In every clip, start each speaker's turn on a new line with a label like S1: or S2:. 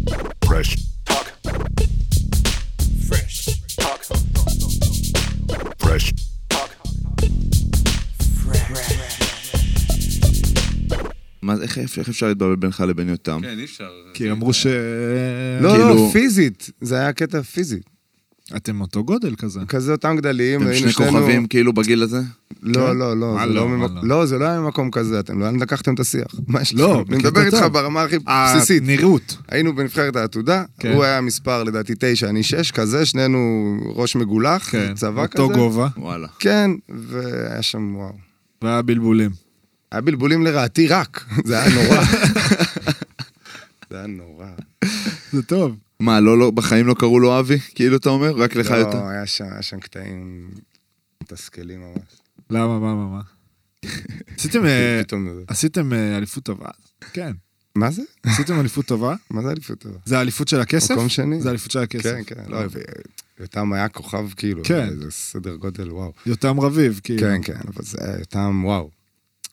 S1: Fresh talk. Fresh talk. Fresh talk.
S2: מה זה, איך איך אפשר להתבלבל בינך לבין יותם?
S3: כן, אי אפשר.
S4: כי אמרו ש...
S5: לא,
S2: כאילו-
S5: לא, פיזית. זה היה קטע פיזי.
S4: אתם אותו גודל כזה.
S5: כזה אותם גדלים,
S2: הם
S5: היינו
S2: שני
S5: שנינו-
S2: כוכבים כאילו בגיל הזה?
S5: לא, לא, לא.
S4: מה
S5: זה
S4: לא,
S5: לא
S4: מה
S5: ממק-
S4: לא?
S5: לא, זה לא היה ממקום כזה, אתם לאן לקחתם את השיח. מה יש לכם?
S4: לא,
S5: אני
S4: בקטע
S5: מדבר איתך
S4: טוב.
S5: ברמה הכי בסיסית.
S4: הנראות.
S5: היינו בנבחרת העתודה,
S4: כן.
S5: הוא היה מספר לדעתי תשע, אני שש, כזה, שנינו ראש מגולח,
S4: כן.
S5: צבא כזה.
S4: אותו גובה.
S2: וואלה.
S5: כן, והיה שם וואו.
S4: והיה בלבולים.
S5: היה בלבולים לרעתי רק, זה היה נורא. זה היה נורא.
S4: זה טוב.
S2: מה, לא, לא, בחיים לא קראו לו אבי? כאילו אתה אומר? רק לך
S5: לא,
S2: יותר?
S5: היה שם- היה שם קטעים מתסכלים ממש.
S4: למה, מה, מה, מה? עשיתם, אה,
S5: פתאום זה...
S4: עשיתם אה, אליפות טובה? כן.
S5: מה זה?
S4: עשיתם אליפות טובה?
S5: מה זה אליפות טובה?
S4: זה האליפות של הכסף?
S5: מקום שני.
S4: זה האליפות של הכסף.
S5: כן, כן, לא, ו- יותם היה כוכב כאילו,
S4: אה. כן.
S5: זה סדר גודל, וואו.
S4: יותם רביב, כאילו.
S5: כן, כן, אבל זה היה יותם, וואו.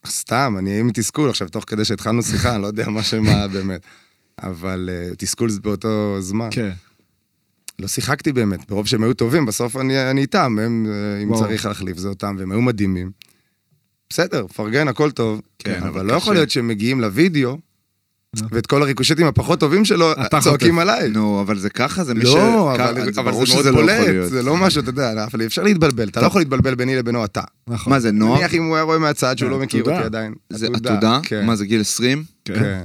S5: סתם, אני עם תסכול עכשיו, תוך כדי שהתחלנו שיחה, אני לא יודע מה שמה באמת. אבל אה, תסכול זה באותו זמן.
S4: כן.
S5: לא שיחקתי באמת, ברוב שהם היו טובים, בסוף אני, אני איתם, הם, אה, אם
S4: ברור.
S5: צריך להחליף זה אותם, והם היו מדהימים. בסדר, פרגן, הכל טוב,
S2: כן,
S5: אבל,
S2: אבל
S5: לא
S2: קשה.
S5: יכול להיות שהם מגיעים לווידאו,
S4: נו.
S5: ואת כל הריקושטים הפחות טובים שלו,
S4: נכון. אתה
S5: צועקים
S4: חוטף.
S5: עליי.
S2: נו, אבל זה ככה, זה מי ש...
S5: לא,
S2: ככה,
S5: אבל, אבל
S2: ברור
S5: זה מאוד
S2: שזה לא יכול
S5: בולט,
S2: להיות.
S5: זה לא משהו, אתה יודע, אבל אי אפשר להתבלבל, אתה לא יכול להתבלבל ביני לבינו אתה.
S4: נכון.
S2: מה זה, נוער?
S5: נניח אם הוא היה רואה מהצד שהוא
S4: כן,
S5: לא מכיר
S4: עתודה.
S5: אותי עדיין.
S2: זה עתודה?
S5: כן.
S2: מה זה, גיל 20?
S5: כן.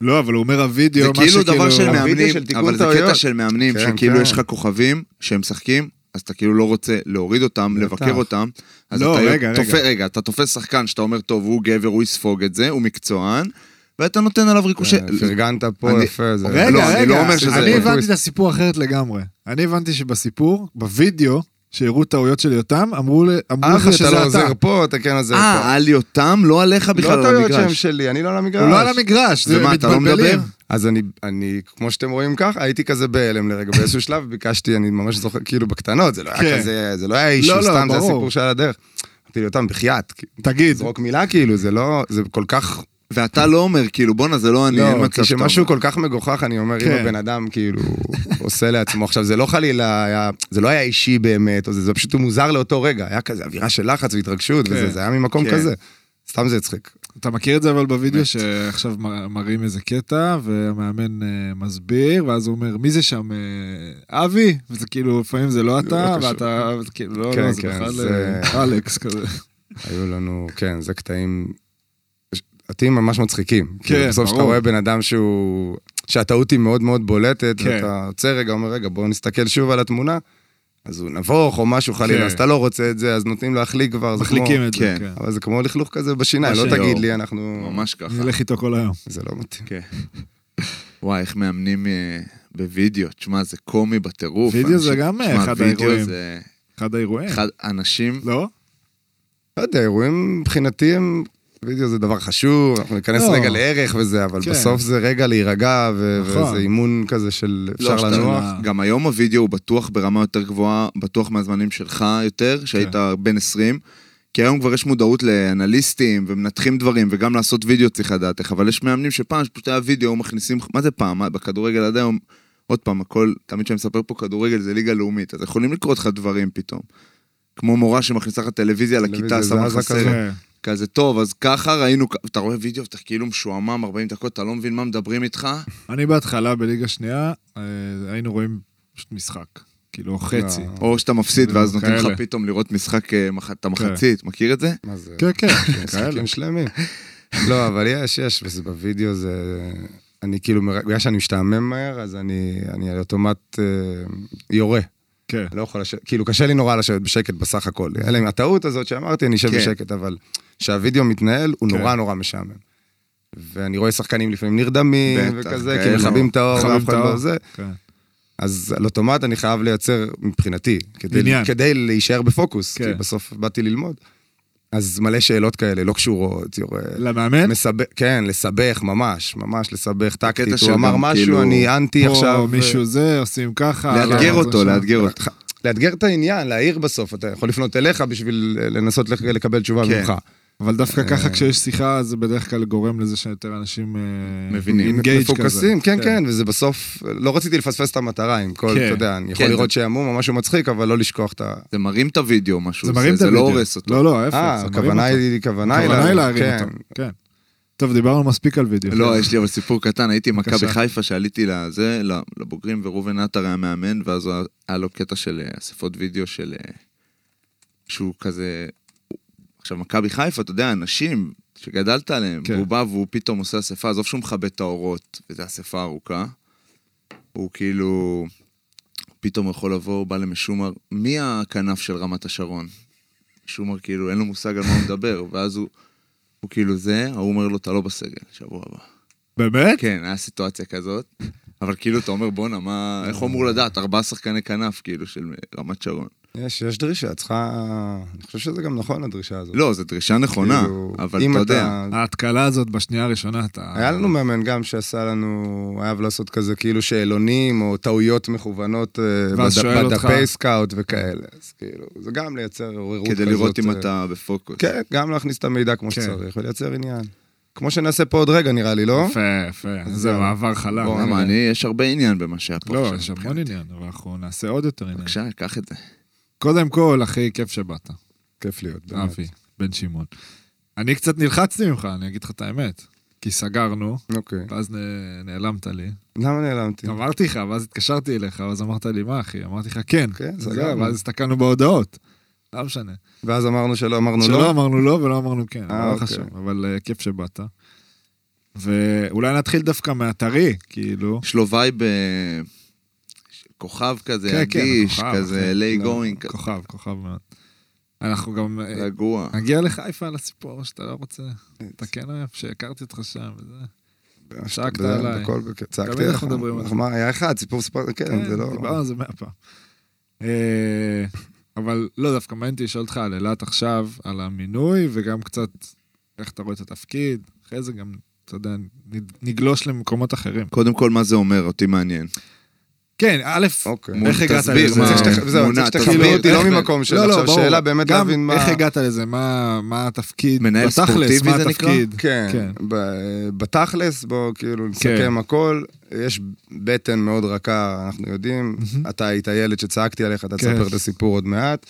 S4: לא, אבל הוא אומר הוידאו,
S2: זה
S4: מה
S2: כאילו דבר של
S5: הוידאו
S2: מאמנים,
S5: של תיקון
S2: אבל זה קטע
S5: טעויות.
S2: של מאמנים,
S5: כן,
S2: שכאילו
S5: כן.
S2: יש לך כוכבים שהם משחקים, אז אתה כאילו לא רוצה להוריד אותם, לבקר אותם. אז
S4: לא,
S2: אתה
S4: רגע,
S2: תופ-
S4: רגע.
S2: רגע, אתה תופס שחקן שאתה אומר, טוב, הוא גבר, הוא יספוג את זה, הוא מקצוען, ואתה נותן עליו ריקושי...
S5: אה, פרגנת פה
S2: אני-
S5: יפה, זה...
S4: רגע,
S2: לא,
S4: רגע,
S2: אני לא אומר שזה-
S4: אני הבנתי
S5: פויסט.
S4: את הסיפור אחרת לגמרי. אני הבנתי שבסיפור, בווידאו, שהראו טעויות של יותם, אמרו ל- אמרו לך
S5: אחי,
S4: שזה
S5: אתה לא
S4: אתה.
S5: עוזר פה, אתה כן עוזר פה.
S2: אה, על יותם, לא עליך
S5: לא
S2: בכלל על
S5: טעויות שהם
S2: המגרש.
S5: שלי, אני לא על המגרש.
S4: הוא לא על המגרש, זה
S2: ומה, אתה לא
S4: מתבלבלים.
S2: מדבר?
S5: אז אני, אני, כמו שאתם רואים כך, הייתי כזה בהלם לרגע. באיזשהו שלב ביקשתי, אני ממש זוכר, כאילו בקטנות, זה לא
S4: כן.
S5: היה כזה, זה לא היה אישו,
S4: לא, לא,
S5: סתם, זה
S4: ברור.
S5: הסיפור שהיה לדרך. אמרתי לי, אותם, בחייאת, כאילו,
S4: תגיד,
S5: זרוק מילה כאילו, זה לא, זה כל כך...
S2: ואתה לא אומר, כאילו, בואנה, זה לא אני, אין
S5: לא,
S2: מצב שאתה
S5: כשמשהו
S2: אומר.
S5: כל כך מגוחך, אני אומר, אם
S4: כן.
S5: הבן אדם כאילו עושה לעצמו, עכשיו, זה לא חלילה היה, זה לא היה אישי באמת, או זה, זה פשוט הוא מוזר לאותו רגע, היה כזה אווירה של לחץ והתרגשות,
S4: כן.
S5: וזה, זה היה ממקום
S2: כן.
S5: כזה. סתם זה הצחיק.
S4: אתה מכיר את זה אבל בווידאו שעכשיו מ- מראים איזה קטע, והמאמן אה, מסביר, ואז הוא אומר, מי זה שם? אה, אבי? וזה כאילו, לפעמים זה לא אתה,
S5: קשור.
S4: ואתה, וזה כאילו, לא,
S5: כן,
S4: לא, זה
S5: כן,
S4: בכלל
S5: זה-
S4: אה, אלכס כזה.
S5: היו לנו, כן, זה קטעים, קטעים ממש מצחיקים.
S4: כן,
S5: כן, בסוף שאתה
S4: ברור.
S5: רואה בן אדם שהוא, שהטעות היא מאוד מאוד בולטת,
S4: כן.
S5: ואתה עוצר רגע, אומר, רגע, בואו נסתכל שוב על התמונה, אז הוא נבוך או משהו
S4: כן.
S5: חלילה, אז אתה לא רוצה את זה, אז נותנים לו להחליק כבר, זה כמו...
S4: מחליקים את זה,
S2: כן.
S4: כן.
S5: אבל זה כמו לכלוך כזה בשיניים,
S4: מה
S5: לא
S4: שאני-
S5: תגיד לי, אנחנו...
S2: ממש ככה.
S4: אני אלך איתו כל היום.
S5: זה לא מתאים.
S2: כן. וואי, איך מאמנים אה, בווידאו, תשמע, זה קומי בטירוף.
S4: וידאו זה
S2: אנשים-
S4: גם, אה,
S2: תשמע,
S4: אחד
S2: וידאו
S4: האירועים. כן.
S2: זה
S4: אחד האירועים,
S2: אחד, אנשים,
S4: לא?
S5: לא יודע, אירועים מבחינתי הם... וידאו זה דבר חשוב, אנחנו ניכנס
S4: לא.
S5: רגע לערך וזה, אבל
S4: כן.
S5: בסוף זה רגע להירגע, ו-
S4: נכון.
S5: וזה אימון כזה של
S2: לא,
S5: אפשר
S2: שאתה-
S5: לנוח.
S2: גם היום הווידאו הוא בטוח ברמה יותר גבוהה, בטוח מהזמנים שלך יותר, שהיית בן 20. כי היום כבר יש מודעות לאנליסטים ומנתחים דברים, וגם לעשות וידאו צריך לדעת איך, אבל יש מאמנים שפעם שפשוט היה וידאו, היו מכניסים, מה זה פעם? מה, בכדורגל עד היום, עוד פעם, הכל, תמיד כשאני מספר פה כדורגל זה ליגה לאומית, אז יכולים לקרות לך דברים פתאום. כמו מורה שמכניסה לך טלוויזיה לכיתה,
S5: טלוויזיה
S2: שמה
S5: זזה
S2: לך
S5: כזה.
S2: סרט.
S4: כן.
S2: כזה טוב, אז ככה ראינו, כ- אתה רואה וידאו, אתה כאילו משועמם 40 דקות, אתה לא מבין מה מדברים איתך.
S4: אני בהתחלה בליגה שנייה, אה, היינו רואים פשוט משחק. כאילו, חצי.
S5: לא.
S2: או שאתה מפסיד, ואז
S4: זה
S2: נותנים לך
S4: כאלה.
S2: פתאום לראות משחק, אה, מח- את המחצית, מכיר את זה?
S5: מה זה?
S4: כן, כן, כאלה.
S5: משחקים שלמים. לא, אבל יש, יש, וזה בווידאו זה... אני כאילו, מר- בגלל שאני משתעמם מהר, אז אני, אני על אוטומט אה, יורה.
S4: כן.
S5: לא יכול לשבת, כאילו, קשה לי נורא לשבת בשקט בסך הכל. אלא עם הטעות הזאת שאמרתי, אני אשב
S2: כן.
S5: בשקט, אבל כשהווידאו מתנהל, הוא
S4: כן.
S5: נורא נורא משעמם. ואני רואה שחקנים לפעמים נרדמים,
S2: בטח,
S5: וכזה, כי
S2: כאלה.
S5: מכבים את האור,
S4: מכבים
S5: ואף אחד
S4: את האור.
S5: לא זה.
S4: כן.
S5: אז על אוטומט אני חייב לייצר, מבחינתי, כדי,
S4: עניין.
S5: כדי להישאר בפוקוס,
S4: כן.
S5: כי בסוף באתי ללמוד. אז מלא שאלות כאלה, לא קשורות, יורה...
S4: למאמן?
S5: מסבך, כן, לסבך, ממש, ממש לסבך טקטית.
S2: של
S5: הוא אמר
S2: גם,
S5: משהו,
S2: כאילו,
S5: אני אנטי עכשיו.
S4: פה
S5: ו-
S4: מישהו זה, עושים ככה.
S2: לאתגר
S4: למה אה, לא, זה
S2: אותו,
S4: שם?
S2: לאתגר אותו.
S5: לאתגר את העניין, להעיר בסוף, אתה יכול לפנות אליך בשביל אה, לנסות לק- לקבל תשובה
S2: כן.
S5: ממך.
S4: אבל דווקא ככה כשיש שיחה, זה בדרך כלל גורם לזה שיותר אנשים אה,
S2: מבינים.
S4: engage כזה.
S5: מפוקסים, כן, כן, וזה בסוף, לא רציתי לפספס את המטרה עם כל,
S4: כן.
S5: אתה יודע, אני יכול
S2: כן,
S5: לראות שעמום או משהו מצחיק, אבל לא לשכוח את ה...
S2: זה מרים את הוידאו, משהו.
S4: זה מרים את
S2: זה לא
S4: הוידאו.
S2: הורס אותו.
S4: לא, לא, ההפך.
S5: אה,
S4: זה מרים
S5: הכוונה
S4: אותו.
S5: היא, הכוונה היא...
S4: הכוונה היא להרים
S5: כן.
S4: אותו. כן. טוב, דיברנו מספיק על וידאו.
S2: לא, יש לי אבל סיפור קטן, הייתי עם מכבי
S4: בבקשה.
S2: חיפה שעליתי לזה, לבוגרים, וראובן עטר היה מאמן, ואז הוא- היה לו קטע של אה, אספות וידאו של... אה, שהוא כזה... עכשיו, מכבי חיפה, אתה יודע, אנשים שגדלת עליהם,
S4: כן.
S2: והוא בא והוא פתאום עושה אספה, עזוב שהוא מכבה את האורות, וזו אספה ארוכה, הוא כאילו... פתאום יכול לבוא, הוא בא למשומר, מי הכנף של רמת השרון? משומר כאילו, אין לו מושג על מה הוא מדבר, ואז הוא... הוא כאילו זה, ההוא אומר לו, אתה לא בסגל, שבוע הבא.
S4: באמת?
S2: כן, היה סיטואציה כזאת, אבל כאילו אתה אומר, בואנה, מה, איך הוא אמור לדעת? ארבעה שחקני כנף, כאילו, של רמת שרון.
S5: יש, יש דרישה, צריכה... אני חושב שזה גם נכון, הדרישה הזאת.
S2: לא, זו דרישה נכונה,
S5: כאילו,
S2: אבל
S5: אם
S2: אתה יודע.
S4: ההתקלה הזאת בשנייה הראשונה, אתה...
S5: היה לנו מאמן גם שעשה לנו, אהב לעשות כזה כאילו שאלונים או טעויות מכוונות אה,
S4: ואז
S5: בד-
S4: שואל אותך.
S5: בדפי סקאוט וכאלה. אז כאילו, זה גם לייצר עוררות כזאת.
S2: כדי לראות אם
S5: אה,
S2: אתה בפוקוס.
S5: כן, גם להכניס את המידע כמו
S4: כן.
S5: שצריך ולייצר עניין. כמו שנעשה פה עוד רגע, נראה לי, לא?
S4: יפה, יפה.
S5: אז
S4: זהו,
S5: זהו.
S4: מעבר חלק.
S5: בוא, אה,
S2: למה, אני, יש הרבה עניין במה שהיה פה
S4: לא,
S2: עכשיו.
S4: יש המון עניין, אבל אנחנו נעשה עוד יותר עניין.
S2: בבקשה, קח את זה.
S4: קודם כל, אחי, כיף שבאת,
S5: כיף להיות, באמת.
S4: אבי, בן שמעון. אני קצת נלחצתי ממך, אני אגיד לך את האמת. כי סגרנו,
S5: אוקיי.
S4: ואז נ- נעלמת לי.
S5: למה נעלמתי?
S4: אמרתי לך, ואז התקשרתי אליך, ואז אמרת לי, מה אחי? אמרתי לך, כן.
S5: כן,
S4: זהו,
S5: סגרנו.
S4: ואז הסתכלנו בהודעות. לא משנה.
S5: ואז אמרנו שלא אמרנו
S4: שלא
S5: לא?
S4: אמרנו לא ולא אמרנו כן,
S5: אה,
S4: אבל לא
S5: אוקיי.
S4: חשוב, אבל אה, כיף שבאת. ואולי נתחיל דווקא מהטרי, כאילו.
S2: יש לו וייב אה, ש- כוכב כזה,
S4: כן, כן,
S2: אדיש,
S4: כוכב,
S2: כזה,
S4: אחי.
S2: ליי
S5: לא,
S2: גוינג, כזה,
S4: כוכב, כוכב מאוד. אנחנו גם... אה,
S2: רגוע.
S4: נגיע לחיפה על הסיפור שאתה לא רוצה. אתה כן אוהב, שהכרתי אותך שם וזה. צעקת
S5: זה-
S4: עליי.
S5: הכל בק- צעקתי
S4: תמיד
S5: לך.
S4: אנחנו מדברים על זה.
S5: מה, היה אחד, סיפור סיפור, כן, זה לא...
S4: דיברנו על זה מאה פעם. אה, אבל לא, דווקא מעניין אותי לשאול אותך על אילת עכשיו, על המינוי, וגם קצת איך אתה רואה את התפקיד. אחרי זה גם, אתה יודע, נ- נגלוש למקומות אחרים.
S2: קודם כל, מה זה אומר? אותי מעניין.
S4: כן, אא,
S5: אוקיי.
S2: מול-
S4: איך הגעת
S2: תסביר,
S4: לזה?
S2: מה-
S5: צריך שתח- זהו,
S2: מונה,
S5: צריך
S2: תסביר.
S5: שתחבר אותי לא
S2: איך-
S5: ממקום של
S4: לא, לא,
S5: עכשיו,
S4: ברור.
S5: שאלה באמת
S4: גם
S5: להבין מה...
S4: איך הגעת לזה? מה, מה התפקיד?
S2: מנהל
S4: בתכלס,
S2: ספורטיבי
S4: מה
S2: זה נקרא?
S4: התפקיד?
S5: כן,
S4: כן.
S5: ב- בתכלס, בואו כאילו נסכם
S4: כן.
S5: הכל. יש בטן מאוד רכה, אנחנו יודעים. אתה היית ילד שצעקתי עליך, אתה
S4: כן.
S5: תספר את הסיפור עוד מעט.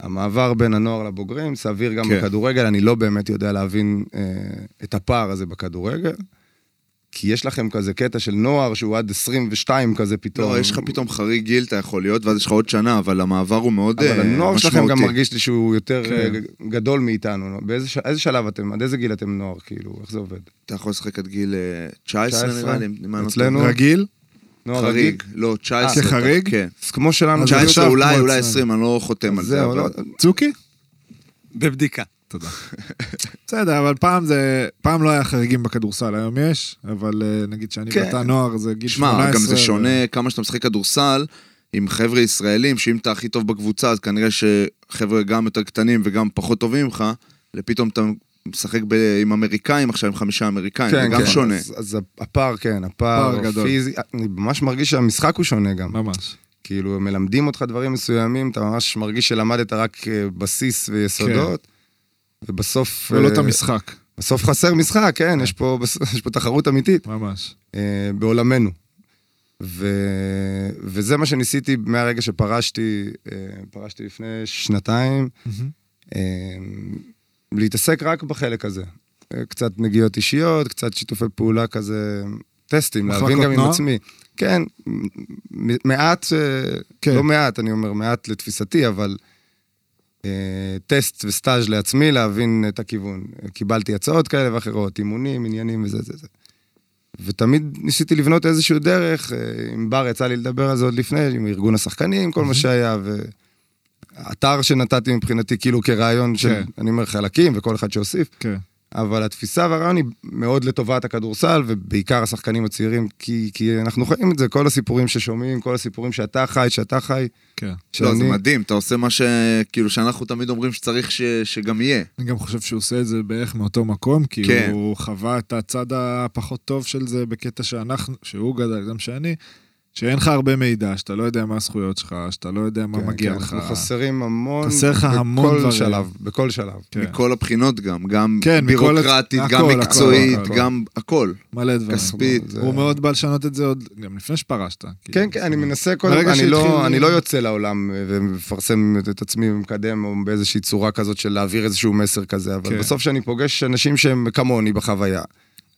S5: המעבר בין הנוער לבוגרים, סביר גם
S2: כן.
S5: בכדורגל, אני לא באמת יודע להבין אה, את הפער הזה בכדורגל. כי יש לכם כזה קטע של נוער שהוא עד 22 כזה פתאום.
S2: לא, יש לך פתאום חריג גיל, אתה יכול להיות, ואז יש לך עוד שנה, אבל המעבר הוא מאוד אה,
S5: אבל
S2: משמעותי.
S5: הנוער שלכם גם מרגיש לי שהוא יותר
S4: כן.
S5: אה, ג- גדול מאיתנו. לא? באיזה ש- איזה שלב אתם, עד איזה גיל אתם נוער, כאילו, איך זה עובד?
S2: אתה יכול לשחק עד גיל אה, 19
S5: 19?
S2: נראה לי, אם אני לא
S5: אצלנו?
S2: טועה.
S4: רגיל?
S5: נוער רגיל?
S2: חריג, לא, 19.
S4: אה, כחריג?
S2: כן.
S5: אז כמו שלנו,
S4: אז
S5: זה לא
S2: 19
S4: עכשיו
S2: אולי,
S4: כמו
S2: אולי
S4: אצלנו.
S2: 20, אני לא חותם על זה,
S5: זהו,
S2: אבל... אה,
S5: לא,
S4: צוקי?
S1: בבדיקה.
S4: תודה. בסדר, אבל פעם זה, פעם לא היה חריגים בכדורסל, היום יש, אבל אה, נגיד שאני
S5: כן.
S4: בתא נוער זה גיל 18.
S2: שמע, גם זה
S4: ו-
S2: שונה כמה שאתה משחק כדורסל עם חבר'ה ישראלים, שאם אתה הכי טוב בקבוצה, אז כנראה שחבר'ה גם יותר קטנים וגם פחות טובים ממך, לפתאום אתה משחק ב- עם אמריקאים עכשיו, עם חמישה אמריקאים, זה גם שונה.
S5: כן, אז, אז הפער, כן, הפער
S4: פער גדול.
S5: פיזי, אני ממש מרגיש שהמשחק הוא שונה גם.
S4: ממש.
S5: כאילו, הם מלמדים אותך דברים מסוימים, אתה ממש מרגיש שלמדת רק אה, בסיס ויסודות,
S2: כן.
S5: ובסוף...
S2: לא
S4: ולא
S5: אה,
S4: את המשחק,
S5: בסוף חסר משחק, כן, יש פה, בס- יש פה תחרות אמיתית
S4: ממש.
S5: אה, בעולמנו. ו... וזה מה שניסיתי מהרגע שפרשתי, אה, פרשתי לפני שנתיים, אה, להתעסק רק בחלק הזה. אה, קצת נגיעות אישיות, קצת שיתופי פעולה כזה, טסטים, להבין
S4: מחלקות
S5: גם עם
S4: נוער?
S5: עצמי. כן, מ- מ- מעט, אה,
S4: כן.
S5: לא מעט, אני אומר, מעט לתפיסתי, אבל אה, טסט וסטאז' לעצמי, להבין את הכיוון. קיבלתי הצעות כאלה ואחרות, אימונים, עניינים וזה, זה, זה. ותמיד ניסיתי לבנות איזשהו דרך, אה, עם בר יצא לי לדבר על זה עוד לפני, עם ארגון השחקנים, כל מה שהיה, ואתר שנתתי מבחינתי כאילו כרעיון של,
S4: כן.
S5: אני אומר, חלקים וכל אחד שהוסיף,
S4: כן.
S5: אבל התפיסה והרעיון היא מאוד לטובת הכדורסל, ובעיקר השחקנים הצעירים, כי, כי אנחנו חיים את זה, כל הסיפורים ששומעים, כל הסיפורים שאתה חי, שאתה חי,
S4: כן.
S2: לא, זה
S5: שאני...
S2: מדהים, אתה עושה מה ש... כאילו, שאנחנו תמיד אומרים שצריך ש- שגם יהיה.
S5: כן.
S4: אני גם חושב שהוא עושה את זה בערך מאותו מקום, כי
S2: כן.
S4: הוא חווה את הצד הפחות טוב של זה בקטע שאנחנו, שהוא גדל, גם שאני, שאין לך הרבה מידע, שאתה לא יודע מה הזכויות שלך, שאתה לא יודע מה
S5: כן,
S4: מגיע
S5: כן,
S4: לך.
S5: אנחנו חסרים המון...
S4: חסר לך המון
S5: בכל
S4: דברים.
S5: שלב, בכל שלב.
S4: כן,
S2: מכל הבחינות גם, גם
S4: כן, מכל
S2: בירוקרטית,
S4: הצ-
S2: גם
S4: הכל, הכל,
S2: מקצועית,
S4: הכל.
S2: גם הכל.
S4: מלא דברים.
S2: כספית.
S5: זה-
S4: הוא מאוד בא לשנות את זה עוד, גם לפני שפרשת.
S5: כן,
S4: כאילו,
S5: כן,
S4: זאת
S5: אני
S4: אומרת.
S5: מנסה קודם,
S4: ברגע
S5: אני,
S4: שהתחיל-
S5: לא, אני לא יוצא לעולם אה, ומפרסם את- את עצמי ומקדם או באיזושהי צורה כזאת של להעביר איזשהו מסר כזה, אבל
S4: כן.
S5: כן. בסוף כשאני פוגש אנשים שהם כמוני בחוויה,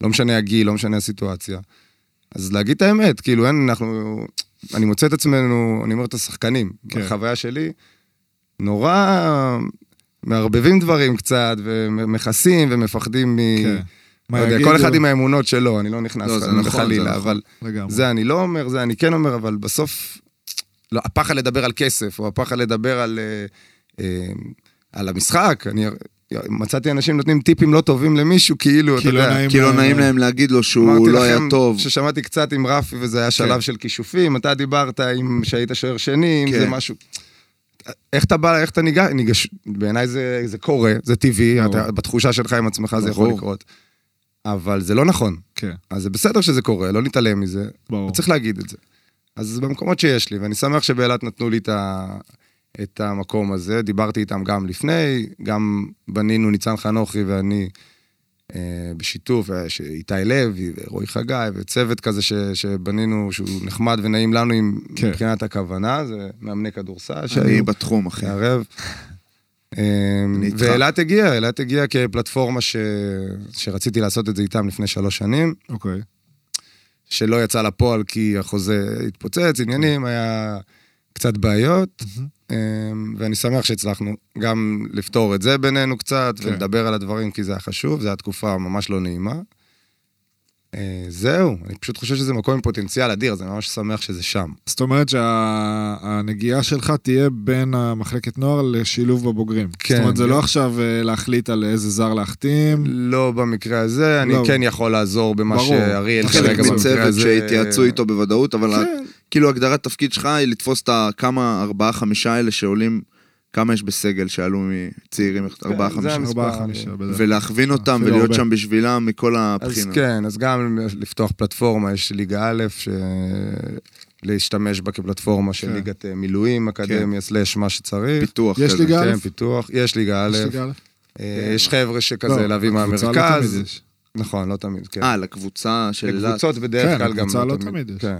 S5: לא משנה הגיל, לא משנה הסיטואציה, אז להגיד את האמת, כאילו אין, אנחנו, אני מוצא את עצמנו, אני אומר את השחקנים,
S4: כן.
S5: כן. בחוויה שלי, נורא מערבבים דברים קצת, ומכסים ומפחדים מ...
S4: כן.
S5: כן.
S4: מה
S5: לא יודע,
S4: יגידו?
S5: כל אחד עם האמונות שלו, אני לא נכנס
S2: לא,
S5: לא,
S2: זה נכון, זה
S5: חלילה,
S2: נכון.
S5: אבל...
S4: לגמרי.
S5: זה אני לא אומר, זה אני כן אומר, אבל בסוף, לא, הפחד לדבר על כסף, או הפחד לדבר על, אה, אה, על המשחק, אני מצאתי אנשים נותנים טיפים לא טובים למישהו, כאילו, אתה
S4: כי לא
S5: יודע.
S4: נעים
S2: כי לא
S4: להם,
S2: נעים להם להגיד לו שהוא
S5: אמרתי
S2: לא היה
S5: לכם
S2: טוב.
S5: ששמעתי קצת עם רפי, וזה היה שלב של כישופים, אתה דיברת עם, שהיית שוער שני, אם
S2: כן.
S5: זה משהו... איך אתה בא, איך אתה ניגש, ניגש בעיניי זה, זה קורה, זה טבעי,
S4: ברור.
S5: אתה, בתחושה שלך עם עצמך זה יכול
S2: ברור.
S5: לקרות. אבל זה לא נכון.
S4: כן,
S5: אז זה בסדר שזה קורה, לא נתעלם מזה.
S4: ברור.
S5: וצריך להגיד את זה. אז במקומות שיש לי, ואני שמח שבאילת נתנו לי את, ה... את המקום הזה, דיברתי איתם גם לפני, גם בנינו ניצן חנוכי ואני אה, בשיתוף, אה, ש- איתי לוי ורועי חגי וצוות כזה ש... שבנינו, שהוא נחמד ונעים לנו עם...
S4: כן.
S5: כן. מבחינת הכוונה, זה מאמני כדורסל
S2: אני
S5: שהיו,
S2: בתחום, אחי.
S5: מערב. אה,
S2: אני איתך.
S5: ואילת הגיעה, אילת הגיעה כפלטפורמה ש... שרציתי לעשות את זה איתם לפני שלוש שנים.
S4: אוקיי.
S5: שלא יצא לפועל כי החוזה התפוצץ, עניינים, היה קצת בעיות, אמ, ואני שמח שהצלחנו גם לפתור את זה בינינו קצת,
S4: כן.
S5: ולדבר על הדברים כי זה היה חשוב, זו הייתה תקופה ממש לא נעימה. אה, זהו, אני פשוט חושב שזה מקום עם פוטנציאל אדיר, אז אני ממש שמח שזה שם.
S4: זאת אומרת שהנגיעה שלך תהיה בין המחלקת נוער לשילוב בבוגרים.
S5: כן.
S4: זאת אומרת, זה
S5: כן.
S4: לא עכשיו אה, להחליט על איזה זר להחתים.
S5: לא במקרה הזה, אני
S4: לא.
S5: כן יכול לעזור במה
S4: ברור.
S5: שאריאל
S4: חלק
S5: כרגע
S2: חלק
S5: במקרה
S2: מצוות
S5: הזה...
S2: שהתייעצו איתו בוודאות, אבל ה-
S5: כן.
S2: כאילו הגדרת תפקיד שלך היא לתפוס את הכמה, ארבעה, חמישה האלה שעולים, כמה יש בסגל שעלו מצעירים, ארבעה,
S5: כן, זה
S2: חמישה,
S5: המספר. אה,
S4: ארבעה, חמישה, בדרך.
S2: ולהכווין אותם
S5: לא
S4: אפילו
S2: ולהיות
S4: הרבה.
S2: שם בשבילם מכל
S5: אז
S2: הבחינה.
S5: כן, אז גם לפתוח פלטפורמה, יש ליגה א', ש... להשתמש בה כפלטפורמה של
S4: כן.
S5: ליגת אה, מילואים, אקדמיה, סלאש, מה שצריך.
S2: פיתוח
S4: יש
S2: כזה.
S4: לי גם- ליגה א'?
S5: כן, פיתוח. יש ליגה א',
S4: יש ליגה א'?
S5: אה, יש חבר'ה
S4: לא,
S5: שכזה להביא
S4: לקבוצה לא
S5: מהמרכז.
S4: תמיד יש.
S5: נכון, לא תמיד, כן.
S2: אה, לקבוצה של אילת.
S5: לקבוצות
S4: כן,
S5: בדרך כלל גם
S4: לקבוצה לא תמיד יש.
S5: כן,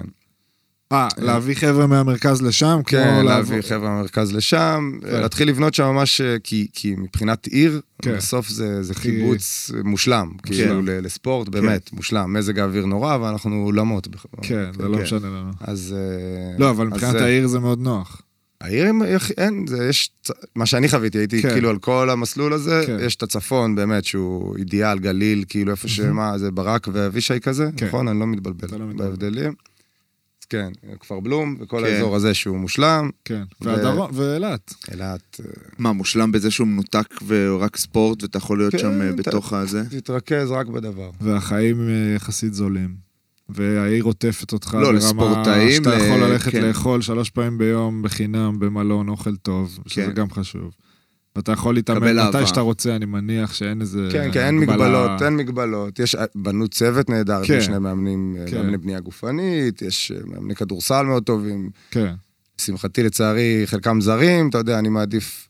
S4: אה, להביא חבר'ה מהמרכז לשם? כמו
S5: כן,
S4: לעבור-
S5: להביא חבר'ה מהמרכז לשם,
S4: כן.
S5: להתחיל לבנות שם ממש, אה, כי כי מבחינת עיר,
S4: כן.
S5: בסוף זה זה
S4: כי-
S5: קיבוץ מושלם, כאילו ל- לספורט, באמת, מושלם. מזג האוויר נורא, אבל אנחנו לא אולמות. בכ-
S4: כן, זה לא
S2: כן.
S4: משנה לנו.
S5: אז... אה,
S4: לא, אבל
S5: אז
S4: מבחינת
S5: זה-
S4: העיר זה מאוד נוח.
S5: העיר, הם- איך- אין, זה יש, צ- מה שאני חוויתי, הייתי
S4: כן.
S5: כאילו על כל המסלול הזה,
S4: כן.
S5: יש את הצפון באמת שהוא אידיאל, גליל, כאילו איפה שמה, זה ברק ואבישי כזה,
S4: כן.
S5: נכון? אני לא
S4: אתה
S5: מתבלבל
S4: לא מתבלבל.
S5: בהבדלים. אז כן, כפר בלום, וכל
S2: כן.
S5: האזור הזה שהוא מושלם,
S4: כן.
S5: ו-
S4: והדרום, ואילת.
S5: אילת, אה,
S2: מה, מושלם בזה שהוא מנותק ורק ספורט ואתה יכול להיות
S5: כן,
S2: שם אה,
S5: אתה-
S2: בתוך הזה?
S5: תתרכז רק בדבר.
S4: והחיים אה, יחסית זולים. והעיר עוטפת אותך
S2: לא,
S4: ברמה
S2: לספורטאים,
S4: שאתה יכול
S2: אה,
S4: ללכת
S2: כן.
S4: לאכול שלוש פעמים ביום בחינם במלון אוכל טוב, שזה
S2: כן.
S4: גם חשוב. ואתה יכול
S2: קבל
S4: להתאמן מתי
S2: אהבה.
S4: שאתה רוצה, אני מניח שאין איזה...
S5: כן, כן, אין
S4: אה, הגבלה.
S5: מגבלות, אין מגבלות. יש, אה, בנו צוות נהדר, יש
S4: כן.
S5: לי שני מאמנים, אה,
S4: כן.
S5: מאמני בנייה גופנית, יש אה, מאמני כדורסל מאוד טובים.
S4: כן,
S5: לשמחתי, לצערי, חלקם זרים, אתה יודע, אני מעדיף...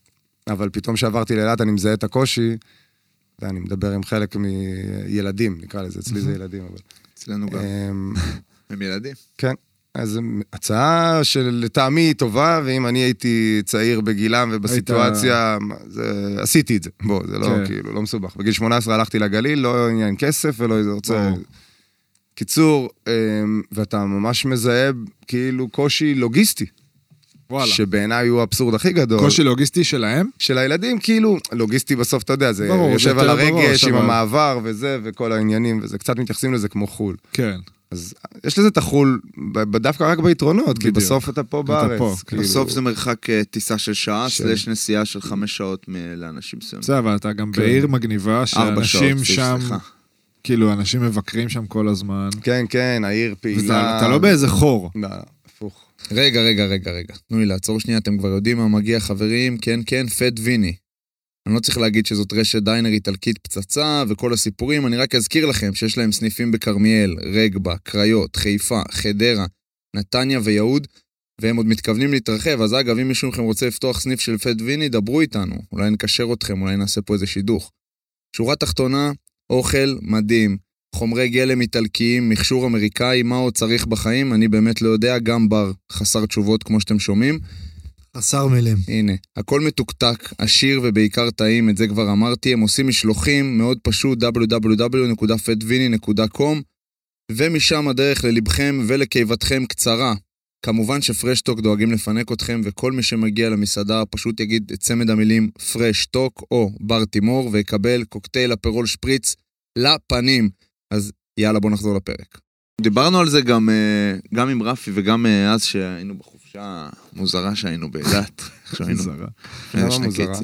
S5: אבל פתאום כשעברתי לאילת, אני מזהה את הקושי. אתה יודע, אני מדבר עם חלק מילדים, נקרא לזה, אצלי זה ילדים, אבל...
S2: אצלנו
S4: כן.
S2: גם.
S5: אמ,
S2: הם ילדים.
S5: כן. אז הצעה שלטעמי היא טובה, ואם אני הייתי צעיר בגילם ובסיטואציה, מה, זה, עשיתי את זה. בוא, זה לא
S4: כן.
S5: כאילו, לא מסובך. בגיל 18 הלכתי לגליל, לא עניין כסף ולא איזה רוצה...
S4: ברור.
S5: קיצור, אמ, ואתה ממש מזהה כאילו קושי לוגיסטי.
S4: וואלה.
S5: שבעיניי הוא האבסורד הכי גדול.
S4: קושי לוגיסטי שלהם?
S5: של הילדים, כאילו, לוגיסטי בסוף, אתה יודע, זה
S4: ברור, זה
S5: יושב
S4: יותר
S5: על
S4: בראש,
S5: הרגש עם
S4: אבל-
S5: המעבר וזה, וכל העניינים וזה, קצת מתייחסים לזה כמו חו"ל.
S4: כן.
S5: אז יש לזה את החו"ל, ב- ב- דווקא רק ביתרונות, כי
S4: בדיוק.
S5: בסוף אתה פה בארץ.
S4: פה,
S5: כאילו.
S2: בסוף זה מרחק אה, טיסה של שעה,
S5: של-
S2: סלש נסיעה של חמש שעות מ- לאנשים מסוימים.
S4: בסדר, אבל אתה גם
S5: כן.
S4: בעיר מגניבה,
S2: ארבע שעות,
S4: שאנשים שם,
S2: סליחה.
S4: כאילו, אנשים מבקרים שם כל הזמן.
S5: כן, כן, העיר
S4: וזה-
S5: פעילה.
S4: אתה לא באיזה חור.
S5: לא, לא, הפוך.
S3: רגע, רגע, רגע, רגע. תנו לי לעצור שנייה, אתם כבר יודעים מה מגיע, חברים. כן, כן, פד ויני. אני לא צריך להגיד שזאת רשת דיינר איטלקית פצצה וכל הסיפורים, אני רק אזכיר לכם שיש להם סניפים בכרמיאל, רגבה, קריות, חיפה, חדרה, נתניה ויהוד, והם עוד מתכוונים להתרחב. אז אגב, אם מישהו מכם רוצה לפתוח סניף של פד ויני, דברו איתנו. אולי נקשר אתכם, אולי נעשה פה איזה שידוך. שורה תחתונה, אוכל מדהים. חומרי גלם איטלקיים, מכשור אמריקאי, מה עוד צריך בחיים? אני באמת לא יודע, גם בר חסר תשובות כמו שאתם שומעים.
S6: חסר מילים.
S3: הנה, הכל מתוקתק, עשיר ובעיקר טעים, את זה כבר אמרתי. הם עושים משלוחים, מאוד פשוט, www.fedvini.com, ומשם הדרך ללבכם ולקיבתכם קצרה. כמובן שפרשטוק דואגים לפנק אתכם, וכל מי שמגיע למסעדה פשוט יגיד את צמד המילים פרשטוק או בר תימור, ויקבל קוקטייל אפרול שפריץ לפנים. אז יאללה, בואו נחזור לפרק.
S2: דיברנו על זה גם, אה, גם עם רפי וגם אה, אז שהיינו בחופשה מוזרה שהיינו באילת. כשהיינו-
S4: זרה.
S2: היה
S5: למה
S2: שנקית.
S5: מוזרה?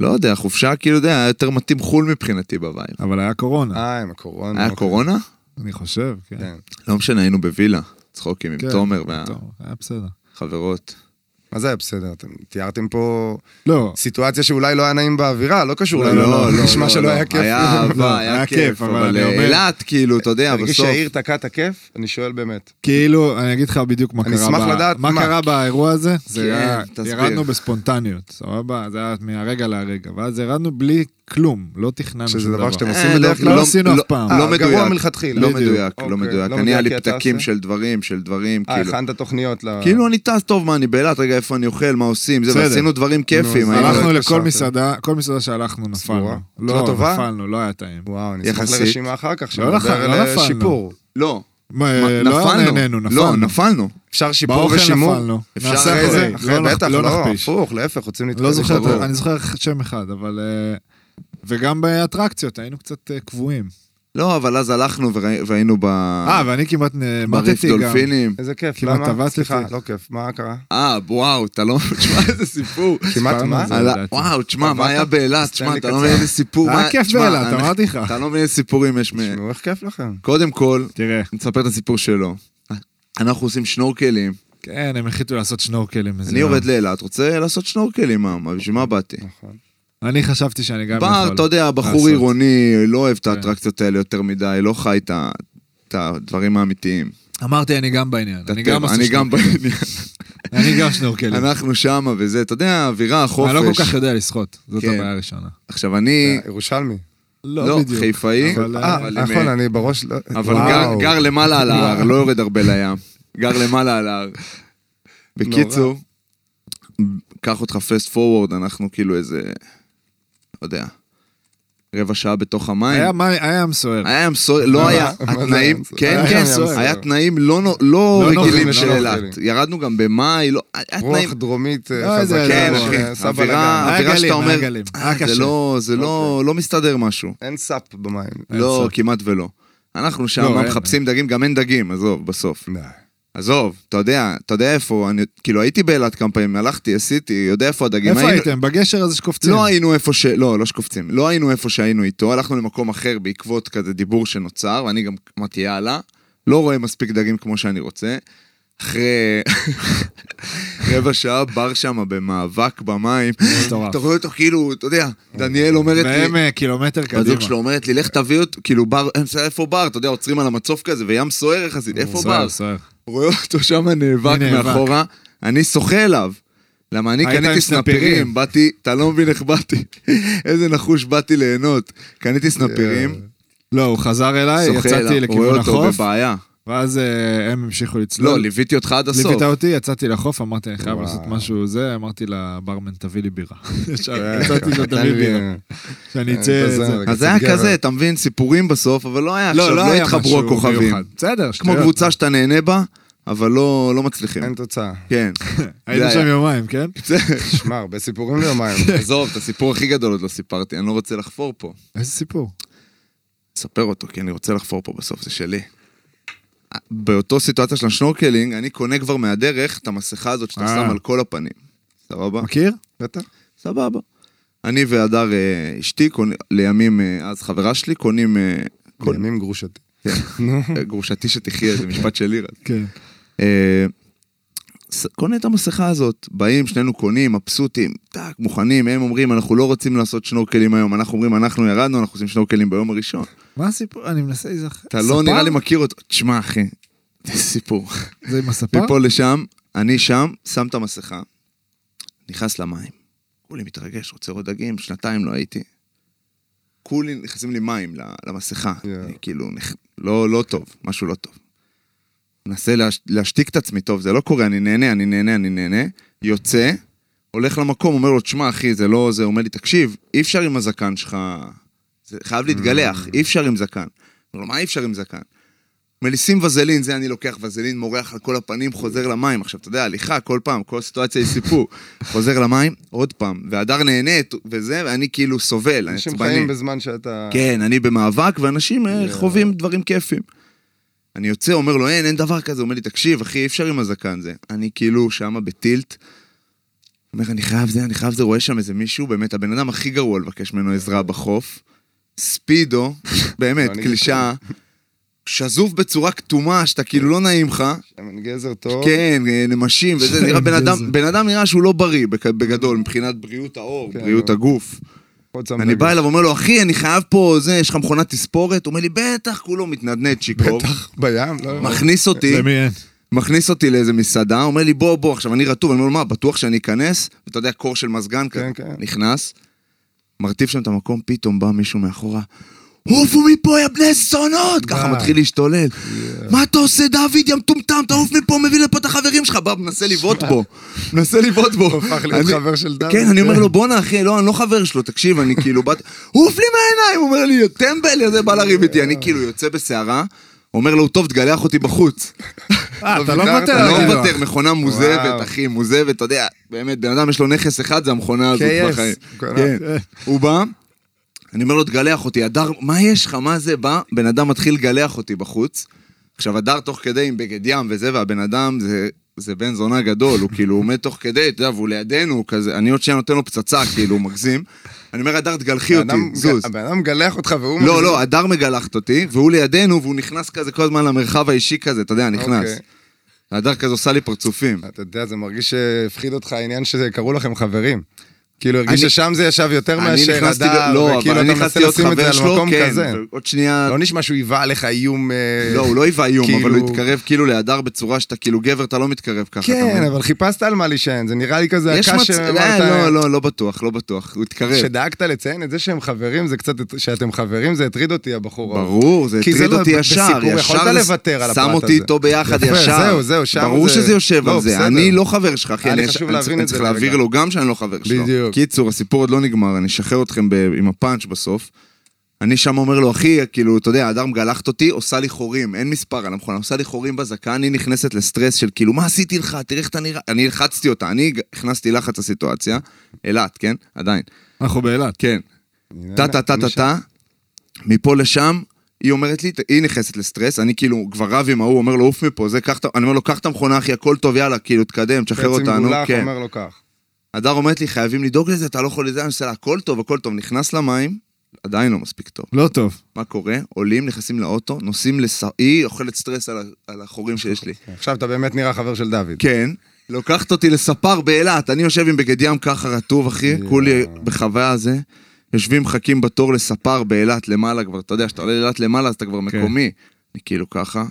S2: לא יודע, חופשה כאילו, אתה יודע, היה יותר מתאים חו"ל מבחינתי בבית.
S4: אבל היה קורונה,
S5: אה, עם הקורונה.
S2: היה
S5: אוקיי.
S2: קורונה?
S4: אני חושב, כן.
S5: כן.
S2: לא משנה, היינו בווילה. צחוקים עם
S4: כן,
S2: תומר
S4: טוב, היה בסדר.
S2: והחברות.
S5: מה זה היה בסדר? אתם תיארתם פה
S4: לא,
S5: סיטואציה שאולי לא היה נעים באווירה, לא קשור. לנו, נשמע שלא לא היה כיף.
S2: לא.
S5: לא,
S2: היה אהבה, היה
S4: היה
S2: כיף,
S4: כיף, אבל
S2: אבל
S4: אני אומר-
S2: אילת, כאילו, אתה יודע,
S5: אה, תרגיש
S2: בסוף.
S5: שהעיר תקע את הכיף? אני שואל באמת.
S4: כאילו, אני אגיד לך בדיוק מה
S5: אני
S4: קרה.
S5: אשמח
S4: ב-
S5: לדעת
S4: מה
S5: מה.
S4: קרה באירוע הזה. זה
S2: כן,
S4: היה,
S2: תסביר.
S4: ירדנו בספונטניות, סבבה? זה היה מהרגע להרגע. ואז ירדנו בלי כלום, לא תכננו שום דבר.
S5: שזה דבר שאתם
S2: אה,
S5: עושים
S2: לא-
S5: בדרך כלל?
S4: לא עשינו אף פעם.
S5: אה,
S2: לא
S5: גרוע
S2: מדויק,
S5: מלכתחילה.
S2: לא
S4: בדיוק.
S2: מדויק, לא
S5: אוקיי,
S2: מדויק.
S5: לא
S2: אני
S5: מדויק
S2: היה
S5: כי
S2: לי
S5: אתה
S2: פתקים
S5: עושה?
S2: של דברים, של דברים,
S5: אה,
S2: כאילו.
S5: הכנת תוכניות ל...
S2: כאילו אני טס טוב, מה, אני באילת, רגע, איפה אני אוכל, מה עושים, זה,
S4: בסדר.
S2: ועשינו דברים כיפים.
S5: אז
S2: היינו-
S5: הלכנו
S4: הלכנו
S5: לא
S4: לכל
S5: התקשרתם.
S4: מסעדה, כל מסעדה שהלכנו נפלנו.
S5: סגורה? לא
S4: לא,
S5: טובה?
S4: נפלנו, לא היה טעים.
S5: וואו, אני אשמח
S2: יחסית.
S5: לרשימה אחר כך,
S4: לא נפל-
S5: שנדבר
S4: לא
S5: על
S4: נפלנו.
S5: שיפור.
S2: לא,
S4: מה,
S2: מה,
S4: לא נהנינו,
S2: לא,
S4: נפלנו.
S2: נפלנו.
S5: אפשר שיפור
S4: באוכל
S5: ושימור?
S4: נפלנו.
S2: אפשר
S4: נעשה
S5: אחרי
S2: אחרי,
S5: זה,
S4: אחרי,
S5: אחרי
S4: לא נח-
S5: בטח,
S4: לא
S5: לא,
S4: נכפיש.
S5: הפוך, להפך, רוצים להתקדם.
S4: לא זוכר, את
S2: ברור.
S4: ה- אני זוכר שם אחד, אבל... אה, וגם באטרקציות, היינו קצת אה, קבועים.
S2: לא, אבל אז הלכנו וראי- והיינו ב...
S4: אה, ואני כמעט נ-
S2: בריף
S4: מתתי גם.
S2: דולפינים.
S5: איזה כיף,
S4: כמעט
S5: למה?
S4: טבעת
S5: סליחה,
S4: אותי.
S5: לא כיף, מה קרה?
S2: אה, וואו, אתה לא... תשמע, איזה סיפור.
S5: כמעט
S4: סיפרנו
S5: מה?
S4: את כן, זה.
S2: על ה-
S4: לדעתי.
S2: וואו, תשמע, מה
S5: טבעת?
S2: היה באילת?
S5: תן
S2: תשמע,
S5: לי
S2: אתה לא
S5: קצר.
S2: מבין איזה סיפור.
S4: היה
S2: מה-
S4: אה, כיף
S2: תשמע,
S4: באילת,
S2: אני-
S4: אמרתי לך.
S2: אתה לא מבין איזה סיפורים יש מ...
S5: תשמעו איך כיף לכם.
S2: קודם כל,
S4: תראה.
S2: נספר את הסיפור שלו. אנחנו עושים שנורקלים.
S4: כן, הם החליטו לעשות שנורקלים. איזה
S2: אני
S4: יום.
S2: יורד לאילת, רוצה לעשות שנורקלים, מה? מה, בשביל מה באתי?
S5: נכון.
S4: אני חשבתי שאני גם יכול.
S2: בר, אתה יודע, בחור
S4: לעשות.
S2: עירוני, לא אוהב את
S4: כן.
S2: האטרקציות האלה יותר מדי, לא חי את ה- את הדברים האמיתיים.
S4: אמרתי, אני גם בעניין. אני גם עושה
S2: אני גם
S4: שנורקלים.
S2: בעניין.
S4: אני גם שנורקלים.
S2: אנחנו שמה וזה, אתה יודע, האווירה, החופש.
S4: אני לא כל כך יודע לשחות. זאת
S2: כן.
S4: הבעיה הראשונה.
S2: עכשיו, אני,
S5: אה, ירושלמי.
S2: לא, חיפאי,
S4: אבל,
S5: אה,
S2: אבל עם-
S5: נכון, אני בראש... לא-
S2: אבל
S5: וואו.
S2: גר- גר למעלה על ההר, לא יורד הרבה לים. גר למעלה על ההר. בקיצור, קח אותך פסט פורוורד, אנחנו כאילו איזה, לא יודע, רבע שעה בתוך המים.
S4: היה מים- היה ים סוער.
S2: היה ים סוער, לא היה,
S5: מה זה
S2: התנאים,
S5: ים סוער?
S2: כן,
S4: היה
S2: כן,
S4: ים סוער.
S2: היה תנאים לא נו- לא
S4: לא
S2: רגילים
S5: נוחים,
S2: של
S5: לא
S2: אילת.
S5: נוחים.
S2: ירדנו גם במאי, לא, היה תנאים,
S5: רוח דרומית אה,
S4: לא, איזה-
S5: חזקה.
S2: כן,
S4: לא,
S5: אה,
S2: אחי,
S5: עשה בלאגן.
S2: אווירה,
S4: היה
S2: אווירה
S4: גלים,
S2: שאתה אומר,
S4: היה גלים,
S2: "אה,
S4: היה
S2: זה
S4: קשה." אוקיי.
S2: לא, זה לא, לא מסתדר משהו.
S5: אין סאפ במים.
S2: לא, כמעט ולא. אנחנו שם
S4: לא, אין,
S2: מחפשים דגים, גם אין דגים, עזוב, בסוף.
S5: די.
S2: עזוב, אתה יודע, אתה יודע איפה, אני, כאילו הייתי באילת כמה פעמים, הלכתי, עשיתי, יודע איפה הדגים.
S4: איפה
S2: היינו-
S4: הייתם? בגשר הזה שקופצים.
S2: לא היינו איפה ש... לא, לא שקופצים. לא היינו איפה שהיינו איתו, הלכנו למקום אחר בעקבות כזה דיבור שנוצר, ואני גם אמרתי, יאללה, לא רואה מספיק דגים כמו שאני רוצה. אחרי רבע שעה בר שם במאבק במים,
S4: מטורף.
S2: אתה רואה אותו כאילו, אתה יודע, דניאל אומרת לי...
S4: והם אה, קילומטר קדימה.
S2: בת זוג שלו אומרת לי, לך תביא אותו, כאילו בר, אין בסדר, איפה בר? אתה יודע, עוצרים על המצוף כזה, וים סוער יחסית, איפה בר?
S4: סוער, סוער.
S2: רואה אותו שם נאבק
S4: מי נאבק?
S2: מאחורה, אני שוחה אליו. למה אני
S4: היית
S2: קניתי
S4: עם
S2: סנפירים,
S4: סנפירים.
S2: באתי, אתה לא מבין איך באתי, איזה נחוש באתי ליהנות. קניתי סנפירים,
S4: לא, הוא חזר אליי,
S2: שוחה
S4: יצאתי
S2: אליו, רואה
S4: לכיוון
S2: אותו
S4: החוף,
S2: בבעיה.
S4: ואז אה, הם המשיכו
S2: לא,
S4: לצלול.
S2: ליוויתי אותך עד הסוף.
S4: ליווית אותי, יצאתי לחוף, אמרתי, אני חייב
S5: וואו.
S4: לעשות משהו זה, אמרתי לברמן, תביא לי בירה.
S2: כן.
S4: ישר,
S5: אה,
S4: יצאתי
S2: לא,
S4: לו, תביא בירה. שאני אצא...
S5: תזר,
S4: זה.
S2: אז זה היה כזה, אתה מבין, סיפורים בסוף, אבל לא היה עכשיו, לא
S4: היה
S2: התחברו
S4: משהו
S2: הכוכבים.
S4: מיוחד. לא. בסדר,
S2: כמו
S4: שטויות.
S2: קבוצה שאתה נהנה בה, אבל לא לא מצליחים.
S5: אין תוצאה.
S2: כן.
S4: היינו
S2: זה היה.
S4: שם יומיים, כן?
S5: שמע, הרבה סיפורים ליומיים.
S2: עזוב, את הסיפור הכי גדול עוד לא סיפרתי, אני לא רוצה לחפור פה.
S4: איזה סיפור.
S2: אספר אותו, כי אני רוצה לחפור פה בסוף, זה שלי. באותו סיטואציה של השנורקלינג, אני קונה כבר מהדרך את המסכה הזאת שאתה
S4: אה.
S2: שם על כל הפנים. סבבה?
S4: מכיר?
S5: בטח.
S2: סבבה. אני והדר אה, אשתי, קונה- לימים אה, אז חברה שלי, קונים... אה, כל-
S5: ימים גרושתי.
S2: אה, גרושתי שתחיה, זה משפט שלי רק.
S4: כן.
S2: אה, ס- קונה את המסכה הזאת, באים, שנינו קונים, מבסוטים, טאק, מוכנים, הם אומרים, אנחנו לא רוצים לעשות שנורקלים היום, אנחנו אומרים, אנחנו ירדנו, אנחנו עושים שנורקלים ביום הראשון. לא
S4: מה הסיפור? אני מנסה להיזכר.
S2: אתה לא נראה לי מכיר אותו. תשמע, אחי, זה סיפור.
S4: זה עם הספה?
S2: מפה לשם, אני שם, שם את המסכה, נכנס למים. כולי מתרגש, רוצה עוד דגים, שנתיים לא הייתי. כולי נכנסים לי מים ל- למסכה. אני כאילו, נכ- לא, לא טוב, משהו לא טוב. מנסה להש... להשתיק את עצמי, טוב, זה לא קורה, אני נהנה, אני נהנה, אני נהנה. יוצא, הולך למקום, אומר לו, תשמע, אחי, זה לא זה, אומר לי, תקשיב, אי אפשר עם הזקן שלך, זה חייב
S5: Mm.
S2: להתגלח, אי אפשר עם זקן. אומר לו, מה אי אפשר עם זקן? אומר לי, שים וזלין, זה אני לוקח וזלין, מורח על כל הפנים, חוזר למים. עכשיו, אתה יודע, הליכה, כל פעם, כל סיטואציה היא סיפור. חוזר למים, עוד פעם, והדר נהנית, וזה, ואני כאילו סובל, אני
S5: אנשים
S2: עצבני.
S5: חיים בזמן שאתה...
S2: כן, אני במאבק, ואנשים אה, חווים דברים כיפים. אני יוצא, אומר לו, אין, אין דבר כזה. הוא אומר לי, תקשיב, אחי, אי אפשר עם הזקן זה. אני כאילו שמה בטילט. אומר, אני חייב זה, אני חייב זה, רואה שם איזה מישהו, באמת, הבן אדם הכי גרוע לבקש ממנו עזרה בחוף. ספידו, באמת,
S5: אני
S2: קלישאה. שזוף בצורה כתומה, שאתה כאילו לא נעים לך.
S5: שמן גזר טוב.
S2: כן, אה, נמשים וזה, נראה בן אדם, בן אדם נראה שהוא לא בריא בג- בגדול, מבחינת בריאות האור,
S5: כן,
S2: בריאות
S5: לא.
S2: הגוף.
S5: עוד שם
S2: אני
S5: דגש.
S2: בא אליו, אומר לו, אחי, אני חייב פה, זה, יש לך מכונת תספורת? הוא אומר לי, בטח, כולו מתנדנד, שיכור.
S5: בטח, בים, לא?
S2: מכניס אותי,
S4: למי אין?
S2: מכניס אותי לאיזה מסעדה, אומר לי, בוא, בוא, עכשיו אני רטוב, אני אומר לו, מה, בטוח שאני אכנס? ואתה יודע, קור של מזגן כזה.
S5: כן.
S2: נכנס, מרטיב שם את המקום, פתאום בא מישהו מאחורה. עופו מפה, יא בני זונות! ככה מתחיל להשתולל. מה אתה עושה, דוד, יא מטומטם? תעוף מפה, מביא לפה את החברים שלך. בא, מנסה לבעוט בו. מנסה לבעוט בו.
S5: לא, הפך להיות
S2: אני-
S5: חבר של דוד.
S2: כן, אני אומר לו, בואנה, אחי, לא, אני לא חבר שלו, תקשיב, אני כאילו, באת... עוף לי מהעיניים! הוא אומר לי, יא טמבל, יא זה, בא לריב איתי. אני כאילו יוצא בסערה, אומר לו, טוב, תגלח אותי בחוץ.
S4: אה, אתה לא
S5: לא
S4: מוותר
S5: ויתרת,
S2: לא
S4: על הגילוח.
S2: מוותר, מכונה מוזבת,
S5: וואו.
S2: אחי, מוזבת, אתה יודע, באמת, בן אדם יש לו נכס אחד, זה המכונה הזאת
S5: KS.
S2: בחיים.
S5: מכונה.
S2: כן. הוא בא, אני אומר לו, תגלח אותי, הדר, מה יש לך, מה זה, בא, בן אדם מתחיל לגלח אותי בחוץ. עכשיו, הדר תוך כדי עם בגד ים וזה, והבן אדם זה... זה בן זונה גדול, הוא כאילו עומד תוך כדי, אתה יודע, והוא לידינו, הוא כזה, אני עוד שנייה נותן לו פצצה, כאילו, הוא מגזים. אני אומר, הדר, תגלחי אותי,
S5: האדם-
S2: זוז.
S5: הבן אדם מגלח אותך והוא...
S2: לא, לא, הדר מגלחת אותי, והוא לידינו, והוא נכנס כזה כל הזמן למרחב האישי כזה, אתה יודע, נכנס.
S5: אוקיי.
S2: הדר כזה עושה לי פרצופים.
S5: אתה יודע, זה מרגיש שהפחיד אותך העניין שקראו לכם חברים. כאילו, הרגיש
S2: אני-
S5: ששם זה ישב יותר
S2: אני
S5: מאשר
S2: נכנסתי,
S5: הדר,
S2: ל- לא, אבל אני
S5: וכאילו אתה מנסה
S2: נכנסתי להיות
S5: לשים את זה
S2: חבר
S5: על
S2: שלו,
S5: מקום
S2: כן,
S5: כזה.
S2: עוד שנייה,
S5: לא נשמע שהוא היווה עליך איום... אה,
S2: לא, הוא לא היווה איום,
S5: כאילו-
S2: אבל הוא התקרב כאילו להדר בצורה שאתה כאילו גבר, אתה לא מתקרב ככה. אתה
S5: כן,
S2: מבין?
S5: אבל חיפשת על מה להישען, זה נראה לי כזה
S2: יש
S5: הקש
S2: מצב,
S5: שאמרת...
S2: לא, לא, לא בטוח, לא בטוח, הוא התקרב.
S5: שדאגת לציין את זה שהם חברים, זה קצת... שאתם חברים, זה הטריד אותי, הבחור. ההוא.
S2: ברור, זה
S5: כי זה
S2: הטריד
S5: לא-
S2: אותי
S5: ב-
S2: ישר,
S5: בסיפור
S2: ישר
S5: יכולת
S2: זה-
S5: לוותר על הפרט
S2: שם
S5: הזה.
S2: אותי איתו ביחד
S5: יפה,
S2: ישר.
S5: זהו, זהו, שם
S2: ברור
S5: זה-
S2: שזה יושב
S5: לא,
S2: על זה,
S5: בסדר.
S2: אני לא חבר שלך, אחי,
S5: היה לי
S2: אני
S5: חשוב
S2: אני
S5: להבין
S2: צריך- אני
S5: את זה
S2: צריך
S5: לרגע.
S2: להבהיר לו גם שאני לא חבר שלו.
S5: בדיוק.
S2: קיצור, הסיפור עוד לא נגמר, אני אשחרר אתכם ב- עם הפאנץ' בסוף. אני שם אומר לו, אחי, כאילו, אתה יודע, הדר מגלחת אותי, עושה לי חורים, אין מספר על המכונה, עושה לי חורים בזקן, אני נכנסת לסטרס של כאילו, מה עשיתי לך, תראה איך אתה נראה, אני הלחצתי אותה, אני הכנסתי לחץ לסיטואציה, אילת, כן? עדיין.
S4: אנחנו באילת.
S2: כן. טה טה טה טה טה, מפה לשם, היא אומרת לי, היא נכנסת לסטרס, אני כאילו כבר רב עם ההוא, אומר לו, עוף מפה, זה, קח את ה... אני אומר לו, קח את המכונה, אחי, הכל טוב, יאללה, כאילו, תקדם, תשחרר אותנו,
S5: בעצם
S2: כן.
S5: גולח אומר לו כך. ע
S2: הדר אומרת לי, חייבים לדאוג לזה, אתה לא יכול לזה, אני עושה לה, הכל טוב, הכל טוב, נכנס למים, עדיין לא מספיק טוב.
S4: לא טוב.
S2: מה קורה? עולים, נכנסים לאוטו, נוסעים לס... היא אוכלת סטרס על, ה- על החורים שיש לי.
S5: עכשיו אתה באמת נראה חבר של דוד.
S2: כן. לוקחת אותי לספר באילת, אני יושב עם בגד ים ככה רטוב, אחי, כולי בחוויה הזה. יושבים, מחכים בתור לספר באילת למעלה כבר, אתה יודע, כשאתה עולה לאילת למעלה אז אתה כבר
S5: כן.
S2: מקומי. אני כאילו ככה,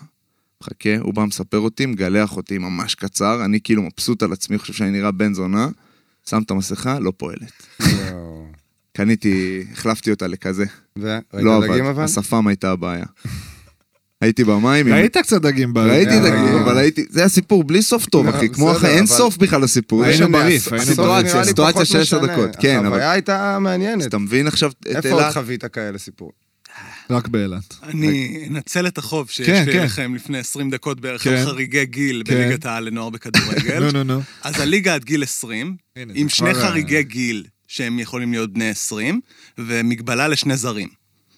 S2: מחכה, הוא בא מספר אותי, מגלח אותי ממש קצר, אני כאילו מבסוט על עצמי, חושב שאני נראה בן זונה, שם את המסכה, לא פועלת.
S5: וואו.
S2: קניתי, החלפתי אותה לכזה.
S5: ו-
S2: לא
S5: ראית דגים
S2: עבד,
S5: אבל?
S2: השפם הייתה הבעיה. הייתי במים, עם-
S4: ראית קצת דגים באילת.
S2: ראיתי את
S5: אה.
S2: דגים, אבל הייתי, זה הסיפור בלי סוף טוב, אחי,
S5: לא,
S2: כמו
S5: בסדר,
S2: אחי, אין
S5: אבל-
S2: סוף בכלל לסיפור.
S4: היינו
S2: יש שם-
S4: בריף, היינו
S2: סיטואציה,
S5: נראה לי
S2: סיטואציה
S5: פחות
S2: של עשר
S5: משנה.
S2: דקות, כן, אבל-
S5: החוויה הייתה
S2: אז
S5: מעניינת.
S2: אתה מבין עכשיו את
S5: איפה עוד
S2: אילת?
S5: חווית כאלה סיפור?
S4: רק באילת.
S1: אני אנצל את החוב שיש
S4: כן,
S1: לי
S4: כן.
S1: לכם לפני 20 דקות בערך
S4: כן.
S1: על חריגי גיל
S4: כן. לא,
S1: בליגת העל לנוער
S2: כן?
S1: בכדורגל.
S4: נו, נו, נו.
S1: אז הליגה עד גיל 20,
S4: הנה,
S1: עם
S4: זה
S1: שני
S4: כבר,
S1: חריגי גיל שהם יכולים להיות בני 20, ומגבלה לשני זרים.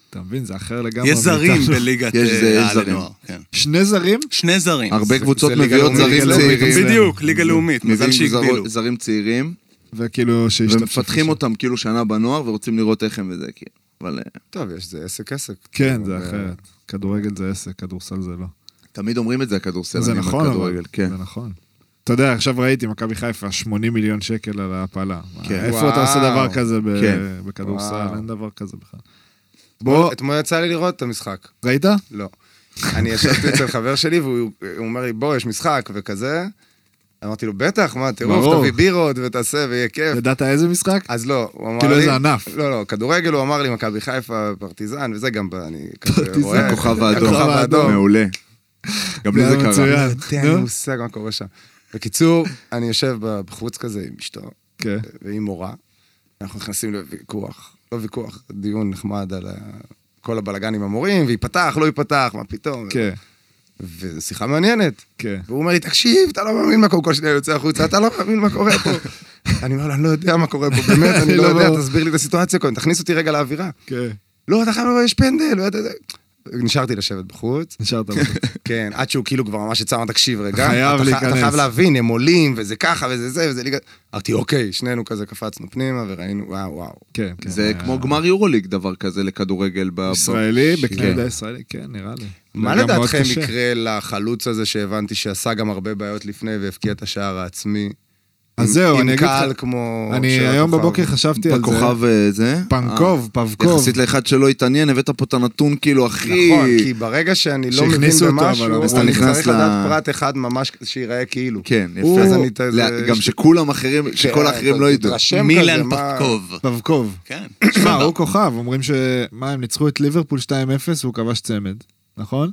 S4: אתה מבין, זה אחר לגמרי.
S1: יש זרים
S4: מאיתנו.
S1: בליגת
S2: יש זה, יש
S1: אה, העל
S2: זרים.
S1: לנוער. כן.
S4: שני זרים?
S1: שני זרים.
S2: הרבה קבוצות
S5: זה ליגה
S2: מביאות
S5: לאומית,
S2: זרים
S5: ליגה לאומית.
S2: צעירים,
S1: בדיוק, ליגה לאומית, מזל
S2: מביאים זר-
S1: שהגבילו.
S2: זרים צעירים,
S4: וכאילו שהשתמשו.
S2: ומפתחים אותם כאילו שנה בנוער, ורוצים לראות איך הם וזה, כאילו. אבל אה,
S5: טוב, יש זה עסק עסק.
S4: כן, זה אחרת. כדורגל זה עסק, כדורסל זה לא.
S2: תמיד אומרים את זה הכדורסלנים,
S4: זה
S2: על
S4: נכון, אבל.
S2: כדורגל, כן.
S4: זה נכון. אתה יודע, עכשיו ראיתי, מכבי חיפה, 80 מיליון שקל על ההפלה.
S2: כן.
S4: איפה אתה עושה
S5: וואו.
S4: דבר כזה ב-
S2: כן.
S4: בכדורסל?
S5: וואו.
S4: אין דבר כזה בכלל. בוא,
S5: אתמול יצא לי לראות את המשחק.
S4: ראית?
S5: לא. אני ישבתי אצל חבר שלי, והוא הוא אומר לי, בוא, יש משחק וכזה. אמרתי לו, בטח, מה,
S4: ברור.
S5: תראו, תביא בירות ותעשה ויהיה כיף.
S4: ידעת איזה משחק?
S5: אז לא, הוא אמר לי...
S4: כאילו איזה ענף.
S5: לא, לא, כדורגל, הוא אמר לי, מכבי חיפה, פרטיזן, וזה גם, ב- אני כזה
S4: פרטיזן,
S5: רואה.
S2: הכוכב האדום.
S5: הכוכב נכון. האדום.
S2: מעולה. גם לי זה
S4: היה
S2: קרה.
S4: מצוין.
S5: אין לי
S4: נו.
S5: מושג מה קורה שם. בקיצור, אני יושב בחוץ כזה עם אשתו
S4: כן.
S5: ועם מורה, אנחנו נכנסים לוויכוח, לא ויכוח, דיון נחמד על ה- כל הבלגן עם המורים, וייפתח, לא ייפתח, מה פתאום.
S4: כן,
S5: וזו שיחה מעניינת.
S4: כן.
S5: והוא אומר לי, תקשיב, אתה לא מאמין מה קורה, כל שניה יוצא החוצה, אתה לא מאמין מה קורה פה. אני אומר לו, אני לא יודע מה קורה פה, באמת, אני לא
S4: לא
S5: יודע,
S4: ברור.
S5: תסביר לי את הסיטואציה קודם, תכניס אותי רגע לאווירה.
S4: כן.
S5: לא, אתה חייב לבוא, יש פנדל, ואתה- נשארתי לשבת בחוץ,
S4: נשארת בחוץ.
S5: כן, עד שהוא כאילו כבר ממש יצא, אמר, תקשיב רגע,
S4: חייב
S5: אתה
S4: להיכנס."
S5: אתה חייב להבין, הם עולים, וזה ככה, וזה זה, וזה ליגה... אמרתי, אוקיי, שנינו כזה קפצנו פנימה, וראינו, וואו, וואו.
S4: כן, כן.
S2: זה
S4: היה-
S2: כמו גמר יורוליג דבר כזה לכדורגל. ב- ב-
S4: ישראלי, בקנה
S2: כן.
S4: מידה ישראלי, כן, נראה לי.
S5: מה
S4: זה גם מאוד
S5: לדעתכם
S4: קשה.
S5: יקרה לחלוץ הזה שהבנתי שעשה גם הרבה בעיות לפני והבקיע את השער העצמי?
S4: אז
S5: עם-
S4: זהו, אני
S5: עם
S4: אגיד
S5: קהל
S4: לך,
S5: כמו...
S4: אני
S5: של
S4: היום
S5: הכוכב.
S4: בבוקר חשבתי על זה.
S2: בכוכב אה, זה.
S4: פנקוב,
S2: אה,
S4: פבקוב.
S2: יחסית לאחד שלא התעניין, הבאת פה את הנתון כאילו הכי...
S5: נכון, כי ברגע שאני לא מבין
S4: שהכניסו אותו, אבל
S5: במשהו,
S4: אמרו,
S5: אני
S2: נכנס
S5: צריך
S2: ל-
S5: לדעת פרט אחד ממש שייראה כאילו.
S2: כן,
S5: הוא-
S2: יפה.
S5: אז אני את זה-
S2: לא, גם שכולם אחרים, שכל
S5: כן,
S2: האחרים
S5: אתה
S2: לא ידעו.
S5: תתרשם כזה,
S1: מילן
S5: מה-
S1: פקוב.
S4: פבקוב.
S1: כן.
S4: שמע, הוא כוכב, אומרים ש... מה, הם ניצחו את ליברפול 2-0 והוא כבש צמד, נכון?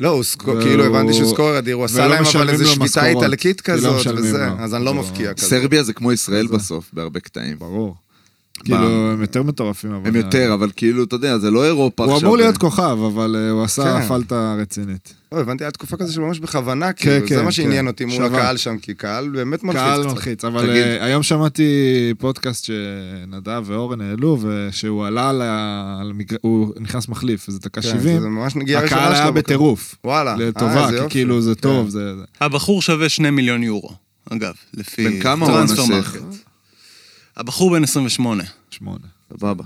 S5: לא, הוא סקו-
S4: והוא-
S5: כאילו הבנתי שהוא סקורר אדיר, הוא עשה
S4: ולא
S5: להם אבל
S4: משלמים
S5: איזה
S4: לו
S5: שביתה
S4: משכורות.
S5: איטלקית
S4: כי לא
S5: כזאת
S4: משלמים
S5: וזה,
S4: לו.
S5: אז אני לא
S4: לא.
S5: מפקיע כזה.
S2: סרביה זה כמו ישראל בסוף, בהרבה קטעים.
S4: ברור. כאילו, הם יותר מטורפים, אבל...
S2: הם יותר, אבל כאילו, אתה יודע, זה לא אירופה
S4: הוא
S2: עכשיו.
S4: אמור
S2: זה-
S4: להיות כוכב, אבל אה, הוא עשה
S5: כן.
S4: פלטה רצינית.
S5: לא, הבנתי, היה תקופה כזו שממש בכוונה, כאילו,
S4: כן,
S5: זה מה שעניין
S4: כן.
S5: אותי מול
S4: שבר.
S5: הקהל שם, כי קהל באמת מלחיץ
S4: קהל
S5: קצת.
S4: מלחיץ, אבל
S2: תגיד.
S4: אה, היום שמעתי פודקאסט שנדב ואורן העלו, ושהוא עלה על ה... על המגר- הוא נכנס מחליף, זה דקה
S5: כן,
S4: 70.
S5: זה ממש נגיעה ראשונה שלו.
S4: הקהל היה
S5: בקהל.
S4: בטירוף.
S5: וואלה. אה,
S4: לטובה,
S5: איזה
S4: כי
S5: יופי.
S4: כאילו זה
S5: כן.
S4: טוב, זה... זה-
S1: הבחור שווה 2 מיליון יורו, אגב, לפי...
S2: בן כמה הוא
S1: טרנספר
S2: הנסיך?
S1: מרקט. הבחור בן 28.
S4: שמונה.
S2: סבבה.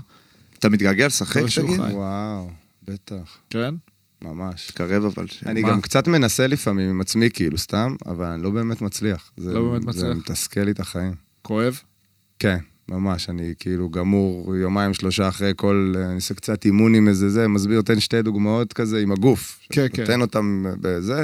S2: אתה מתגעגע לשחק,
S4: לא שהוא
S2: תגיד?
S4: חי.
S5: וואו, בטח,
S4: כן?
S5: ממש.
S2: תקרב אבל. ש-
S5: אני
S4: מה?
S5: גם קצת מנסה לפעמים עם עצמי, כאילו, סתם, אבל אני לא באמת מצליח. זה-
S4: לא באמת
S5: זה
S4: מצליח.
S5: מתסכל לי את החיים.
S4: כואב?
S5: כן, ממש, אני כאילו גמור יומיים, שלושה אחרי כל... אני עושה קצת אימון עם איזה זה, מסביר, תן שתי דוגמאות כזה עם הגוף.
S4: כן, כן.
S5: נותן אותם בזה.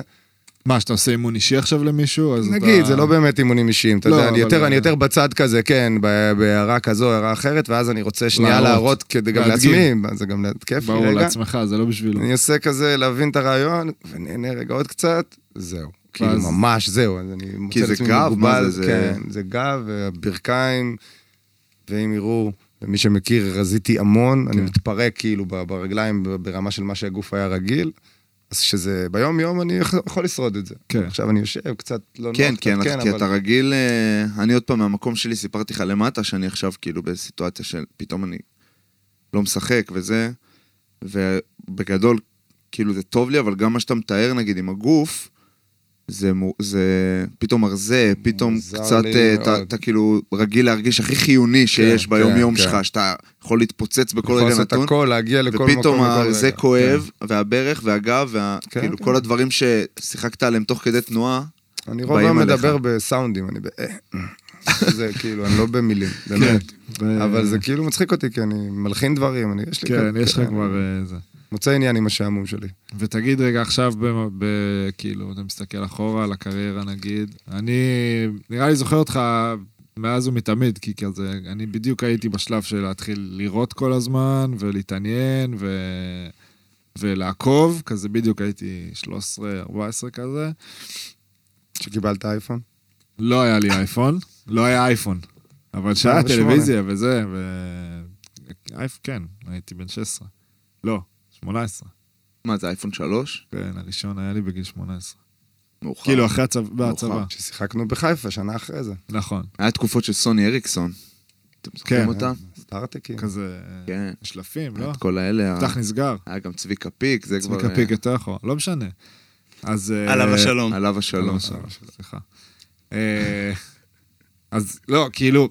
S4: מה, שאתה עושה אימון אישי עכשיו למישהו? אז
S5: נגיד,
S4: אתה-
S5: זה לא באמת אימונים אישיים, אתה
S4: לא,
S5: יודע, אני
S4: אבל-
S5: יותר- אני יותר בצד כזה, כן, ב- בהערה כזו, הערה אחרת, ואז אני רוצה שנייה
S4: להראות.
S5: להראות כדי גם
S4: להדגים.
S5: לעצמי, זה גם כיף לי
S4: ברור,
S5: רגע.
S4: לעצמך, זה לא בשבילו.
S5: אני עושה כזה להבין את הרעיון, ונהנה רגע עוד קצת, זהו. כאילו
S4: ואז-
S5: ממש זהו, אז אני מוצא
S2: זה
S5: את עצמי
S2: גב, מה
S5: מוגבל,
S2: זה, זה-
S5: כן, זה גב, הברכיים, ועם ערעור. למי שמכיר, רזיתי המון,
S2: כן.
S5: אני מתפרק כאילו ב- ברגליים ב- ברמה של מה שהגוף היה רגיל. אז שזה, ביום יום אני יכול- יכול לשרוד את זה.
S4: כן.
S5: עכשיו אני יושב, קצת לא
S2: כן,
S5: נוח,
S2: כן,
S5: קצת
S2: כי אתה רגיל... אה, אני עוד פעם, מהמקום שלי סיפרתי לך למטה, שאני עכשיו כאילו בסיטואציה של פתאום אני לא משחק וזה, ובגדול, כאילו זה טוב לי, אבל גם מה שאתה מתאר, נגיד, עם הגוף, זה, מו- זה פתאום הרזה, פתאום
S5: מוזר
S2: קצת,
S5: לי
S2: אה, אתה
S5: מאוד.
S2: אתה כאילו רגיל להרגיש הכי חיוני שיש
S5: כן,
S2: ביום-יום
S5: כן.
S2: שלך, שאתה יכול להתפוצץ בכל
S5: יכול
S2: רגע
S5: לעשות
S2: נתון.
S5: הכל, להגיע לכל מקום.
S2: ופתאום
S5: לכל רגע.
S2: זה כואב, והברך והגב, וה-
S5: כן,
S2: כאילו
S5: כן.
S2: כל הדברים ששיחקת עליהם תוך כדי תנועה,
S5: אני רוב
S2: באים
S5: היום
S2: עליך.
S5: מדבר בסאונדים, אני ב... אה, זה כאילו, אני לא במילים,
S2: כן.
S5: באמת.
S4: ו-
S5: אבל זה כאילו מצחיק אותי, כי אני מלחין דברים, אני, יש לי...
S4: כן,
S5: כ-
S4: יש לך
S5: כן,
S4: כבר אה, זה.
S5: מוצא עניין עם השעמום שלי.
S4: ותגיד רגע עכשיו, ב- ב- כאילו, אתה מסתכל אחורה על הקריירה נגיד, אני נראה לי זוכר אותך מאז ומתמיד, כי כזה, אני בדיוק הייתי בשלב של להתחיל לראות כל הזמן, ולהתעניין, ו... ולעקוב, כזה בדיוק הייתי 13-14 כזה.
S5: שקיבלת אייפון?
S4: לא היה לי אייפון, לא היה אייפון, אבל שהיה
S5: 48.
S4: טלוויזיה וזה, ו... אייפ, כן, הייתי בן 16. לא, 18.
S2: מה זה אייפון 3?
S4: כן, הראשון היה לי בגיל 18.
S2: מאוחר.
S4: כאילו, אחרי הצבא,
S2: מאוחר.
S4: בהצבא.
S5: ששיחקנו בחיפה שנה אחרי זה.
S4: נכון,
S2: היה תקופות של סוני הריקסון. אתם זוכרים
S4: כן,
S2: אותה?
S5: סטארטקים.
S4: כזה...
S2: כן.
S4: שלפים, לא?
S2: את כל האלה. ה-
S4: פתח נסגר,
S2: היה גם צביקה פיק, זה כבר... אה,
S4: צביקה פיק יותר אחורה, לא משנה. אז... אה,
S1: עליו השלום.
S2: עליו
S4: עליו
S2: השלום.
S4: השלום, סליחה. אה, אז לא, כאילו,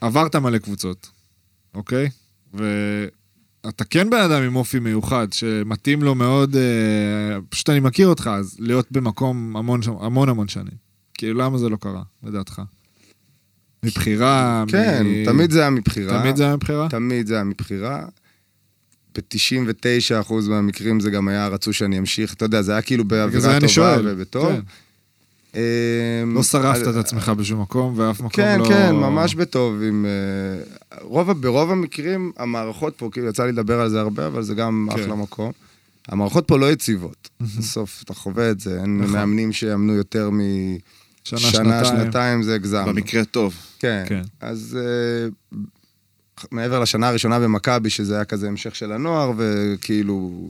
S4: עברת מלא קבוצות, אוקיי? ואתה כן בן אדם עם אופי מיוחד, שמתאים לו מאוד, אה, פשוט אני מכיר אותך, אז להיות במקום המון המון, המון שנים. כאילו, למה זה לא קרה, לדעתך? מבחירה,
S5: כן,
S4: מ-
S2: כן,
S5: תמיד זה היה מבחירה.
S4: תמיד זה היה מבחירה?
S5: תמיד זה היה מבחירה. ב-99% מהמקרים זה גם היה, רצו שאני אמשיך, אתה יודע, זה היה כאילו
S4: בגלל זה
S5: באווירה
S4: אני
S5: טובה
S4: שואל.
S5: ובטוב.
S4: כן.
S5: אמ,
S4: לא שרפת
S5: אז-
S4: את עצמך בשום מקום, ואף מקום
S5: כן,
S4: לא...
S5: כן, ממש בטוב. עם, אה, רוב, ה- ברוב המקרים, המערכות פה, כאילו, יצא לי לדבר על זה הרבה, אבל זה גם
S4: כן.
S5: אחלה מקום. המערכות פה לא יציבות. בסוף, אתה חווה את זה, אין
S4: נכון.
S5: מאמנים שיאמנו יותר משנה,
S4: שנה, שנתיים.
S5: שנתיים, זה הגזם.
S2: במקרה הטוב.
S5: כן.
S4: כן.
S5: אז אה, מעבר לשנה הראשונה במכבי, שזה היה כזה המשך של הנוער, וכאילו,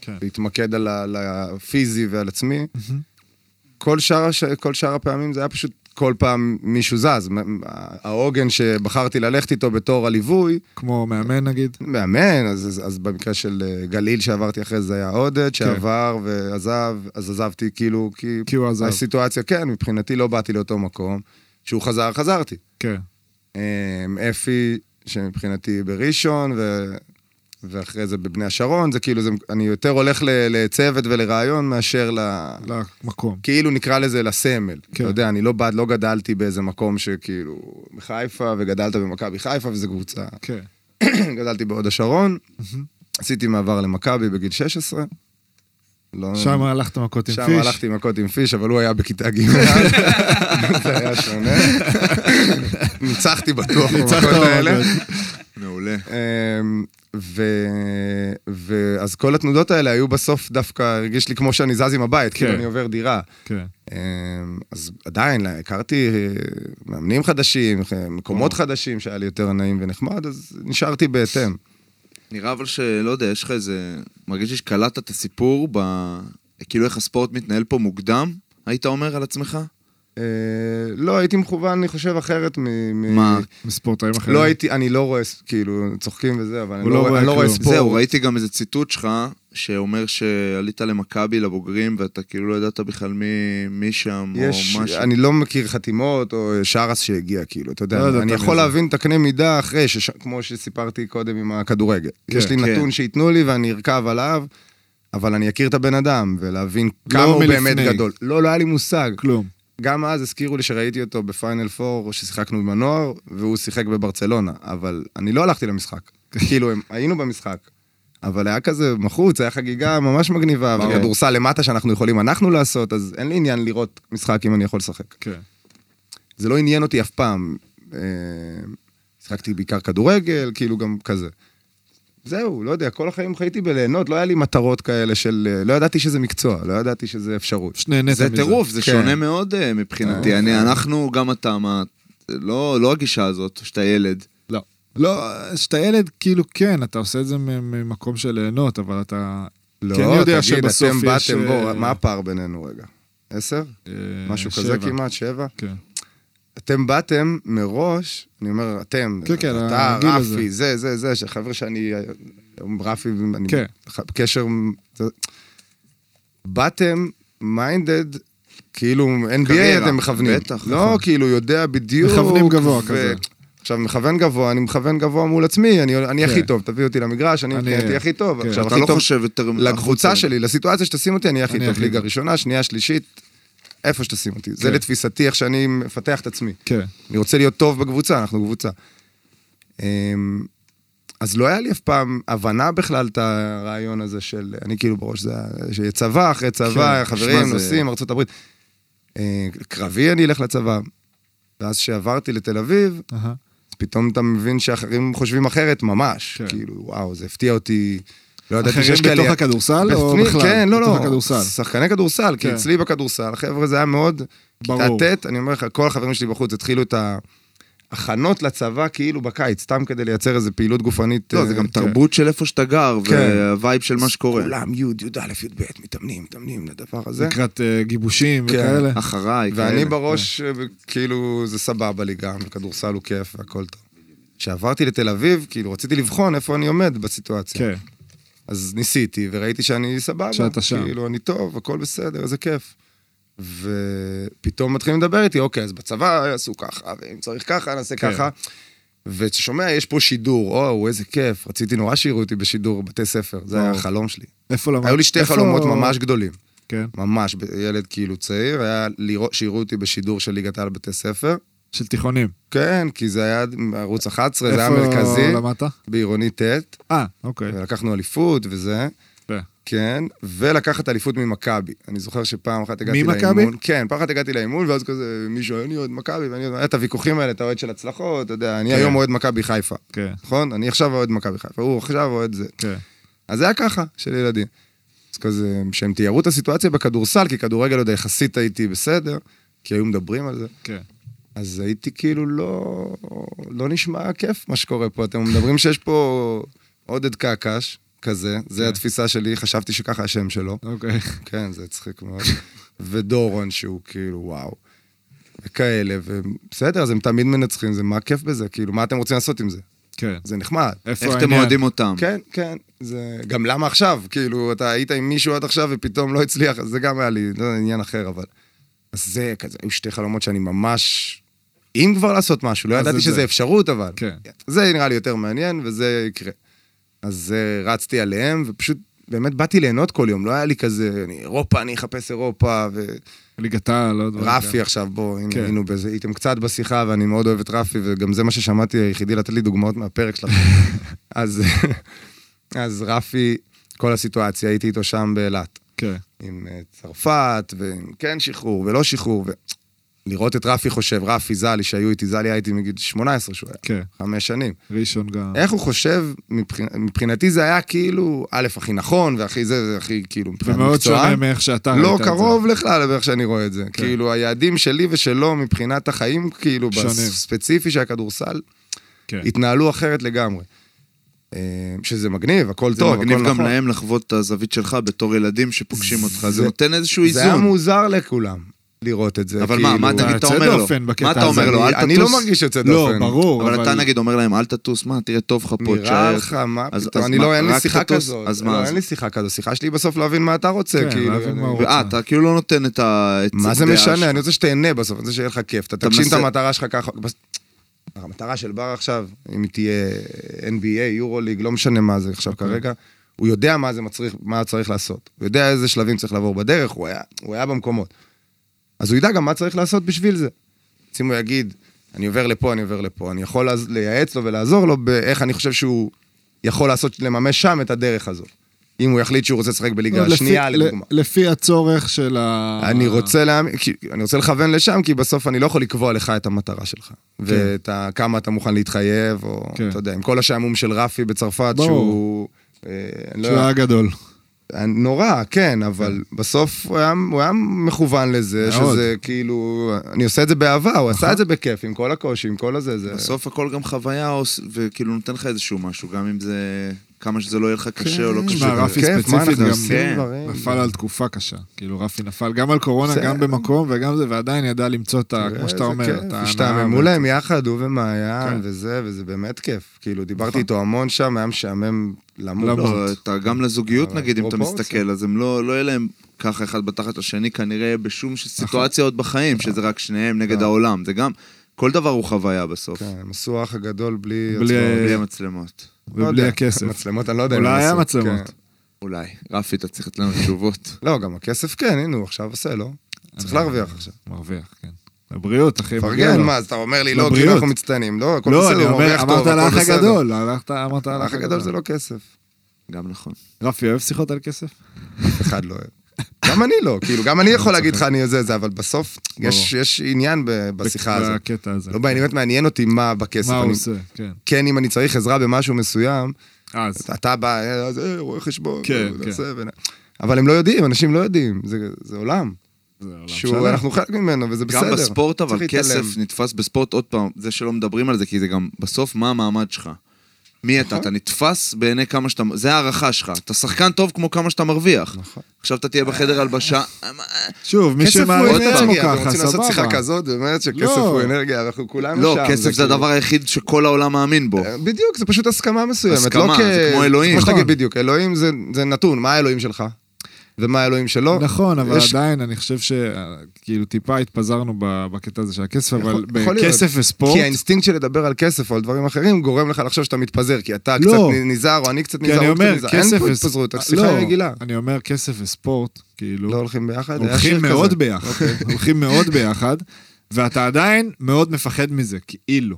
S4: כן.
S5: להתמקד על ה- על הפיזי ועל עצמי, כל שאר, הש... כל שאר הפעמים זה היה פשוט כל פעם מישהו זז. מ- העוגן שבחרתי ללכת איתו בתור הליווי,
S4: כמו מאמן נגיד.
S5: מאמן, אז, אז, אז במקרה של אה, גליל שעברתי אחרי זה היה
S4: כן.
S5: עודד, שעבר ועזב, אז עזבתי כאילו, כי...
S4: כי הוא עזב.
S5: הסיטואציה, כן, מבחינתי לא באתי לאותו מקום. כשהוא חזר, חזרתי.
S4: כן.
S5: אמ, אפי, שמבחינתי בראשון, ו... ואחרי זה בבני השרון, זה כאילו, זה, אני יותר הולך ל- לצוות ולרעיון מאשר ל... לא,
S4: למקום.
S5: כאילו נקרא לזה לסמל.
S4: כן.
S5: כן. אתה יודע, אני לא בעד, לא גדלתי באיזה מקום שכאילו, בחיפה, וגדלת במכבי חיפה, וזו קבוצה.
S4: כן.
S5: גדלתי בהוד השרון, עשיתי מעבר למכבי בגיל 16. לא...
S4: שם הלכת מכות עם
S5: שם
S4: פיש.
S5: הלכתי עם מכות עם פיש, אבל הוא היה בכיתה ג', זה היה שונה. ניצחתי בטוח
S4: ניצחת
S5: במכות האלה.
S4: במכות.
S2: מעולה.
S5: אמ, ו... ואז כל התנודות האלה היו בסוף דווקא, הרגיש לי כמו שאני זז עם הבית, כאילו
S4: כן.
S5: אני עובר דירה.
S4: כן.
S5: אמ, אז עדיין, לא, הכרתי אה, מאמנים חדשים, אה, מקומות חדשים שהיה לי יותר נעים ונחמד, אז נשארתי בהתאם.
S2: נראה אבל שלא יודע, יש לך איזה... מרגיש לי שקלטת את הסיפור ב... כאילו איך הספורט מתנהל פה מוקדם, היית אומר על עצמך?
S5: אה, לא, הייתי מכוון, אני חושב, אחרת מ... מ-
S2: מה?
S4: מספורטאים אחרים.
S5: לא הייתי, אני לא רואה, ס- כאילו, צוחקים וזה, אבל אני
S4: כן. הוא
S5: לא
S4: לא
S5: רואה-
S4: רואה
S5: אני לא רואה
S4: כלום.
S5: ספורט.
S2: זהו, ראיתי גם איזה ציטוט שלך, שאומר שעלית למכבי, לבוגרים, ואתה כאילו לא ידעת בכלל מי, מי שם,
S5: יש,
S2: או משהו.
S5: אני לא מכיר חתימות או שרס שהגיע, כאילו, אתה
S4: לא
S5: יודע,
S4: ידעת
S5: אני
S4: מי
S5: יכול
S4: זה.
S5: להבין את הקנה מידה אחרי, שש- כמו שסיפרתי קודם עם הכדורגל.
S4: כן,
S5: יש לי
S2: כן.
S5: נתון שייתנו לי ואני ארכב עליו, אבל אני אכיר את הבן אדם, ולהבין
S4: לא
S5: כמה הוא
S4: מלפני.
S5: באמת גדול. לא, לא היה לי מושג.
S4: כלום.
S5: גם אז הזכירו לי שראיתי אותו בפיינל פור, ששיחקנו עם הנוער, והוא שיחק בברצלונה, אבל אני לא הלכתי למשחק. כאילו, הם, היינו במשחק. אבל היה כזה בחוץ, היה חגיגה ממש מגניבה,
S2: ברור.
S5: וכדורסל למטה שאנחנו יכולים אנחנו לעשות, אז אין לי עניין לראות משחק אם אני יכול לשחק.
S4: כן.
S5: זה לא עניין אותי אף פעם. אה, שיחקתי בעיקר כדורגל, כאילו גם כזה. זהו, לא יודע, כל החיים חייתי בליהנות, לא היה לי מטרות כאלה של... אה, לא ידעתי שזה מקצוע, לא ידעתי שזה אפשרות.
S4: שנהנית מזה.
S2: זה טירוף, זה
S5: כן. אוקיי.
S2: שונה מאוד אה, מבחינתי. אני, אנחנו, גם אתה, מה... לא, לא הגישה הזאת, שאתה ילד.
S4: לא. לא, שאתה ילד, כאילו כן, אתה עושה את זה מ- ממקום של ליהנות, אבל אתה...
S5: לא,
S4: כי אני יודע
S5: תגיד,
S4: שבסוף
S5: אתם
S4: יש,
S5: באתם, בואו,
S4: אה,
S5: מה הפער בינינו רגע? עשר?
S4: אה,
S5: משהו
S4: שבע.
S5: כזה כמעט, שבע?
S4: כן.
S5: אתם באתם מראש, אני אומר, אתם,
S4: כן, כן,
S5: אתה,
S4: הגיל הזה.
S5: רפי, זה, זה, זה, שחבר שאני, רפי, אני
S4: כן.
S5: ח- בקשר, זה- באתם מיינדד, כאילו NBA
S2: קריירה,
S5: אתם מכוונים.
S2: בטח,
S5: לא,
S2: נכון.
S5: כאילו, יודע בדיוק.
S4: מכוונים גבוה
S5: ו-
S4: כזה.
S5: עכשיו, מכוון גבוה, אני מכוון גבוה מול עצמי, אני- אני
S4: כן.
S5: הכי טוב, תביאו אותי למגרש, אני
S4: אני-
S5: מבחינתי הכי טוב.
S4: כן.
S5: עכשיו,
S2: אתה
S5: הכי
S2: לא
S5: טוב
S2: חושב יותר...
S5: לקבוצה
S2: החוצה.
S5: שלי, לסיטואציה שתשים אותי, אני הכי
S4: אני
S5: טוב.
S4: הכי
S5: ליגה
S4: טוב.
S5: ראשונה, שנייה, שלישית, איפה שתשים אותי. זה
S4: כן.
S5: לתפיסתי, איך שאני מפתח את עצמי.
S4: כן.
S5: אני רוצה להיות טוב בקבוצה, אנחנו קבוצה. אמ, אז לא היה לי אף פעם הבנה בכלל את הרעיון הזה של, אני כאילו בראש זה, היה- שיהיה צבא אחרי
S4: כן,
S5: צבא,
S2: תשמע,
S5: חברים,
S2: זה-
S5: נוסעים, ארה"ב. קרבי אני אלך לצבא. ואז כשעברתי לתל אביב,
S4: אהה.
S5: אז פתאום אתה מבין שאחרים חושבים אחרת ממש.
S4: כן.
S5: כאילו, וואו, זה הפתיע אותי. לא ידעתי
S4: אחרים
S5: שיש כאלה...
S4: בתוך הכדורסל או
S5: בפנים,
S4: בכלל?
S5: כן, לא, לא.
S4: בתוך הכדורסל.
S5: שחקני כדורסל, כי
S4: כן.
S5: אצלי בכדורסל, החבר'ה, זה היה מאוד...
S4: ברור.
S5: כיתה ט', אני אומר לך, כל החברים שלי בחוץ התחילו את ההכנות לצבא כאילו בקיץ, סתם כדי לייצר איזו פעילות גופנית.
S2: לא,
S5: אה,
S2: זה גם תרבות של איפה שאתה גר,
S5: כן.
S2: והווייב של מה שקורה.
S5: כולם, י', י"א, י"ב, מתאמנים, מתאמנים לדבר הזה.
S4: לקראת אה, גיבושים
S5: כן.
S4: וכאלה. כן.
S2: אחריי,
S5: ואני
S2: כאלה.
S5: בראש, אה, כאילו, זה סבבה לי גם, כדורסל הוא כיף והכל טוב. כשעברתי לתל אביב, כאילו, רציתי לבחון איפה אני עומד בסיטואציה.
S4: כן.
S5: אז ניסיתי, וראיתי שאני סבבה.
S4: שאתה שם.
S5: כאילו, אני טוב, הכל בסדר, איזה כיף. ופתאום מתחילים לדבר איתי, אוקיי, אז בצבא יעשו ככה, ואם צריך ככה, נעשה
S4: כן.
S5: ככה. ואתה שומע, יש פה שידור, או, איזה כיף, רציתי נורא שיראו אותי בשידור בבתי ספר, זה היה
S4: ברור.
S5: החלום שלי.
S4: איפה למדת?
S5: היו לי שתי
S4: איפה-
S5: חלומות ממש גדולים,
S4: כן.
S5: ממש, ב- ילד כאילו צעיר, היה לראות, שיראו אותי בשידור של ליגת העל בבתי ספר,
S4: של תיכונים.
S5: כן, כי זה היה ערוץ 11, זה היה
S4: איפה
S5: מרכזי, כן.
S4: למדת?
S5: בעירוני ט',
S4: אה, אוקיי.
S5: ולקחנו אליפות וזה.
S4: יפה.
S5: כן, ולקחת אליפות ממכבי. אני זוכר שפעם אחת הגעתי
S4: ממכבי?
S5: לאימון. כן, פעם אחת הגעתי לאימון, ואז כזה, מישהו, אני אוהד מכבי, ואני אוהד... היה את הוויכוחים האלה, אתה אוהד של הצלחות, אתה יודע, אני
S4: כן.
S5: היום אוהד מכבי חיפה,
S4: כן,
S5: נכון? אני עכשיו אוהד מכבי חיפה, הוא עכשיו אוהד זה.
S4: כן.
S5: אז זה היה ככה, של ילדים. אז כזה, שהם תיארו את הסיטואציה בכדורסל, כי כדורגל עוד יחסית הייתי בסדר, כי היו מדברים על זה.
S4: כן.
S5: אז הייתי כאילו לא... לא נשמע כיף מה שקורה פה. אתם מדברים שיש פה עודד קעקש כזה, זה התפיסה שלי, חשבתי שככה השם שלו.
S4: אוקיי.
S5: כן, זה הצחיק מאוד. ודורון שהוא כאילו, וואו. וכאלה, ובסדר, אז הם תמיד מנצחים, זה מה הכיף בזה? כאילו, מה אתם רוצים לעשות עם זה?
S4: כן.
S5: זה נחמד.
S4: איפה
S2: איך אתם
S4: העניין?
S2: אוהדים אותם?
S5: כן, כן, זה... גם למה עכשיו? כאילו, אתה היית עם מישהו עד עכשיו ופתאום לא הצליח, אז זה גם היה לי, לא יודע, עניין אחר, אבל... אז זה כזה, היו שתי חלומות שאני ממש... אם כבר לעשות משהו, לא
S4: אז
S5: ידעתי
S4: זה זה.
S5: שזה אפשרות, אבל...
S4: כן.
S5: זה נראה לי יותר מעניין, וזה יקרה. אז אה, רצתי עליהם, ופשוט באמת באתי ליהנות כל יום, לא היה לי כזה, אני אירופה, אני אחפש אירופה,
S4: ליגת העל, לא דברים.
S5: ורפי עכשיו, בואו, הנה,
S4: כן.
S5: היינו בזה, הייתם קצת בשיחה, ואני מאוד אוהב את רפי, וגם זה מה ששמעתי היחידי לתת לי דוגמאות מהפרק שלכם. אז, אז רפי, כל הסיטואציה, הייתי איתו שם באילת,
S4: כן.
S5: עם אה, צרפת, ועם כן שחרור ולא שחרור, ו... לראות את רפי חושב, רפי זלי, שהיו איתי, זלי היה איתי מגיל 18 שהוא היה,
S4: כן.
S5: חמש שנים.
S4: ראשון גם.
S5: איך הוא חושב, מבחינ- מבחינתי זה היה כאילו, א', הכי נכון, והכי זה, זה הכי כאילו, מבחינת
S4: ומאוד
S5: מקצוען.
S4: שונה מאיך שאתה ראית
S5: לא
S4: את זה.
S5: קרוב לכלל לאיך שאני רואה את זה.
S2: כן.
S5: כאילו, היעדים שלי ושלו מבחינת החיים, כאילו,
S4: שונים.
S5: בספציפי של הכדורסל,
S4: כן.
S5: התנהלו אחרת לגמרי. אה, שזה מגניב, הכל
S2: זה
S5: טוב, הכל
S2: מגניב
S5: נכון.
S2: גם להם לחוות את הזווית שלך בתור ילדים שפוגשים אותך, זה נותן איזשהו
S5: זה היה
S2: איזון.
S5: מוזר לכולם לראות את זה.
S2: אבל
S5: כאילו,
S2: מה, מה
S4: אה,
S2: תגיד, אתה
S4: יוצא
S2: אומר לו,
S4: דופן בקטע
S2: מה אתה
S4: הזה.
S2: אומר לו, אל
S5: אני לא
S2: תטוס,
S5: מרגיש יוצא
S4: לא,
S5: דופן.
S4: ברור,
S2: אבל אתה נגיד אומר להם, אל תטוס, מה, תראה טוב לך פה,
S5: נראה
S2: תשאר.
S5: לך, מה
S2: אז-
S5: פתאום,
S2: אז
S5: אני
S2: מה,
S5: לא, אין לי
S2: רק
S5: שיחה
S2: תטוס?
S5: כזאת.
S2: אז מה,
S5: לא,
S2: אז-
S5: אין לי שיחה כזאת. שיחה שלי היא בסוף להבין מה אתה רוצה,
S4: כן,
S5: כאילו.
S4: להבין
S5: אני-
S4: מה הוא
S2: אה, אתה כאילו לא נותן את ה... את
S5: מה זה
S2: הדעה
S5: משנה?
S2: שלך.
S5: אני רוצה שתהנה בסוף, אני רוצה שיהיה לך כיף. אתה תגשים את
S2: מנסה-
S5: המטרה שלך ככה. בס- המטרה של בר עכשיו, אם היא תהיה NBA, יורוליג, לא משנה מה זה עכשיו כרגע, הוא יודע מה זה מצריך, מה צריך לעשות. הוא יודע איזה שלבים צריך לעבור בדרך, הוא היה- הוא היה במקומות. אז הוא ידע גם מה צריך לעשות בשביל זה. אז אם הוא יגיד, אני עובר לפה, אני עובר לפה, אני יכול לעז- לייעץ לו ולעזור לו באיך אני חושב שהוא יכול לעשות, לממש שם את הדרך הזו. אם הוא יחליט שהוא רוצה לשחק בליגה
S4: לא, לפי-
S5: השנייה,
S4: ל-
S5: לדוגמה.
S4: לפי הצורך של ה...
S5: אני רוצה, לה... אני רוצה לכוון לשם, כי בסוף אני לא יכול לקבוע לך את המטרה שלך. ואת ה... כמה אתה מוכן להתחייב, או
S4: כן.
S5: אתה יודע, עם כל השעמום של רפי בצרפת,
S4: ברור.
S5: שהוא... אה, אני לא
S4: שהוא היה
S5: יודע, אה,
S4: גדול.
S5: נורא, כן, אבל בסוף הוא היה, הוא היה מכוון לזה,
S4: מאוד.
S5: שזה כאילו, אני עושה את זה באהבה, הוא עשה את זה בכיף, עם כל הקושי, עם כל הזה, זה...
S2: בסוף הכל גם חוויה, או ס- וכאילו נותן לך איזשהו משהו, גם אם זה... כמה שזה לא יהיה לך קשה או לא
S4: תשמע,
S2: קשה.
S4: רפי
S5: כיף, כן, מה
S4: ספציפית
S5: אנחנו
S4: גם
S5: עושים
S2: כן,
S5: דברים?
S4: נפל על תקופה קשה. כאילו, רפי נפל גם על קורונה,
S5: בסדר.
S4: גם במקום וגם זה, ועדיין ידע למצוא את ה...
S5: תראה,
S4: אה, כמו שאתה
S5: כאילו,
S4: אומר,
S5: זה כיף.
S4: את ההנאה.
S5: השתעממו
S4: ואת-
S5: להם יחד, הוא ומעיין
S4: כן. נכון.
S5: וזה, וזה באמת כיף. כאילו, דיברתי איתו המון שם, היה משעמם למות.
S2: לא, אתה גם לזוגיות
S5: אבל
S2: נגיד, אם אתה
S5: פרופורציה.
S2: מסתכל, אז הם לא לא יהיה להם ככה אחד בתחת השני, כנראה בשום ש-
S5: נכון.
S2: סיטואציה עוד בחיים, שזה רק שניהם נגד העולם. זה גם, כל דבר הוא חוויה בסוף.
S5: כן, אה, הם עשו האח הגדול בלי...
S4: בלי-
S5: הצבעות.
S2: בלי המצלמות.
S5: לא
S4: ובלי
S5: יודע.
S4: הכסף.
S5: מצלמות, אני לא יודע. אם
S4: אולי
S5: הם
S4: היה
S5: עשו,
S4: מצלמות.
S5: כן.
S2: אולי. רפי, אתה צריך לתת לנו תשובות.
S5: לא, גם הכסף כן, הנה, הוא עכשיו עושה, לא? צריך להרוויח עכשיו.
S4: מרוויח, כן. לבריאות, אחי. מגיע
S5: פרגן,
S4: לו.
S5: מה, אז אתה אומר לי, לא,
S4: לבריאות.
S5: כאילו אנחנו מצטיינים, לא, הכל
S4: לא,
S5: בסדר,
S4: אני
S5: הוא
S4: אומר,
S5: מרוויח
S4: אמרת
S5: טוב,
S4: על האח
S5: הכל בסדר.
S4: הגדול. הלכת, אמרת על
S5: האח הגדול זה לא כסף.
S2: גם נכון.
S4: רפי אוהב שיחות על כסף?
S5: אף אחד לא אוהב. גם אני לא, כאילו, גם אני יכול להגיד לך אני זה זה, אבל בסוף יש יש עניין ב- בשיחה הזאת.
S4: בקטע הזה. כן.
S5: לא באמת מעניין אותי מה בכסף.
S4: מה הוא
S5: אני-
S4: עושה, כן.
S5: כן, אם אני צריך עזרה במשהו מסוים,
S4: אז,
S5: אתה בא, אה, אז אה, רואה חשבון,
S4: כן,
S5: אה,
S4: כן.
S5: זה, ו- אבל הם לא יודעים, אנשים לא יודעים, זה- זה עולם.
S4: זה לא עולם שלם.
S5: שאנחנו חלק ממנו, וזה
S2: גם
S5: בסדר.
S2: בספורט, אבל
S5: צריך להתעלם.
S2: כסף נתפס בספורט, עוד פעם, זה שלא מדברים על זה, כי זה גם בסוף מה המעמד שלך. מי
S5: נכון.
S2: אתה? אתה נתפס בעיני כמה שאתה... זה הערכה שלך. אתה שחקן טוב כמו כמה שאתה מרוויח.
S5: נכון.
S2: עכשיו אתה תהיה בחדר הלבשה.
S5: אה,
S4: שוב, מי
S5: כסף הוא
S4: שמעלה את עצמו
S5: אנרגיה, אתם
S4: ככה,
S5: רוצים לעשות שיחה
S4: סבבה.
S5: כזאת, באמת שכסף
S4: לא.
S5: הוא אנרגיה, אנחנו כולנו
S2: לא,
S5: שם.
S2: כסף זה
S5: כאילו- אה,
S2: הדבר היחיד שכל העולם מאמין בו.
S5: בדיוק, זה פשוט הסכמה מסוימת.
S2: הסכמה,
S5: לא
S2: זה
S5: כ-
S2: כמו אלוהים.
S5: כמו שתגיד
S4: נכון.
S5: בדיוק, אלוהים זה- זה נתון, מה האלוהים שלך? ומה האלוהים שלו?
S4: נכון, אבל
S5: יש-
S4: עדיין אני חושב שכאילו טיפה התפזרנו ב- בקטע הזה של הכסף, אבל
S5: יכול- יכול להיות.
S4: בכסף וספורט,
S5: כי האינסטינקט של לדבר על כסף או על דברים אחרים גורם לך לחשוב שאתה מתפזר, כי אתה
S4: לא.
S5: קצת נזהר, או אני קצת
S4: כי
S5: נזהר,
S4: אני
S5: הוא קצת
S4: אומר,
S5: נזהר. אין
S4: כסף
S5: פה
S4: וס-
S5: התפזרות,
S4: לא,
S5: השיחה היא רגילה.
S4: אני אומר כסף וספורט, כאילו,
S5: לא הולכים ביחד? היה
S4: הולכים
S5: שיר
S4: מאוד
S5: כזה. אוקיי.
S4: ביחד, הולכים מאוד ביחד, ואתה עדיין מאוד מפחד מזה, כאילו.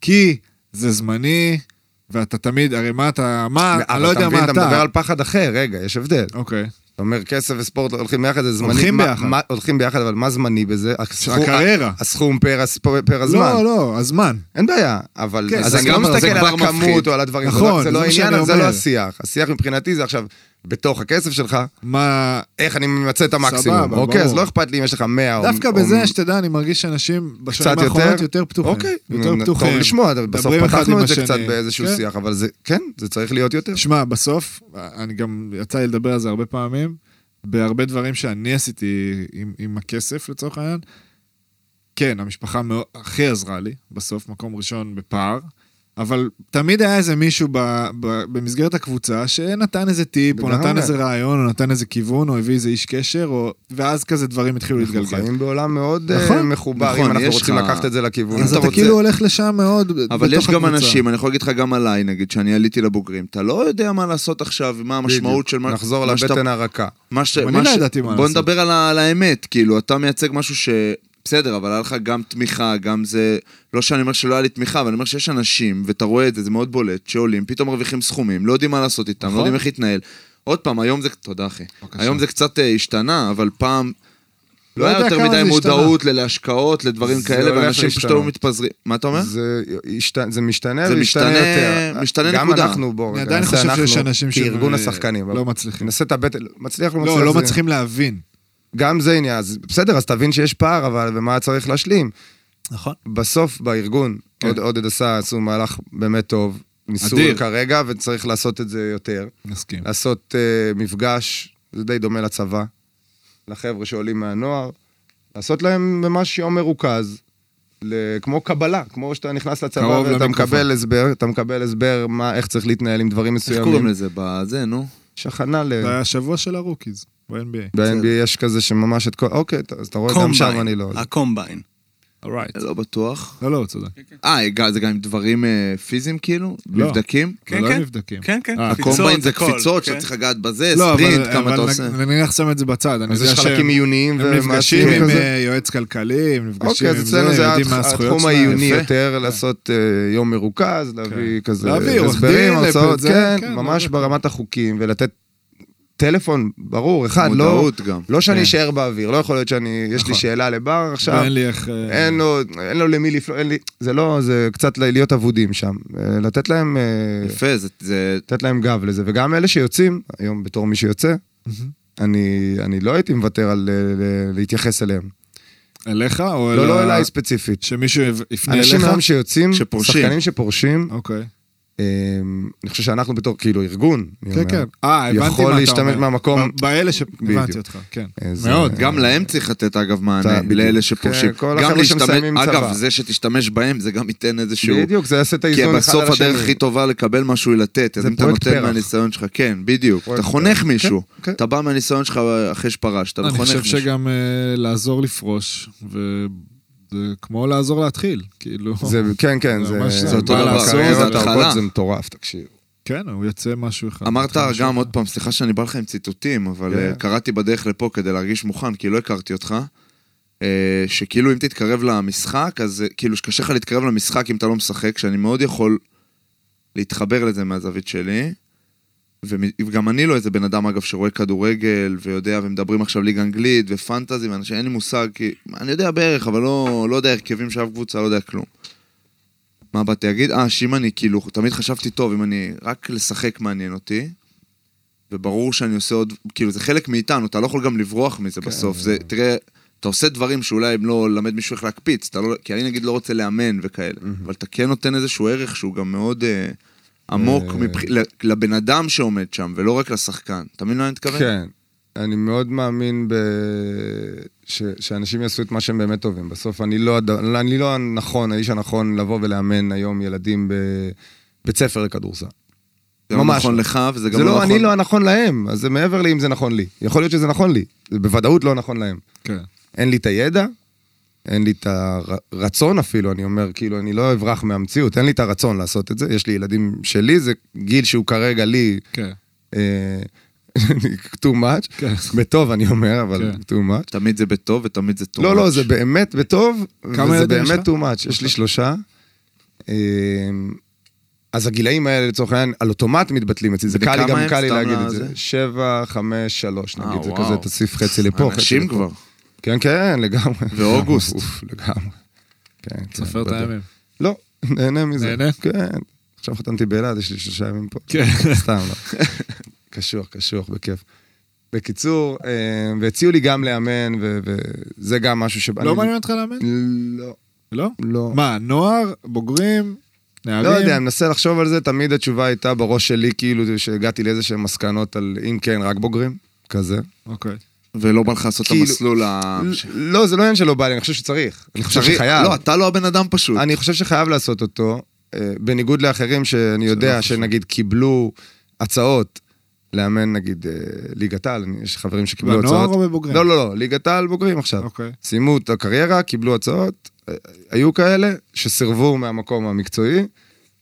S4: כי זה זמני, ואתה תמיד, הרי מה אתה, מה, אני לא יודע מה
S5: אבל אתה מבין, אתה מדבר
S4: אתה.
S5: על פחד אחר, רגע, יש הבדל.
S4: אוקיי.
S5: אתה אומר, כסף וספורט הולכים ביחד, זה זמני.
S4: הולכים
S5: מה-
S4: ביחד.
S5: מה- הולכים ביחד, אבל מה זמני בזה? הסכום-
S4: הקריירה.
S5: הסכום פר הס- פר הזמן.
S4: לא, לא, הזמן.
S5: אין בעיה, אבל...
S4: כן,
S5: אז
S4: זה
S5: אני לא
S4: כבר- זה
S5: מסתכל על
S2: כבר
S5: הכמות
S2: מפחיד.
S5: או על הדברים. זה
S4: נכון,
S5: לא-
S4: זה
S5: זה לא
S4: מה שאני
S5: העניין, זה
S4: אומר.
S5: לא השיח. השיח מבחינתי זה עכשיו, בתוך הכסף שלך,
S4: מה...
S5: איך אני ממצה את המקסימום.
S4: סבבה,
S5: אוקיי, אז
S4: ברור.
S5: לא אכפת לי אם יש לך 100 או...
S4: דווקא
S5: או-
S4: בזה, שתדע, אני מרגיש שאנשים בשנים
S5: קצת יותר?
S4: האחרונות יותר פתוחים.
S5: אוקיי,
S4: יותר
S5: נו,
S4: פתוחים.
S5: טוב לשמוע, בסוף
S4: מדברים אחד עם
S5: פתחנו את זה
S4: השני.
S5: קצת באיזשהו
S4: כן.
S5: שיח, אבל זה, כן, זה צריך להיות יותר.
S4: שמע, בסוף, אני גם, יצא לי לדבר על זה הרבה פעמים, בהרבה דברים שאני עשיתי עם, עם הכסף לצורך העניין. כן, המשפחה מאוד, הכי עזרה לי, בסוף, מקום ראשון בפער, אבל תמיד היה איזה מישהו ב, ב, במסגרת הקבוצה שנתן איזה טיפ, או נתן
S5: לגמרי.
S4: איזה רעיון, או נתן איזה כיוון, או הביא איזה איש קשר, או... ואז כזה דברים התחילו
S5: אנחנו
S4: להתגלגל.
S5: חיים בעולם מאוד אה,
S4: נכון,
S5: מחובר, אם
S2: נכון,
S5: אנחנו
S2: יש
S5: רוצים
S2: לך-
S5: לקחת את זה לכיוון. אם
S4: אז אתה
S5: רוצה-
S4: כאילו הולך לשם מאוד, ב- בתוך
S2: אבל יש גם
S4: הקבוצה.
S2: אנשים, אני יכול להגיד לך גם עליי, נגיד, שאני עליתי לבוגרים, אתה לא יודע מה לעשות עכשיו, מה המשמעות
S5: בדיוק.
S2: של מה...
S5: נחזור
S2: מה שאתה-
S5: לבטן הרכה.
S2: מה ש...
S4: אני
S2: מה
S4: לא
S2: ש-
S4: ידעתי מה
S2: בוא
S4: לעשות.
S2: נדבר על, ה... על האמת, כאילו, אתה מייצג משהו ש... בסדר, אבל היה לך גם תמיכה, גם זה... לא שאני אומר שלא היה לי תמיכה, אבל אני אומר שיש אנשים, ואתה רואה את זה, זה מאוד בולט, שעולים, פתאום מרוויחים סכומים, לא יודעים מה לעשות איתם,
S4: נכון.
S2: לא יודעים איך להתנהל. עוד פעם, היום זה... תודה, אחי.
S4: בבקשה.
S2: היום זה קצת אה, השתנה, אבל פעם... לא
S4: לא
S2: היה
S4: יודע
S2: יותר
S4: כמה
S2: מדי
S4: זה
S2: מודעות להשקעות, לדברים
S5: זה
S2: כאלה,
S5: הולך
S2: ואנשים פשוט
S5: להשתנות.
S2: היו מתפזרים. מה אתה אומר?
S5: זה השת- זה משתנה
S2: זה
S5: וישתנה
S2: משתנה-
S5: יותר.
S2: משתנה
S5: גם
S2: נקודה.
S5: אנחנו, בואו,
S4: אני
S5: רגע,
S4: עדיין
S5: נעשה
S4: חושב שיש
S5: אנחנו
S4: אנשים
S5: כארגון
S4: אה,
S5: השחקנים.
S4: לא מצליחים.
S5: נעשה את הבטן, מצליח, לא מצליח.
S4: לא, לא
S5: זה-
S4: מצליחים להבין.
S5: גם זה עניין, אז בסדר, אז תבין שיש פער, אבל ומה צריך להשלים.
S4: נכון.
S5: בסוף בארגון,
S4: כן.
S5: עוד- עודד עשה, עשו מהלך באמת טוב, ניסו
S4: אדיר.
S5: כרגע, וצריך לעשות את זה יותר.
S4: נסכים.
S5: לעשות אה, מפגש, זה די דומה לצבא, לחבר'ה שעולים מהנוער, לעשות להם ממש יום מרוכז, ל- כמו קבלה, כמו שאתה נכנס לצבא
S4: קרוב
S5: ואתה
S4: למיקרופון.
S5: מקבל הסבר, אתה מקבל הסבר מה, איך צריך להתנהל עם דברים
S2: איך קוראים
S5: מסוימים.
S2: לזה? בזה, נו.
S5: יש הכנה ל...
S4: זה היה השבוע של הרוקיז, ב-NBA.
S5: ב-NBA יש כזה שממש את כל... אוקיי, אתה- אז אתה רואה גם שם אני לא...
S1: אה, הקומביין.
S4: אורייט.
S2: לא בטוח.
S4: לא, לא, הוא צודק.
S2: אה, גם- זה גם עם דברים אה, פיזיים כאילו?
S4: לא.
S2: מבדקים?
S4: זה לא מבדקים.
S1: כן, כן.
S4: אה,
S1: קפיצות,
S2: הקומביין זה
S1: הכל,
S2: קפיצות,
S1: כן.
S2: שאתה צריך לגעת בזה,
S4: לא, אבל-
S2: ספרינט, כמה
S4: אבל
S2: אתה עושה.
S4: נ- נניח שם את זה בצד, אני
S5: אז
S4: יודע
S5: יש
S4: שהם
S5: חלקים
S4: הם
S5: עיוניים
S4: נפגשים
S5: ומעשים
S4: עם
S5: כזה.
S4: אה, יועץ כלכלי, הם נפגשים
S5: אוקיי,
S4: עם
S5: אז
S4: זה,
S5: אצלנו זה
S4: יודעים
S5: התח-
S4: מה הזכויות
S5: התחום
S4: שלהם.
S5: העיוני
S4: יפה. כן.
S5: יותר, לעשות אה, יום מרוכז, להביא כזה
S4: להביא עורך
S5: הסברים,
S4: דין,
S5: הרצאות,
S4: לפ- זה,
S5: כן,
S4: כן,
S5: ממש
S4: להביא.
S5: ברמת החוקים, ולתת טלפון, ברור, אחד, לא...
S2: מודעות גם.
S5: לא שאני
S4: כן.
S5: אשאר באוויר, לא יכול להיות שאני, יש
S4: נכון.
S5: לי שאלה לבר עכשיו,
S4: ואין לי איך... אה,
S5: אין לו, אין לו למי לפנות, אין לי, זה לא, זה קצת ל- להיות אבודים שם, אה, לתת להם, אה,
S2: יפה, זה- זה...
S5: לתת להם גב לזה, וגם אלה שיוצאים, היום בתור מי שיוצא, אני, אני לא הייתי מוותר על אה, ל- להתייחס אליהם,
S4: אליך או אל
S5: לא, לא
S4: ה-
S5: אליי ספציפית.
S4: שמישהו יב- יפנה
S5: אנשים
S4: אליך?
S5: היום שיוצאים,
S2: שפורשים.
S5: שחקנים שפורשים,
S4: אוקיי.
S5: אה, אני חושב שאנחנו בתור, כאילו, ארגון, אני
S4: כן,
S5: אומר,
S4: כן. אה, הבנתי מה אתה אומר.
S5: יכול להשתמש מהמקום-
S4: ב- באלה ש... הבנתי
S5: בדיוק.
S4: אותך, כן.
S5: אה, זה-
S4: מאוד.
S2: גם להם צריך לתת, אגב, מענה,
S5: אתה-
S2: לאלה
S5: כן,
S2: שפורשים.
S5: כל
S2: גם
S5: החבר'ה
S2: להשתמש,
S5: שמסיימים צבא.
S2: אגב, זה שתשתמש בהם, זה גם ייתן איזשהו...
S5: בדיוק, זה יעשה את
S2: כי
S5: האיזון אחד
S2: בסוף
S5: על השני.
S2: הדרך הכי טובה לקבל משהו היא לתת, אז
S5: זה
S2: אם אתה
S5: פרויקט
S2: נותן
S5: פרח.
S2: מהניסיון שלך, כן, בדיוק.
S5: פרויקט
S2: אתה חונך
S5: פרח.
S2: מישהו,
S5: כן.
S2: אתה בא מהניסיון שלך אחרי שפרשת, אתה
S4: אני
S2: חונך
S4: חושב
S2: מישהו.
S4: שגם אה, לעזור לפרוש, וזה כמו לעזור להתחיל, כאילו.
S5: זה, כן, כן,
S4: זה
S5: זה...
S4: ממש-
S2: זה אותו
S5: מה
S2: דבר,
S5: לעשות,
S2: זה
S5: הקריירות
S2: התחלה.
S5: הארוכות זה מטורף, תקשיב.
S4: כן, הוא יוצא משהו אחד.
S2: אמרת
S4: מתחיל משהו
S2: גם
S4: אחר.
S2: עוד פעם, סליחה שאני בא לך עם ציטוטים, אבל
S5: כן.
S2: אה, קראתי בדרך לפה כדי להרגיש מוכן, כי לא הכרתי אותך, אה, שכאילו אם תתקרב למשחק, אז אה, כאילו שקשה לך להתקרב למשחק אם אתה לא משחק, שאני מאוד יכול להתחבר לזה מהזווית שלי. ומ- וגם אני לא איזה בן אדם, אגב, שרואה כדורגל ויודע, ומדברים עכשיו ליגה אנגלית ופנטזי, ואנשים, אין לי מושג, כי אני יודע בערך, אבל לא, לא יודע הרכבים של אף קבוצה, לא יודע כלום. מה באתי להגיד? אה, שאם אני, כאילו, תמיד חשבתי, טוב, אם אני, רק לשחק מעניין אותי, וברור שאני עושה עוד, כאילו, זה חלק מאיתנו, אתה לא יכול גם לברוח מזה
S5: כן.
S2: בסוף. זה, תראה, אתה עושה דברים שאולי אם לא ללמד מישהו איך להקפיץ, אתה לא, כי אני נגיד לא רוצה לאמן וכאלה, אבל אתה כן נותן איזשהו ערך שהוא גם מאוד אה, עמוק
S5: אה.
S2: מבח... ל- לבן אדם שעומד שם, ולא רק לשחקן. אתה מבין מה אני מתכוון?
S5: כן. אני מאוד מאמין ב... ש... שאנשים יעשו את מה שהם באמת טובים. בסוף אני לא, הד... אני לא הנכון, האיש הנכון לבוא ולאמן היום ילדים בבית ספר לכדורסל.
S2: זה לא
S5: ממש
S2: נכון
S5: לא.
S2: לך, וזה גם
S5: זה
S2: לא
S5: לא,
S2: נכון...
S5: אני לא הנכון להם, אז זה מעבר לאם זה נכון לי. יכול להיות שזה נכון לי, זה בוודאות לא נכון להם.
S4: כן.
S5: אין לי את הידע, אין לי את הרצון אפילו, אני אומר, כאילו, אני לא אברח מהמציאות, אין לי את הרצון לעשות את זה. יש לי ילדים שלי, זה גיל שהוא כרגע לי
S4: כן.
S5: אה, too much,
S4: כן.
S5: בטוב אני אומר, אבל
S4: כן.
S5: too much.
S2: תמיד זה בטוב ותמיד זה טוב.
S5: לא, לא, זה באמת בטוב,
S4: כמה
S5: וזה
S4: ילדים יש
S5: באמת
S4: לך?
S5: too much. יש לי שלושה. אמ, אז הגילאים האלה, לצורך העניין, על אוטומט מתבטלים אצלי, זה קל לי,
S2: בכמה
S5: גם
S2: הם
S5: קל לי
S2: סתם
S5: להגיד את
S2: לזה?
S5: זה. שבע, חמש, שלוש,
S2: אה,
S5: נגיד, זה
S2: וואו.
S5: כזה תוסיף חצי לפה, חצי
S2: אנשים
S5: לפה.
S2: כבר.
S5: כן, כן, לגמרי.
S2: ואוגוסט.
S5: אוף, לגמרי. כן, כן,
S4: סופר את
S5: בטוח.
S4: הימים.
S5: לא, נהנה מזה.
S4: נהנה?
S5: כן. עכשיו חתמתי באילת, יש לי שלושה ימים פה.
S4: כן.
S5: סתם, לא. קשוח, קשוח, בכיף. בקיצור, אה, והציעו לי גם לאמן, ו- וזה גם משהו ש...
S4: לא מעניין אותך לאמן?
S5: לא,
S4: לא?
S5: לא.
S4: מה, נוער, בוגרים, נערים?
S5: לא יודע, אני מנסה לחשוב על זה, תמיד התשובה הייתה בראש שלי, כאילו, שהגעתי לאיזה שהן מסקנות על אם כן, רק בוגרים, כזה.
S4: אוקיי.
S2: ולא בא לך לעשות את
S5: כאילו-
S2: המסלול ה...
S5: לא, זה לא עניין שלא בא לי, אני חושב שצריך. אני חושב
S2: צריך-
S5: שחייב.
S2: לא, אתה לא הבן אדם פשוט.
S5: אני חושב שחייב לעשות אותו, אה, בניגוד לאחרים שאני יודע שנגיד קיבלו הצעות לאמן נגיד אה, ליגת על, אני- יש חברים שקיבלו הצעות.
S4: בנוער כאילו, או בבוגרים?
S5: לא, לא, לא, ליגת על בוגרים עכשיו.
S4: אוקיי.
S5: סיימו את הקריירה, קיבלו הצעות, אה, היו כאלה שסירבו מהמקום המקצועי,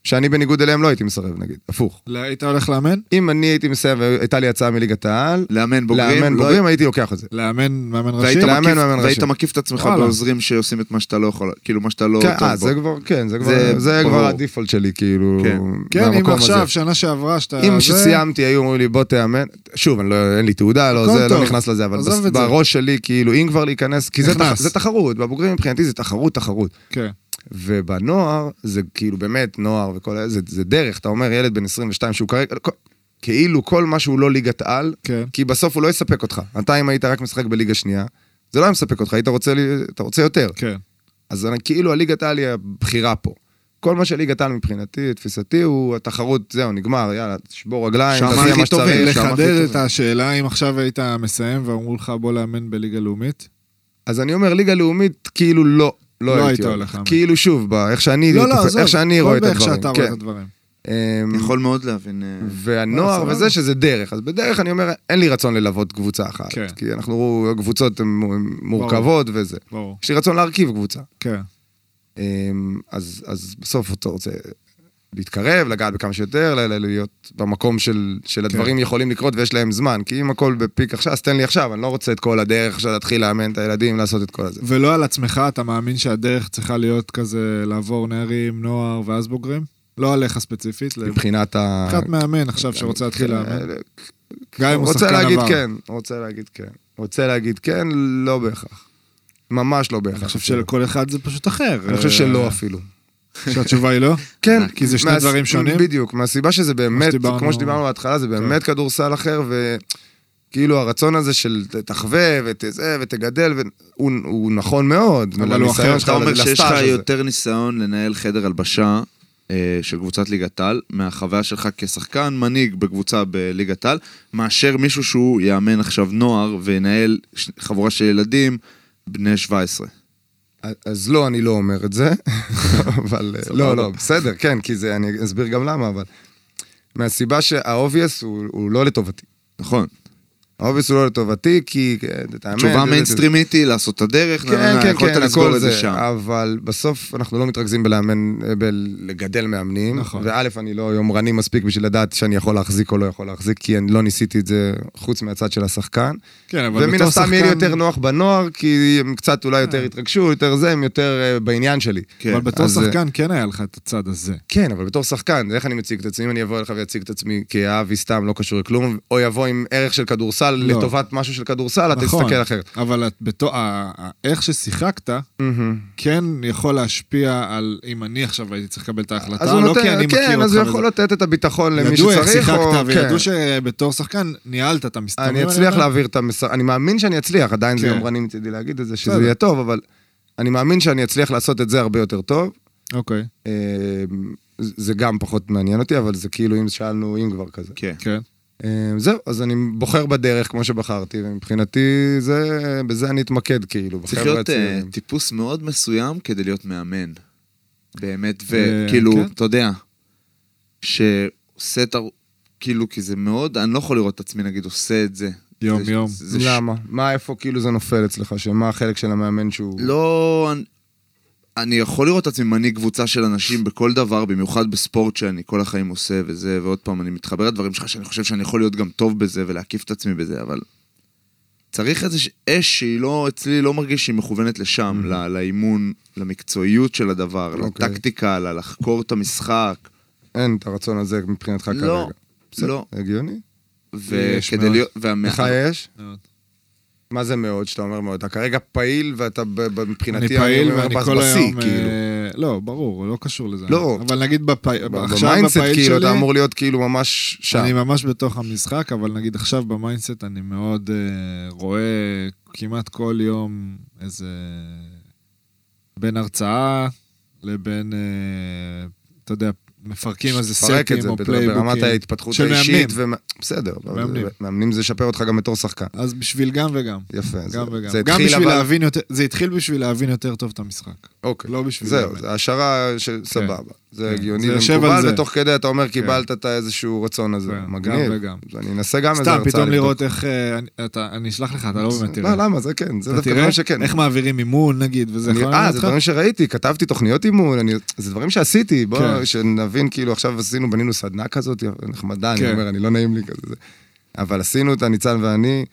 S5: שאני בניגוד אליהם לא הייתי מסרב נגיד, הפוך.
S4: לא, היית הולך לאמן?
S5: אם אני הייתי מסרב, הייתה לי הצעה מליגת העל,
S2: לאמן בוגרים.
S5: לאמן
S2: לא-
S5: בוגרים, הייתי לוקח את זה.
S4: לאמן מאמן ראשי?
S2: והיית
S5: לאמן
S2: מקיף-
S5: מאמן
S2: והיית
S5: ראשי.
S2: מקיף את עצמך
S4: וואלה.
S2: בעוזרים שעושים את מה שאתה לא יכול, כאילו מה שאתה לא
S5: כן,
S2: טוב
S5: אה,
S2: בו.
S5: זה כבר, כן, זה
S2: זה
S5: כבר, זה כבר
S2: ברור.
S5: הדיפולט שלי, כאילו,
S2: כן.
S4: כן, אם
S5: מהמקום הזה.
S4: עכשיו, שנה שעברה, שאתה...
S5: אם
S4: אה, זה-
S5: שסיימתי היו אומרים לי בוא תאמן, שוב, אני לא, אין לי תעודה, לא
S4: הכל
S5: זה,
S4: טוב.
S5: לא נכנס לזה, אבל
S4: עזוב
S5: בס-
S4: את זה.
S5: בראש שלי, כאילו, אם כבר להיכנס, כי זה,
S4: נכנס.
S5: תח, זה תחרות, בבוגרים מבחינתי זה תחרות, תחרות.
S4: כן.
S5: ובנוער, זה כאילו באמת נוער וכל ה- זה, זה דרך, אתה אומר ילד בן 22 שהוא כרגע, כל- כאילו כל מה שהוא לא ליגת על,
S4: כן.
S5: כי בסוף הוא לא יספק אותך. אתה אם היית רק משחק בליגה שנייה, זה לא היה מספק אותך, היית רוצה, לי- אתה רוצה יותר.
S4: כן.
S5: אז אני, כאילו הליגת העל היא הבחירה פה. כל מה שליגת העל מבחינתי, תפיסתי, הוא התחרות, זהו, נגמר, יאללה, תשבור רגליים,
S2: שם
S5: תעשה
S2: הכי
S5: מה
S2: טובים,
S5: שצריך. שם הכי
S4: לחדד
S5: טובים.
S4: את השאלה, אם עכשיו היית מסיים ואמרו לך בוא לאמן בליגה לאומית?
S5: אז אני אומר, ליגה לאומית, כאילו לא, לא,
S4: לא היית
S5: הייתי
S4: הולך,
S5: הולך.
S4: אמן.
S5: כאילו שוב, בא, איך שאני,
S4: לא, לא,
S5: תופס-
S4: עזוב.
S5: איך שאני
S4: כל
S5: רואה את
S4: באיך
S5: הדברים.
S4: שאתה רואה את
S5: כן.
S4: הדברים.
S5: אמ,
S2: יכול מאוד להבין. אה,
S5: והנוער
S4: וואלה, סבבה.
S5: וזה שזה דרך, אז בדרך אני אומר, אין לי רצון ללוות קבוצה אחת.
S4: כן.
S5: כי אנחנו, הקבוצות הן מורכבות וזה.
S4: ברור.
S5: יש לי רצון להרכיב קבוצה.
S4: כן.
S5: אמ, אז, אז בסוף אתה רוצה להתקרב, לגעת בכמה שיותר, ל- ל- להיות במקום של, של הדברים
S4: כן.
S5: יכולים לקרות ויש להם זמן. כי אם הכל בפיק עכשיו, אז תן לי עכשיו, אני לא רוצה את כל הדרך עכשיו להתחיל לאמן את הילדים, לעשות את כל הזה.
S4: ולא על עצמך, אתה מאמין שהדרך צריכה להיות כזה לעבור נערים, נוער ואז בוגרים? לא עליך ספציפית, מבחינת
S5: מבחינת ה...
S4: מאמן עכשיו שרוצה להתחיל לאמן. גם אם הוא
S5: אה, רוצה
S4: שחקן
S5: להגיד
S4: עבר.
S5: כן, רוצה להגיד כן. רוצה להגיד כן, לא בהכרח. ממש לא בהכרח.
S4: אני חושב שלכל אה, אחד זה פשוט אחר.
S5: אני חושב שלא אפילו.
S4: שהתשובה היא לא?
S5: כן.
S4: כי זה שני
S5: מהס-
S4: דברים שונים?
S5: בדיוק, מהסיבה שזה באמת,
S4: שדיברנו- כן.
S5: כמו שדיברנו בהתחלה, זה באמת כדורסל אחר, וכאילו הרצון הזה של ת- תחווה ותזה ותגדל, ו- הוא- הוא נכון מאוד.
S4: אבל הוא
S5: לניסיון
S4: אחר,
S5: שלך,
S2: אתה אומר
S5: לסטאז'
S2: שיש לך
S5: הזה.
S2: יותר ניסיון לנהל חדר הלבשה אה, של קבוצת ליגת על, מהחוויה שלך כשחקן מנהיג בקבוצה בליגת על, מאשר מישהו שהוא יאמן עכשיו נוער וינהל ש- חבורה של ילדים בני 17.
S5: אז- אז לא, אני לא אומר את זה, אבל... אה, לא, לא, בסדר, כן, כי זה, אני אסביר גם למה, אבל... מהסיבה שה-obvious הוא הוא לא לטובתי.
S2: נכון.
S5: ה-obvious הוא לא לטובתי, כי... אה, תאמן,
S2: תשובה
S5: זה- זה-
S2: מיינסטרימית היא לעשות את הדרך,
S4: לא,
S2: נה, נה,
S5: כן,
S2: נה,
S5: כן,
S2: יכולת
S5: כן,
S2: לסגור
S5: הכל
S2: את
S5: זה,
S2: זה שם.
S5: אבל בסוף אנחנו לא מתרכזים בלאמן, אה, בלגדל מאמנים.
S4: נכון.
S5: וא', אני לא יומרני מספיק בשביל לדעת שאני יכול להחזיק או לא יכול להחזיק, כי אני לא ניסיתי את זה חוץ מהצד של השחקן.
S4: כן, אבל
S5: ומן
S4: בתור
S5: הסתם יהיה לי
S4: שחקן- אה.
S5: יותר נוח בנוער, כי הם קצת אולי יותר התרגשו, יותר זה, הם יותר אה, בעניין שלי.
S2: כן,
S4: אבל בתור
S5: אז, אה,
S4: שחקן כן היה לך את הצד הזה.
S5: כן, אבל בתור שחקן, איך אני מציג את עצמי? אם אני אבוא אליך ואציג את עצמי כאבי סתם, לא קשור לכלום, או יבוא עם ערך של כדורסל
S4: לא.
S5: לטובת משהו של כדורסל, אתה
S4: נכון,
S5: תסתכל אחרת.
S4: אבל את בתור, ה- ה- איך ששיחקת, כן יכול להשפיע על אם אני עכשיו הייתי צריך לקבל את ההחלטה,
S5: אז הוא
S4: לא כי
S5: נותן,
S4: אני מכיר
S5: כן, אז הוא
S4: אותך.
S5: יכול
S4: וזה.
S5: לתת את הביטחון למי
S4: ידעו
S5: שצריך.
S4: איך
S5: או-
S4: שיחקת
S5: כן.
S4: וידעו שבתור שחקן ניהלת את המסתמים.
S5: אני אצליח
S4: אומר.
S5: להעביר את המסר, אני מאמין שאני אצליח, עדיין זה
S4: כן.
S5: יומרני מצידי להגיד את זה,
S4: בסדר.
S5: שזה יהיה טוב, אבל אני מאמין שאני אצליח לעשות את זה הרבה יותר טוב.
S4: אוקיי,
S5: אה, זה זה גם פחות מעניין אותי, אבל זה כאילו אם שאלנו אם כבר כזה.
S2: כן.
S4: כן.
S5: אה, זהו, אז אני בוחר בדרך כמו שבחרתי, ומבחינתי זה, בזה אני אתמקד כאילו,
S2: צריך
S5: בחבר'ה
S2: להיות אה,
S5: הצעירים.
S2: טיפוס מאוד מסוים כדי להיות מאמן. באמת,
S4: אה,
S2: וכאילו,
S4: כן.
S2: אתה יודע, שעושה את ה... כאילו, כי זה מאוד, אני לא יכול לראות את עצמי, נגיד, עושה את זה.
S4: יום,
S2: זה-
S4: יום.
S2: זה
S5: לא,
S2: ש-
S5: למה? מה, איפה כאילו זה נופל אצלך? שמה החלק של המאמן שהוא...
S2: לא... אני- אני יכול לראות את עצמי מנהיג קבוצה של אנשים בכל דבר, במיוחד בספורט שאני כל החיים עושה וזה, ועוד פעם, אני מתחבר לדברים שלך שאני חושב שאני יכול להיות גם טוב בזה ולהקיף את עצמי בזה, אבל... צריך איזה ש- אש שהיא לא, אצלי לא מרגיש שהיא מכוונת לשם, ל- לאימון, למקצועיות של הדבר,
S5: אוקיי.
S2: לטקטיקה, ל- לחקור את המשחק.
S5: אין את הרצון הזה מבחינתך כרגע.
S2: לא,
S5: בסדר,
S2: לא.
S5: הגיוני?
S4: יש
S2: וכדי
S4: מאוד.
S2: להיות... והמה-
S5: לך יש?
S4: מאוד.
S5: מה זה מאוד שאתה אומר מאוד? אתה כרגע פעיל ואתה ב- ב- מבחינתי...
S4: אני פעיל
S5: אומר,
S4: ואני
S5: בס-
S4: כל
S5: בשיא,
S4: היום... אה,
S5: כאילו.
S4: לא, ברור, לא קשור לזה.
S5: לא.
S4: אבל נגיד בפעיל,
S5: ב-
S4: עכשיו
S5: במיינדסט,
S4: בפעיל
S5: כאילו,
S4: שלי,
S5: אתה אמור להיות כאילו ממש שם.
S4: אני ממש בתוך המשחק, אבל נגיד עכשיו במיינדסט אני מאוד אה, רואה כמעט כל יום איזה... בין הרצאה לבין, אה, אתה יודע, מפרקים איזה
S5: פרק את
S4: סטים
S5: זה
S4: או
S5: ב-
S4: פלייבוקים.
S5: ברמת ההתפתחות
S4: של
S5: האישית.
S4: מאמנים.
S5: ומ- בסדר, אבל
S4: מאמנים.
S5: זה- מאמנים זה ישפר אותך גם בתור שחקן.
S4: אז בשביל גם וגם.
S5: יפה. זה-
S4: גם וגם.
S5: זה
S4: גם
S5: התחיל
S4: בשביל
S5: אבל-
S4: להבין יותר, זה התחיל בשביל להבין יותר טוב את המשחק.
S5: אוקיי.
S4: לא בשביל...
S5: זהו,
S4: לאמן.
S5: זה השערה של סבבה. זה
S4: כן.
S5: הגיוני
S4: זה יושב על
S5: ומקובל,
S4: זה.
S5: ותוך כדי אתה אומר, קיבלת את האיזשהו רצון הזה.
S4: כן,
S5: מגניב.
S4: גם וגם.
S5: אז אני אנסה גם איזה
S4: סתם,
S5: הרצאה.
S4: פתאום
S5: לבדוק.
S4: לראות איך... אה, אני- אתה- אני אשלח לך, אתה לא באמת תראה.
S5: לא, למה? זה כן, זה
S4: אתה
S5: דווקא
S4: תראה
S5: דברים שכן.
S4: איך מעבירים אימון, נגיד, וזה
S5: אני-
S4: יכול
S5: אה,
S4: לענות
S5: זה
S4: לך?
S5: דברים שראיתי, כתבתי תוכניות אימון, אני- זה דברים שעשיתי, בוא,
S4: כן.
S5: שנבין, כאילו, עכשיו עשינו, בנינו סדנה כזאת, נחמדה, אני
S4: כן.
S5: אומר, אני לא נעים לי כזה. זה. אבל עשינו אותה, ניצן ואני,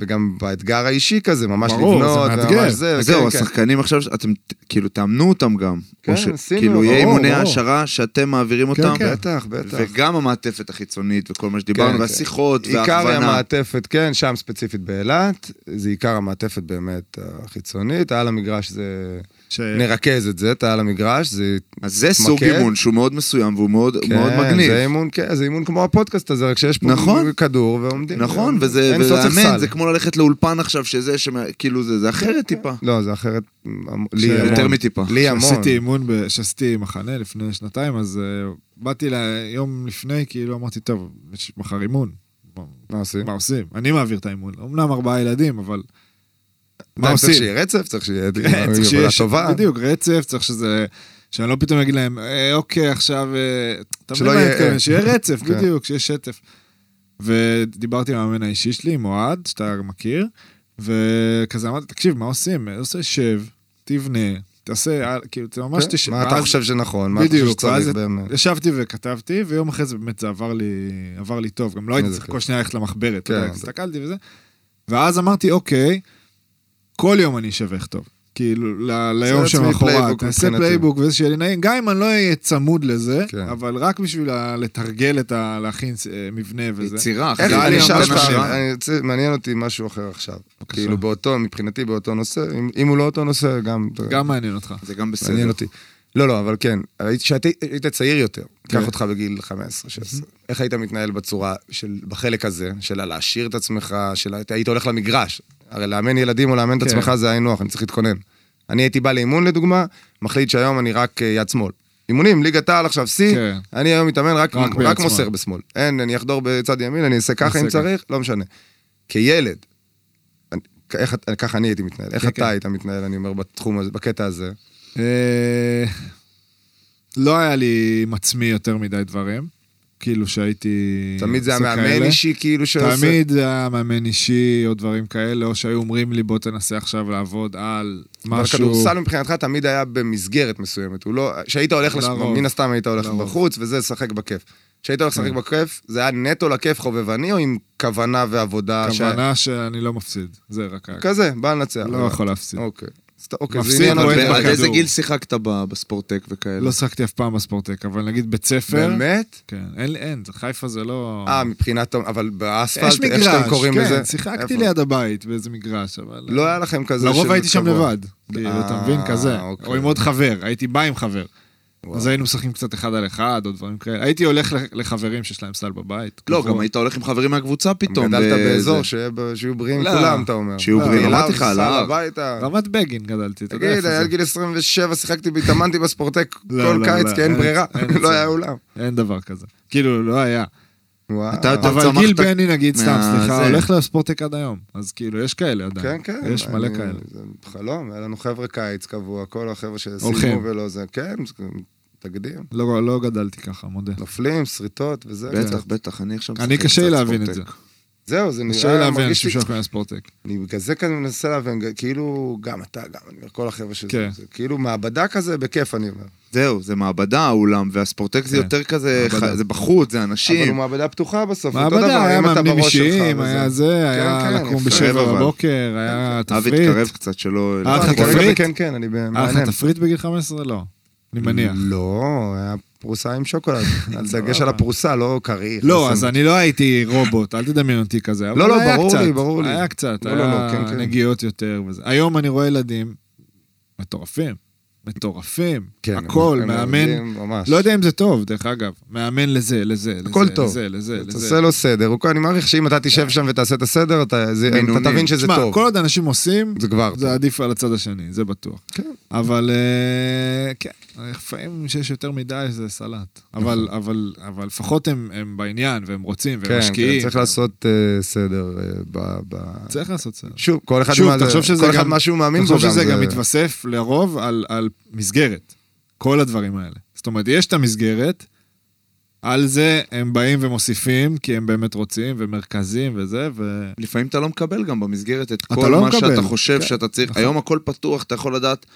S5: וגם באתגר האישי כזה, ממש
S4: ברור, זה
S5: לבנות,
S4: מאתגר. אוקיי,
S5: ממש זה,
S2: אז
S5: וכן,
S2: זהו,
S5: כן.
S2: השחקנים עכשיו, אתם ת- כאילו תאמנו אותם גם.
S5: כן,
S2: או ש-
S5: עשינו,
S2: כאילו יהיה
S5: ברור,
S2: אימוני
S5: ברור.
S2: העשרה שאתם מעבירים אותם.
S4: כן.
S5: בטח, בטח.
S2: וגם המעטפת החיצונית וכל מה
S5: כן,
S2: שדיברנו,
S5: כן.
S2: והשיחות
S5: עיקר
S2: וההכוונה.
S5: המעטפת, כן, שם ספציפית באילת, זה עיקר המעטפת באמת החיצונית, על המגרש זה...
S4: ש-
S5: נרכז את זה, את על המגרש, זה
S2: אז זה סוג
S5: מתמקד.
S2: אימון שהוא מאוד מסוים והוא מאוד מאוד מגניב.
S5: כן, זה אימון, כן, זה אימון כמו הפודקאסט הזה, רק שיש פה
S2: נכון.
S5: כדור ועומדים.
S2: נכון,
S5: אין-
S2: וזה,
S5: אין- לא צריך
S2: ולאמן,
S5: סל.
S2: זה כמו ללכת לאולפן עכשיו, שזה, שמ- כאילו, זה זה אחרת טיפה.
S5: לא, זה אחרת, המ- לי המון.
S2: יותר מטיפה.
S5: לי המון.
S4: עשיתי אימון, ב- שעשיתי מחנה לפני שנתיים, אז אה, באתי ליום לפני, כאילו אמרתי, טוב, יש מחר אימון.
S5: מה עושים?
S4: מה עושים? אני מעביר את האימון. אמנם ארבעה ילדים, אבל... מה
S5: די, לא, צריך
S4: עושים?
S5: שיהיה רצף, צריך שיהיה
S4: כן, צריך
S5: עבודה
S4: שיש-
S5: טובה.
S4: בדיוק, רצף, צריך שזה... שאני לא פתאום אגיד להם, "אה, אוקיי, עכשיו... אה, אתה מבין
S5: שלא
S4: מה אני
S5: יהיה-
S4: מתכוון? שיהיה רצף,
S5: כן.
S4: בדיוק, שיהיה שטף. ודיברתי עם המאמן האישי שלי, עם אוהד, שאתה מכיר, וכזה אמרתי, תקשיב, מה עושים? עושה שב, תבנה, תעשה, אה, כאילו, אתה ממש
S5: כן,
S4: תשב.
S5: מה אתה
S4: ואז-
S5: חושב שנכון? מה אתה חושב
S4: בדיוק, ואז
S5: שצריך באמת?
S4: ישבתי וכתבתי, ויום אחרי זה באמת זה עבר לי, עבר לי טוב, גם לא הייתי
S5: איזה
S4: צריך
S5: כיף.
S4: כל שנייה ללכת למחברת, אתה
S5: כן,
S4: יודע,
S5: זה-
S4: הסתכלתי וזה. ואז אמרתי, אוקיי, כל יום אני אשבח טוב. כאילו, ל- ליום
S5: לעצמי
S4: שמחרת,
S5: פלייבוק
S4: נעשה
S5: מבחינתי.
S4: פלייבוק וזה שיהיה לי נעים, גם אם אני לא אהיה צמוד לזה,
S5: כן.
S4: אבל רק בשביל ה- לתרגל את ה... להכין אה, מבנה וזה.
S2: יצירה,
S5: איך
S4: זה היה
S5: אני
S4: לי
S5: אשאל
S4: ממש
S5: אותך,
S4: מעניין.
S5: אני רוצה- מעניין אותי משהו אחר עכשיו.
S4: בבקשה.
S5: כאילו באותו, מבחינתי באותו נושא, אם- אם הוא לא אותו נושא, גם...
S4: גם מעניין אותך.
S2: זה גם בסדר.
S5: מעניין אותי. לא, לא, אבל כן, הייתי- כשהייתי היית צעיר יותר,
S4: כן.
S5: קח אותך בגיל 15-16. איך היית מתנהל בצורה של, בחלק הזה, של להעשיר את עצמך, של היית- היית הולך למגרש. הרי לאמן ילדים או לאמן את
S4: כן.
S5: עצמך זה היינו הך, אני צריך להתכונן. אני הייתי בא לאימון לדוגמה, מחליט שהיום אני רק אה, יד שמאל. אימונים, ליגת העל עכשיו שיא,
S4: כן.
S5: אני היום מתאמן רק,
S4: רק
S5: רק,
S4: ביד
S5: רק
S4: שמאל.
S5: מוסר בשמאל. אין, אני אחדור בצד ימין, אני אעשה ככה אם
S4: אעשה ככה.
S5: צריך, לא משנה. כילד, אני- איך, את- ככה אני הייתי מתנהל, איך
S4: כן, כן.
S5: אתה היית מתנהל, אני אומר, בתחום הזה, בקטע הזה.
S4: אה, לא היה לי עם עצמי יותר מדי דברים, כאילו שהייתי...
S5: תמיד זה
S4: עושה
S5: המאמן
S4: כאלה.
S5: אישי כאילו שעושה...
S4: תמיד זה היה מאמן אישי או דברים כאלה, או שהיו אומרים לי, בוא תנסה עכשיו לעבוד על
S5: אבל
S4: משהו.
S5: כדורסל מבחינתך תמיד היה במסגרת מסוימת. הוא לא... כשהיית הולך, לש...
S4: לרוב.
S5: מן הסתם היית הולך
S4: לרוב.
S5: בחוץ, וזה לשחק בכיף. כשהיית הולך לשחק
S4: נכון. כן.
S5: בכיף, זה היה נטו לכיף חובבני, או עם כוונה ועבודה?
S4: כוונה שאני לא מפסיד, זה רק היה.
S5: ש... כזה, בא לנצח.
S4: לא יכול להפסיד.
S5: אוקיי. אז אתה- אוקיי,
S4: מפסיד, לא
S5: זה עניין
S4: בועט
S5: אותי.
S4: בכדור.
S2: עד איזה גיל שיחקת ב- בספורטק וכאלה?
S4: לא שחקתי אף פעם בספורטק, אבל נגיד בית ספר...
S5: באמת?
S4: כן, אין, אין, זה- חיפה זה לא...
S5: אה, מבחינת... אבל
S4: יש
S5: באספלט, איך
S4: מגרש,
S5: שאתם קוראים לזה?
S4: כן, שיחקתי
S5: איפה?
S4: ליד הבית באיזה מגרש, אבל...
S5: לא היה לכם כזה
S4: לרוב
S5: של
S4: הייתי שם
S5: כבוד.
S4: לבד, כאילו, אתה מבין?
S5: אה,
S4: כזה.
S5: אוקיי.
S4: או עם עוד חבר, הייתי בא עם חבר.
S5: וואו.
S4: אז היינו משחקים קצת אחד על אחד, או דברים כאלה. הייתי הולך לח- לחברים שיש להם סל בבית.
S2: לא,
S4: קבוע.
S2: גם היית הולך עם חברים מהקבוצה פתאום.
S5: גדלת
S2: וזה.
S5: באזור שיהיה ב- שיהיו בריאים
S4: אה, לא.
S5: כולם, אתה אומר.
S2: שיהיו
S5: לא,
S2: בריאים,
S5: אליו,
S2: אמרתי לך, על
S5: סע
S2: ההר.
S5: הביתה.
S4: רמת בגין גדלתי, אתה יודע
S5: תגיד,
S4: איפה
S5: היה
S4: זה.
S5: עד גיל 27 שיחקתי והתאמנתי בספורטק
S4: לא,
S5: כל
S4: לא,
S5: קיץ,
S4: לא,
S5: כי אין
S4: אין-
S5: ברירה,
S4: אין
S5: לא
S4: זה.
S5: היה אולם.
S4: אין דבר כזה. כאילו, לא היה.
S5: וואו.
S2: אתה יותר-
S4: אבל
S2: צמחת-
S4: גיל בני, נגיד, סתם,
S2: מה-
S4: סליחה,
S2: זה.
S4: הולך לספורטק עד היום. אז כאילו, יש כאלה
S5: כן,
S4: עדיין.
S5: כן.
S4: יש מלא
S5: אני-
S4: כאלה.
S5: זה חלום, היה לנו חבר'ה קיץ קבוע, כל החבר'ה שסיימו
S4: הולכים.
S5: ולא זה, כן, זה תקדים.
S4: לא לא גדלתי ככה, מודה.
S5: נופלים, שריטות וזה.
S2: בטח, בטח, אני עכשיו...
S4: אני
S2: משחק
S4: קשה לי
S2: קצת
S4: להבין את זה.
S2: ספורטק.
S5: זהו, זה
S4: קשה לי
S5: נראה,
S4: להבין
S5: אה, מרגיש
S4: אנשים
S5: לי...
S4: שאוכלים אספורטק.
S5: אני בגלל זה כזה מנסה להבין, כאילו, גם אתה, גם אני אומר, כל החבר'ה של
S4: כן.
S5: זה, זה כאילו מעבדה כזה, בכיף, אני אומר.
S2: זהו, זה מעבדה האולם, והספורטק זה
S4: כן,
S2: יותר כזה,
S4: מעבדה.
S2: ח- זה בחוץ, זה
S5: אבל הוא
S2: אנשים.
S5: מעבדה פתוחה בסוף, אותו דבר,
S4: מעבדה, היה
S5: אם אתה
S4: מאמנים
S5: בראש שלך
S4: אישיים,
S5: וזה.
S4: היה זה, היה
S5: כן,
S4: לקום
S2: קרב,
S5: יפה.
S4: בשבע
S2: אבל.
S4: בבוקר, היה
S2: אבי,
S4: תפריט.
S2: תתקרב קצת, שלא...
S4: אה,
S5: לא,
S4: לך
S5: אני כרגע
S4: תפריט?
S5: בכן, כן, אני
S4: היה
S5: במעניין.
S4: לך תפריט בגיל 15? לא. אני מניח.
S5: לא, היה פרוסה עם שוקולד. על דגש
S4: סבבה.
S5: על הפרוסה, לא כריך.
S4: לא,
S5: שם.
S4: אז אני לא הייתי רובוט, אל תדמיין אותי כזה. אבל
S5: לא, לא,
S4: היה
S5: ברור לי,
S4: קצת,
S5: ברור לי.
S4: היה קצת,
S5: לא, לא, לא,
S4: היה
S5: כן, כן.
S4: נגיעות יותר וזה. היום אני רואה ילדים מטורפים, מטורפים,
S5: כן,
S4: הכל,
S5: הם
S4: מאמן.
S5: עובדים ממש.
S4: לא יודע אם זה טוב, דרך אגב. מאמן לזה, לזה, לזה,
S5: הכל טוב.
S4: לזה, לזה,
S5: אתה
S4: לזה.
S5: עושה לו סדר. הוא- אני מעריך שאם אתה תשב שם ותעשה את הסדר, אתה זה-
S2: מינונים.
S5: אתה תבין שזה
S4: תשמע,
S5: טוב.
S4: אה. כל עוד אנשים עושים,
S5: זה כבר.
S4: זה עדיף על הצד השני, זה בטוח.
S5: כן.
S4: אבל אה, כן, לפעמים שיש יותר מדי זה סלט. אבל- אבל אבל לפחות הם הם בעניין, והם רוצים, והם
S5: נכון. כן,
S4: משקיעים.
S5: כן, צריך לעשות אה, סדר אה, ב... ב-
S4: צריך לעשות סלט.
S5: שוב, כל אחד
S4: שוב,
S5: מה זה-
S4: תחשוב שזה
S5: כל אחד
S4: גם-
S5: מה שהוא מאמין בו
S4: תחשוב
S5: גם.
S4: שזה גם
S5: זה-
S4: מתווסף לרוב על, על מסגרת, כל הדברים האלה. זאת אומרת, יש את המסגרת, על זה הם באים ומוסיפים, כי הם באמת רוצים, ומרכזים וזה, ו...
S2: לפעמים אתה לא מקבל גם במסגרת את
S4: אתה
S2: כל
S4: לא
S2: מה
S4: מקבל.
S2: שאתה חושב
S4: כן,
S2: שאתה צריך.
S4: נכון.
S2: היום הכל פתוח, אתה יכול לדעת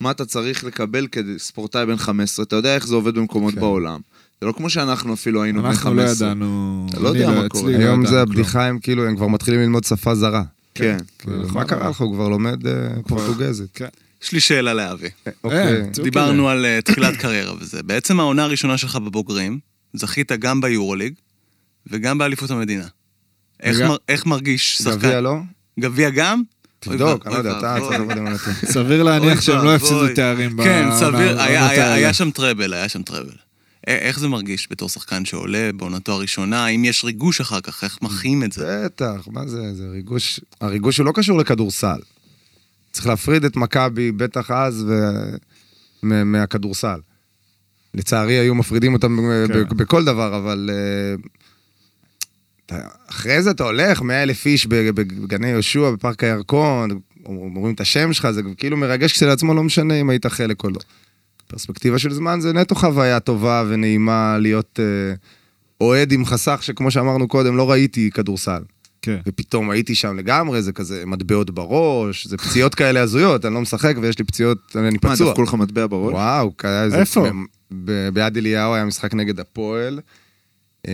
S2: מה אתה צריך לקבל כספורטאי בן 15, אתה יודע איך זה עובד במקומות בעולם. זה לא כמו שאנחנו אפילו היינו בן
S4: כן. אנחנו לא
S2: 15.
S4: ידענו...
S2: אתה לא
S4: אני
S2: יודע מה
S4: אצלי
S2: קורה.
S4: לא
S5: היום
S4: ידענו
S5: זה
S4: כלום.
S5: הבדיחה, הם כאילו, הם כבר מתחילים ללמוד שפה זרה.
S2: כן.
S5: כאילו,
S4: נכון.
S5: מה קרה לך? הוא כבר לומד אה, פורטוגזית.
S4: כן.
S1: יש לי שאלה לאבי.
S5: אוקיי.
S4: אה, צוקי.
S1: דיברנו על אה, תחילת קריירה וזה. בעצם העונה הראשונה שלך בבוגרים, זכית גם ביורוליג וגם באליפות המדינה. איך
S4: וגם-
S1: מר- איך מרגיש
S5: גביע
S1: שחקן?
S5: לא?
S1: גביע גם? אוי
S5: תבדוק,
S1: ואבוי,
S5: אני לא יודע, אתה
S1: ואבוי.
S5: צריך לעבוד עם הנתון.
S4: סביר להניח
S1: אוי
S4: שהם לא
S1: ואבוי.
S4: יפסידו תארים
S1: כן,
S4: בעונה-
S1: סביר, היה-
S4: בעונות
S1: היה
S4: האלה.
S1: היה שם טראבל, היה שם טראבל. א- איך זה מרגיש בתור שחקן שעולה בעונתו הראשונה? אם יש ריגוש אחר כך, איך מחיים את זה?
S5: בטח, מה זה, זה ריגוש, הריגוש הוא לא קשור לכדורסל. צריך להפריד את מכבי, בטח אז, ו... מ- מהכדורסל. לצערי, היו מפרידים אותם
S4: כן.
S5: כן. ב- בכל דבר, אבל... אה, אתה- אחרי זה אתה הולך, 100 אלף איש ב- בגני יהושע, בפארק הירקון, אומרים את השם שלך, זה כאילו מרגש כשלעצמו, לא משנה אם היית חלק או לא. פרספקטיבה של זמן זה נטו חוויה טובה ונעימה להיות אה, אוהד עם חסך שכמו שאמרנו קודם, לא ראיתי כדורסל.
S4: כן.
S5: ופתאום הייתי שם לגמרי, זה כזה מטבעות בראש, זה פציעות כאלה הזויות, אני לא משחק ויש לי פציעות, אני
S2: מה,
S5: פצוע.
S2: דפקו לך מטבע בראש?
S5: וואו, היה איזה...
S4: איפה?
S5: ב- ב- ביד אליהו היה משחק נגד הפועל. אה,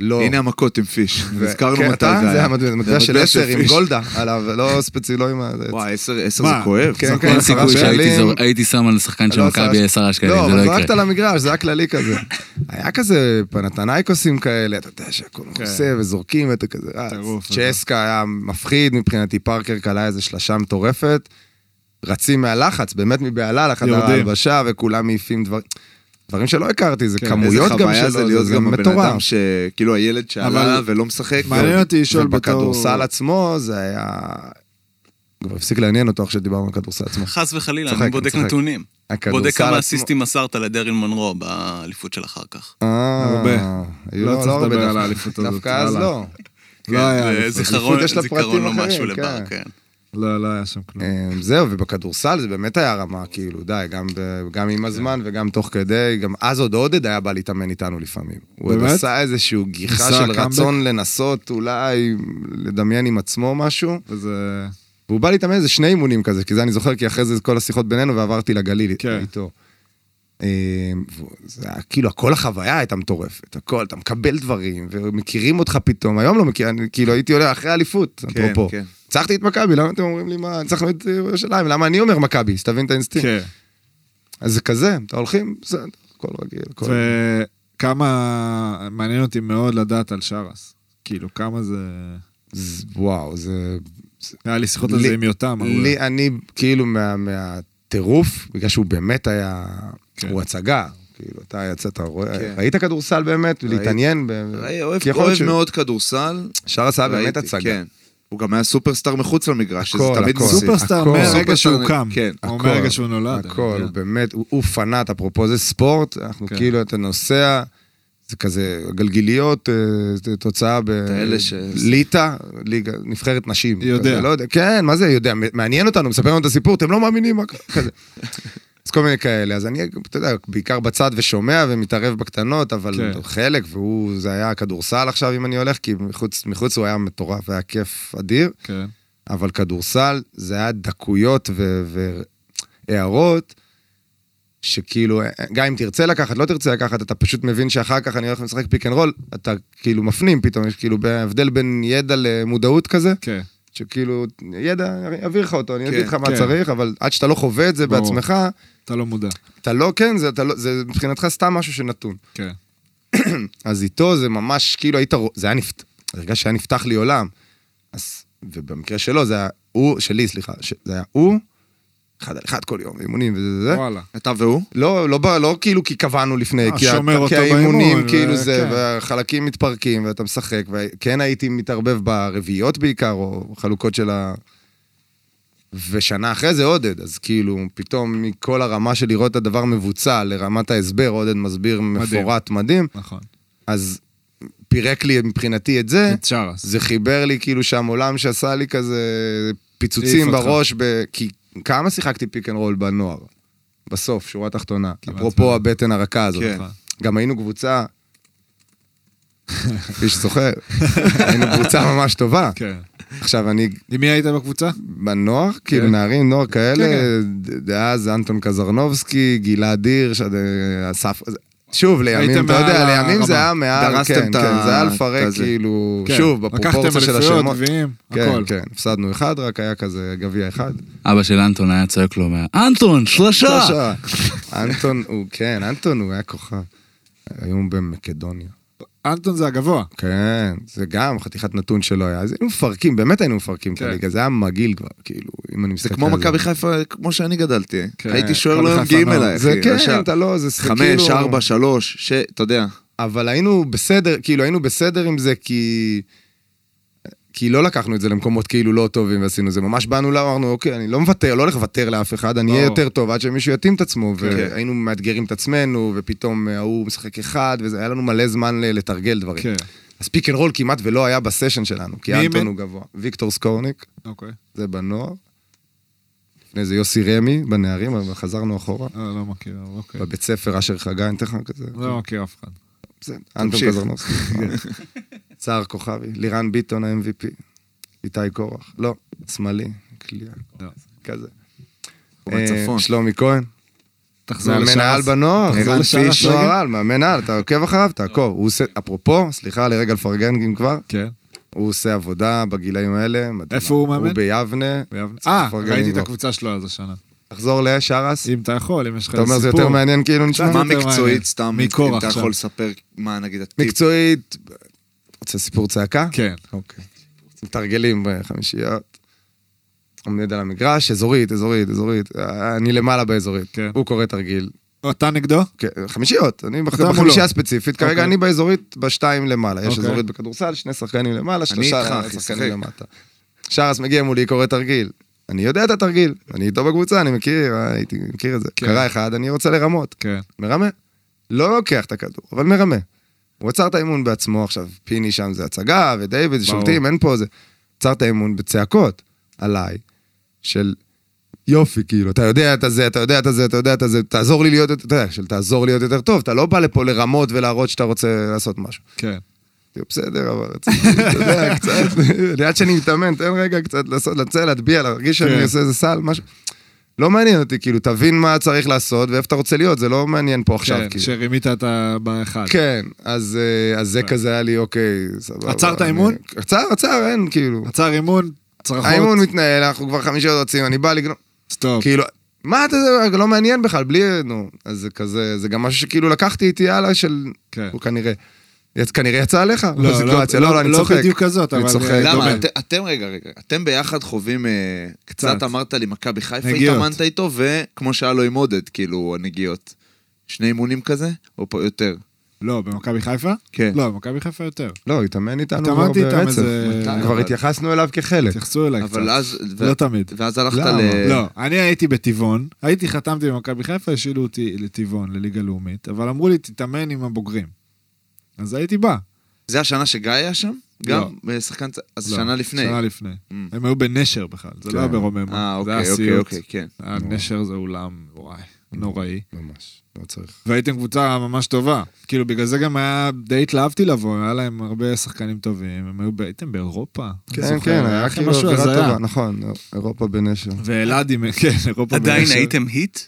S5: לא.
S2: הנה המכות עם פיש,
S5: ו-
S2: נזכרנו
S5: כן,
S2: מתי
S5: אתה?
S2: זה
S5: זה
S2: היה.
S5: המטבע
S2: המטבע
S5: המטבע של עשר עם
S2: פיש.
S5: גולדה עליו, לא ספציפי, לא עם ה...
S2: וואי, עשר עשר זה
S4: מה?
S2: כואב.
S5: כן,
S2: סך
S5: כן,
S2: הכל
S5: עשרה
S2: סיכוי
S5: שקלים.
S2: שהייתי-
S6: שהייתי זור- הייתי שם על שחקן של
S5: לא,
S6: מכבי
S5: עשרה-
S6: 10 שקלים,
S5: לא,
S6: זה
S5: אבל
S6: לא
S5: זרקת
S6: יקרה.
S5: למגרש, זה היה כללי כזה. היה כזה פנתנייקוסים כאלה, אתה יודע שהכל מכוסה וזורקים ואתה כזה רץ.
S4: טירוף,
S5: צ'סקה היה מפחיד מבחינתי, פארקר קלע איזה שלשה מטורפת. רצים מהלחץ, באמת מבהלה לחדר
S4: יורדים.
S5: ההלבשה, וכולם מעיפים דברים. דברים שלא הכרתי, זה
S4: כן.
S5: כמויות
S2: איזה
S5: גם
S2: חוויה זה
S5: שלא,
S2: להיות
S5: לא, זה
S2: גם הבן
S5: מטורף.
S2: אדם שכאילו הילד שעלה
S4: אבל-
S2: ולא משחק.
S4: מעניין אותי לשאול בתור...
S5: ובכדורסל עצמו זה היה... כבר הפסיק לעניין אותו עכשיו שדיברנו על כדורסל עצמו.
S1: חס וחלילה,
S5: צוחק,
S1: אני בודק
S5: צוחק.
S1: נתונים.
S5: הכדורסל
S1: בודק כמה
S5: עצמו-
S1: אסיסטים מסרת לדרין מונרו באליפות של אחר כך.
S5: אה,
S4: הרבה.
S5: היו-
S4: לא צריך לדבר
S5: דווקא.
S4: על האליפות הזאת,
S5: דווקא אז
S4: הלאה.
S5: לא.
S4: לא היה
S1: כן, זה
S4: אליפות.
S1: זיכרון,
S5: יש לה
S1: זיכרון
S5: פרטים
S1: או משהו
S5: אחרים,
S1: לבר,
S5: כן.
S1: כן.
S4: לא, לא היה שם כלום.
S5: אמ, זהו, ובכדורסל זה באמת היה רמה, כאילו, די, גם, ב- גם עם הזמן וגם תוך כדי, גם אז עוד עודד היה בא להתאמן איתנו לפעמים. הוא עוד
S4: באמת?
S5: עשה איזשהו גיחה
S4: עשה
S5: של
S4: קאמבק?
S5: רצון לנסות אולי לדמיין עם עצמו משהו,
S4: וזה...
S5: והוא בא להתאמן איזה שני אימונים כזה, כי זה אני זוכר, כי אחרי זה כל השיחות בינינו ועברתי לגליל
S4: כן.
S5: איתו. אמ, והוא- זה היה כאילו, כל החוויה הייתה מטורפת, הכל, אתה מקבל דברים, ומכירים אותך פתאום, היום לא מכיר, אני כאילו הייתי עולה אחרי האליפות,
S2: כן,
S5: אפרופו.
S2: כן.
S5: ניצחתי את מכבי, למה אתם אומרים לי מה, ניצחנו את אה, ירושלים, למה אני אומר מכבי, שתבין את האינסטינקט.
S4: כן.
S5: אז זה כזה, אתה הולכים, בסדר, הכל רגיל, הכל רגיל.
S4: וכמה... מעניין אותי מאוד לדעת על שרס. כאילו, כמה זה...
S5: זה- וואו, זה...
S4: היה לי שיחות על זה
S5: לי-
S4: עם יותם. הרבה.
S5: לי, אני כאילו מה- מהטירוף, בגלל שהוא באמת היה,
S4: כן.
S5: הוא הצגה. כאילו, אתה יצאת, רואה-
S2: כן.
S5: ראית כדורסל באמת, להתעניין ב...
S2: ראי, אוהב
S5: כי יכול להיות
S2: אוהב
S5: ש-
S2: מאוד כדורסל.
S5: שר עשה באמת
S2: ראיתי,
S5: הצגה.
S2: כן. הוא גם היה סופרסטאר מחוץ למגרש, שזה
S5: הכל,
S2: תמיד
S5: הכל.
S2: מוסיף.
S4: סופרסטאר
S5: הכל.
S4: מהרגע
S2: סופרסטאר,
S4: שהוא קם.
S2: כן,
S4: או
S5: הכל.
S4: מהרגע שהוא נולד. אני
S5: הכל,
S4: יודע.
S5: הוא באמת, הוא- הוא פנאט, אפרופו זה ספורט, אנחנו
S4: כן.
S5: כאילו, אתה נוסע, זה כזה גלגיליות, אה, זה תוצאה
S2: האלה ש-
S5: בליטה, ליגה, נבחרת נשים.
S4: יודע.
S5: כזה, לא יודע, כן, מה זה יודע, מעניין אותנו, מספר לנו את הסיפור, אתם לא מאמינים מה קרה, כזה. אז כל מיני כאלה. אז אני, אתה יודע, בעיקר בצד ושומע ומתערב בקטנות, אבל
S4: כן.
S5: כן. חלק, והוא, זה היה כדורסל עכשיו, אם אני הולך, כי מחוץ, מחוץ הוא היה מטורף, היה כיף אדיר,
S4: כן.
S5: אבל כדורסל זה היה דקויות ו- והערות. שכאילו, גם אם תרצה לקחת, לא תרצה לקחת, אתה פשוט מבין שאחר כך אני הולך ומשחק פיק אנד רול, אתה כאילו מפנים פתאום, יש כאילו הבדל בין ידע למודעות כזה,
S4: כן.
S5: שכאילו, ידע, אני אעביר לך אותו, אני
S1: כן,
S5: אגיד לך
S4: כן.
S5: מה צריך, אבל עד שאתה לא חווה את זה
S4: ברור.
S5: בעצמך,
S4: אתה לא מודע.
S5: אתה לא, כן, זה, אתה לא, זה מבחינתך סתם משהו שנתון.
S4: כן.
S5: אז איתו זה ממש, כאילו היית, רוא- זה היה נפתח, הרגשתי שהיה נפתח לי עולם. אז, ובמקרה שלו זה היה הוא, שלי, סליחה, ש, זה היה הוא, אחד על אחד כל יום, אימונים וזה זה זה.
S4: וואלה.
S2: אתה והוא?
S5: לא, לא, לא, לא כאילו כי קבענו לפני,
S4: אה,
S5: כי, ה-
S4: שומר אותו
S5: כי
S4: באימון,
S5: האימונים, כאילו
S4: ו-
S5: זה,
S4: כן.
S5: והחלקים מתפרקים, ואתה משחק, וכן הייתי מתערבב ברביעיות בעיקר, או חלוקות של ה... ושנה אחרי זה עודד, אז כאילו, פתאום מכל הרמה של לראות את הדבר מבוצע לרמת ההסבר, עודד מסביר מפורט מדהים,
S4: נכון.
S5: אז פירק לי מבחינתי את זה,
S4: את שרס.
S5: זה חיבר לי כאילו שם עולם שעשה לי כזה
S4: העיף
S5: פיצוצים
S4: אותך.
S5: בראש, ב... כי כמה שיחקתי פיק אנד רול בנוער? בסוף, שורה תחתונה.
S4: כמעט מלא.
S5: אפרופו הבטן הרכה הזאת.
S1: כן.
S5: גם היינו קבוצה, מי שזוכר, היינו קבוצה ממש טובה.
S4: כן.
S5: עכשיו, אני
S4: עם מי היית בקבוצה?
S5: בנוער, כאילו
S4: כן.
S5: נערים, נוער
S4: כן,
S5: כאלה, ד- דאז אנטון קזרנובסקי, גלעד הירש, עד, אה, אסף... שוב, לימים,
S4: הייתם
S5: אתה יודע,
S4: מעל
S5: לימים זה
S4: הרמה.
S5: היה מעל,
S2: דרסתם
S5: כן,
S2: את ה-
S5: כן, זה היה
S2: את
S5: לפרק
S2: הזה.
S5: כאילו,
S4: כן.
S5: שוב, בפרופורציה של
S4: לקחתם אליפויות,
S5: השמות.
S4: גביעים,
S5: כן,
S4: הכל.
S5: כן, הפסדנו אחד, רק היה כזה גביע אחד.
S6: אבא של אנטון היה צועק לו, מה- אנטון,
S4: לא!
S6: שלושה!
S5: שלושה. אנטון הוא, כן, אנטון הוא היה כוכב. היום במקדוניה.
S4: אנטון זה הגבוה.
S5: כן, זה גם חתיכת נתון שלא היה. אז היינו מפרקים, באמת היינו מפרקים את
S4: כן.
S5: הליגה, זה היה מגעיל כבר, כאילו, אם אני
S2: זה
S5: מסתכל
S2: כמו
S5: על
S2: מכבי חיפה, כמו שאני גדלתי.
S4: כן,
S2: הייתי
S4: כל
S2: שוער לא היו
S4: חיפה
S2: מגיעים
S4: נוער.
S2: אליי, אחי.
S5: זה כן,
S2: ישר.
S5: אתה לא, זה זה
S2: חמש,
S5: כאילו-
S2: ארבע, שלוש, ש... אתה יודע.
S5: אבל היינו בסדר, כאילו היינו בסדר עם זה כי... כי לא לקחנו את זה למקומות כאילו לא טובים ועשינו זה. ממש באנו, לא אמרנו, אוקיי, אני לא מוותר, לא הולך לוותר לאף אחד, אני אהיה
S4: ברור.
S5: יותר טוב עד שמישהו יתאים את עצמו.
S2: כן.
S5: והיינו מאתגרים את עצמנו, ופתאום אה, ההוא משחק אחד, וזה היה לנו מלא זמן ל- לתרגל דברים.
S4: כן.
S5: אז פיק אנד רול כמעט ולא היה בסשן שלנו, כי
S4: מי
S5: אנטון
S4: אימן?
S5: הוא גבוה. ויקטור סקורניק,
S4: אוקיי.
S5: זה בנוער. לפני זה יוסי רמי בנערים, אבל חזרנו אחורה.
S4: אה, לא מכיר, אבל אוקיי.
S5: בבית ספר אשר חגי, אני אתן לך כזה.
S4: לא מכיר אף אחד.
S5: זה, אנטון
S2: תמשיך.
S5: קזרנובסקי. צער כוכבי, לירן ביטון ה-MVP, איתי קורח, לא, שמאלי, קליעה,
S4: לא.
S5: כזה.
S2: הוא
S5: אה,
S2: בצפון.
S5: שלומי כהן,
S4: תחזור
S5: מאמן העל
S4: לשרס.
S5: בנוער,
S4: תחזור
S5: ערן
S4: לשרס
S5: פיש,
S4: רגע.
S5: נוער על, מאמן העל, אתה עוקב אחריו, תעקוב. הוא עושה, אפרופו, סליחה לרגע לפרגן אם כבר,
S4: כן.
S5: הוא עושה עבודה בגילאים האלה. מדהימה.
S4: איפה הוא מאמן?
S5: הוא ביבנה.
S4: ביבנה.
S5: צריך
S4: אה,
S5: לפרגן
S4: ראיתי את
S5: לו.
S4: הקבוצה שלו אז השנה.
S5: תחזור לשרס,
S4: אם אתה יכול, אם יש לך
S5: אתה אומר זה
S4: סיפור.
S5: יותר מעניין כאילו נשמע?
S2: מה
S4: יותר מעניין.
S2: מקצועית, סתם,
S4: מקורח
S2: אם אתה
S4: שם.
S2: יכול לספר מה נגיד הטיפ.
S5: מקצועית, רוצה סיפור צעקה?
S4: כן.
S5: אוקיי. מתרגלים בחמישיות. עומד על המגרש, אזורית, אזורית, אזורית. אה, אני למעלה באזורית.
S4: כן.
S5: הוא קורא תרגיל.
S4: או, אתה נגדו?
S5: כן, חמישיות, אני בח-
S4: מולו.
S5: בחמישייה הספציפית.
S4: אוקיי.
S5: כרגע אני באזורית בשתיים למעלה. יש
S4: אוקיי.
S5: אזורית בכדורסל, שני שחקנים למעלה,
S2: איתך,
S5: שלושה
S2: אחי,
S5: שחקנים
S2: שחק.
S5: למטה. שרס מגיע מולי, קורא תרגיל. אני יודע את התרגיל, אני איתו בקבוצה, אני מכיר, אה, הייתי מכיר את זה.
S4: כן.
S5: קרה אחד, אני רוצה לרמות.
S4: כן.
S5: מרמה. לא לוקח את הכדור, אבל מרמה. הוא עצר את האימון בעצמו עכשיו, פיני שם זה הצגה, ודייוויד,
S4: ברור.
S5: שולטים, אין פה זה. עצר את האימון בצעקות עליי, של יופי, כאילו, אתה יודע את הזה, אתה יודע את הזה, אתה יודע את הזה, תעזור לי להיות, יותר-" אתה יודע, של תעזור לי להיות יותר טוב, אתה לא בא לפה לרמות ולהראות שאתה רוצה לעשות משהו.
S4: כן.
S5: אמרתי לו, כאילו, בסדר, אבל רציתי, אתה יודע, קצת, ליד שאני מתאמן, תן רגע קצת לעשות, לצאת, להטביע, להרגיש
S4: כן.
S5: שאני עושה איזה סל, משהו. לא מעניין אותי, כאילו, תבין מה צריך לעשות ואיפה אתה רוצה להיות, זה לא מעניין פה עכשיו,
S4: כן,
S5: כאילו.
S4: שרימית את ה... באחד.
S5: כן, אז אה, אז זה כזה היה לי, אוקיי, סבבה.
S4: כן. עצרת
S5: אני-
S4: אימון?
S5: עצר, עצר, אין, כאילו.
S4: עצר אימון, צרחות.
S5: האימון מתנהל, אנחנו כבר חמישה רצים, אני בא לגנוב.
S4: סטופ.
S2: כן.
S5: כאילו, מה אתה זה, לא מעניין בכלל, בלי, נו. אז זה כזה, זה גם משהו שכאילו לקחתי איתי הלאה של...
S4: כן.
S5: הוא כנראה. יצ- כנראה יצא עליך
S4: לא,
S5: בסיטואציה,
S4: לא,
S5: לא, לא, אני
S4: לא
S5: צוחק.
S4: בדיוק כזאת,
S5: אני
S4: אבל- אה,
S5: צוחק.
S2: למה?
S4: דומה.
S2: את- אתם, רגע, רגע, אתם ביחד חווים, אה,
S4: קצת.
S2: קצת אמרת לי, מכבי חיפה
S4: נגיעות.
S2: התאמנת איתו, וכמו שהיה לו עם עודד, כאילו, הנגיעות. שני אימונים כזה, או פה יותר?
S4: לא, במכבי חיפה?
S2: כן.
S4: לא, במכבי חיפה יותר.
S5: לא, התאמן איתנו כבר
S4: התאמנתי איתם
S5: ברצף.
S4: איזה... לא. כן.
S2: מתי?
S5: כבר
S2: אבל-
S5: התייחסנו אליו כחלק.
S4: התייחסו אליי קצת.
S2: אבל אז... ו-
S4: לא תמיד.
S2: ואז הלכת
S5: למה?
S2: ל...
S4: לא, אני הייתי בטבעון, הייתי חתמתי במכבי חיפה, השאילו אותי לטבעון, לליגה לאומית, אבל אמרו לי, תתאמן עם הבוגרים. אז הייתי בא.
S2: זה השנה שגיא היה שם?
S4: לא.
S2: גם? אה, שחקן... צ- אז
S4: לא,
S2: שנה לפני.
S4: שנה לפני.
S2: Mm.
S4: הם היו בנשר בכלל, זה לא היה ברוממה.
S2: אה,
S4: זה היה
S2: אוקיי,
S4: סיוט.
S2: אוקיי, אוקיי, כן.
S4: הנשר זה אולם, וואי. נוראי.
S5: ממש, לא צריך.
S4: והייתם קבוצה ממש טובה. כאילו, בגלל זה גם היה, די התלהבתי לבוא, היה להם הרבה שחקנים טובים, הם היו, ב- הייתם באירופה. אני
S5: כן,
S4: זוכר,
S5: כן, היה
S4: לכם
S5: כאילו
S4: משהו
S5: אווירה
S4: הזיה.
S5: טובה, נכון, אירופה בנשר.
S4: ואלעד עם, כן, אירופה
S1: עדיין
S4: בנשר.
S1: הייתם היט?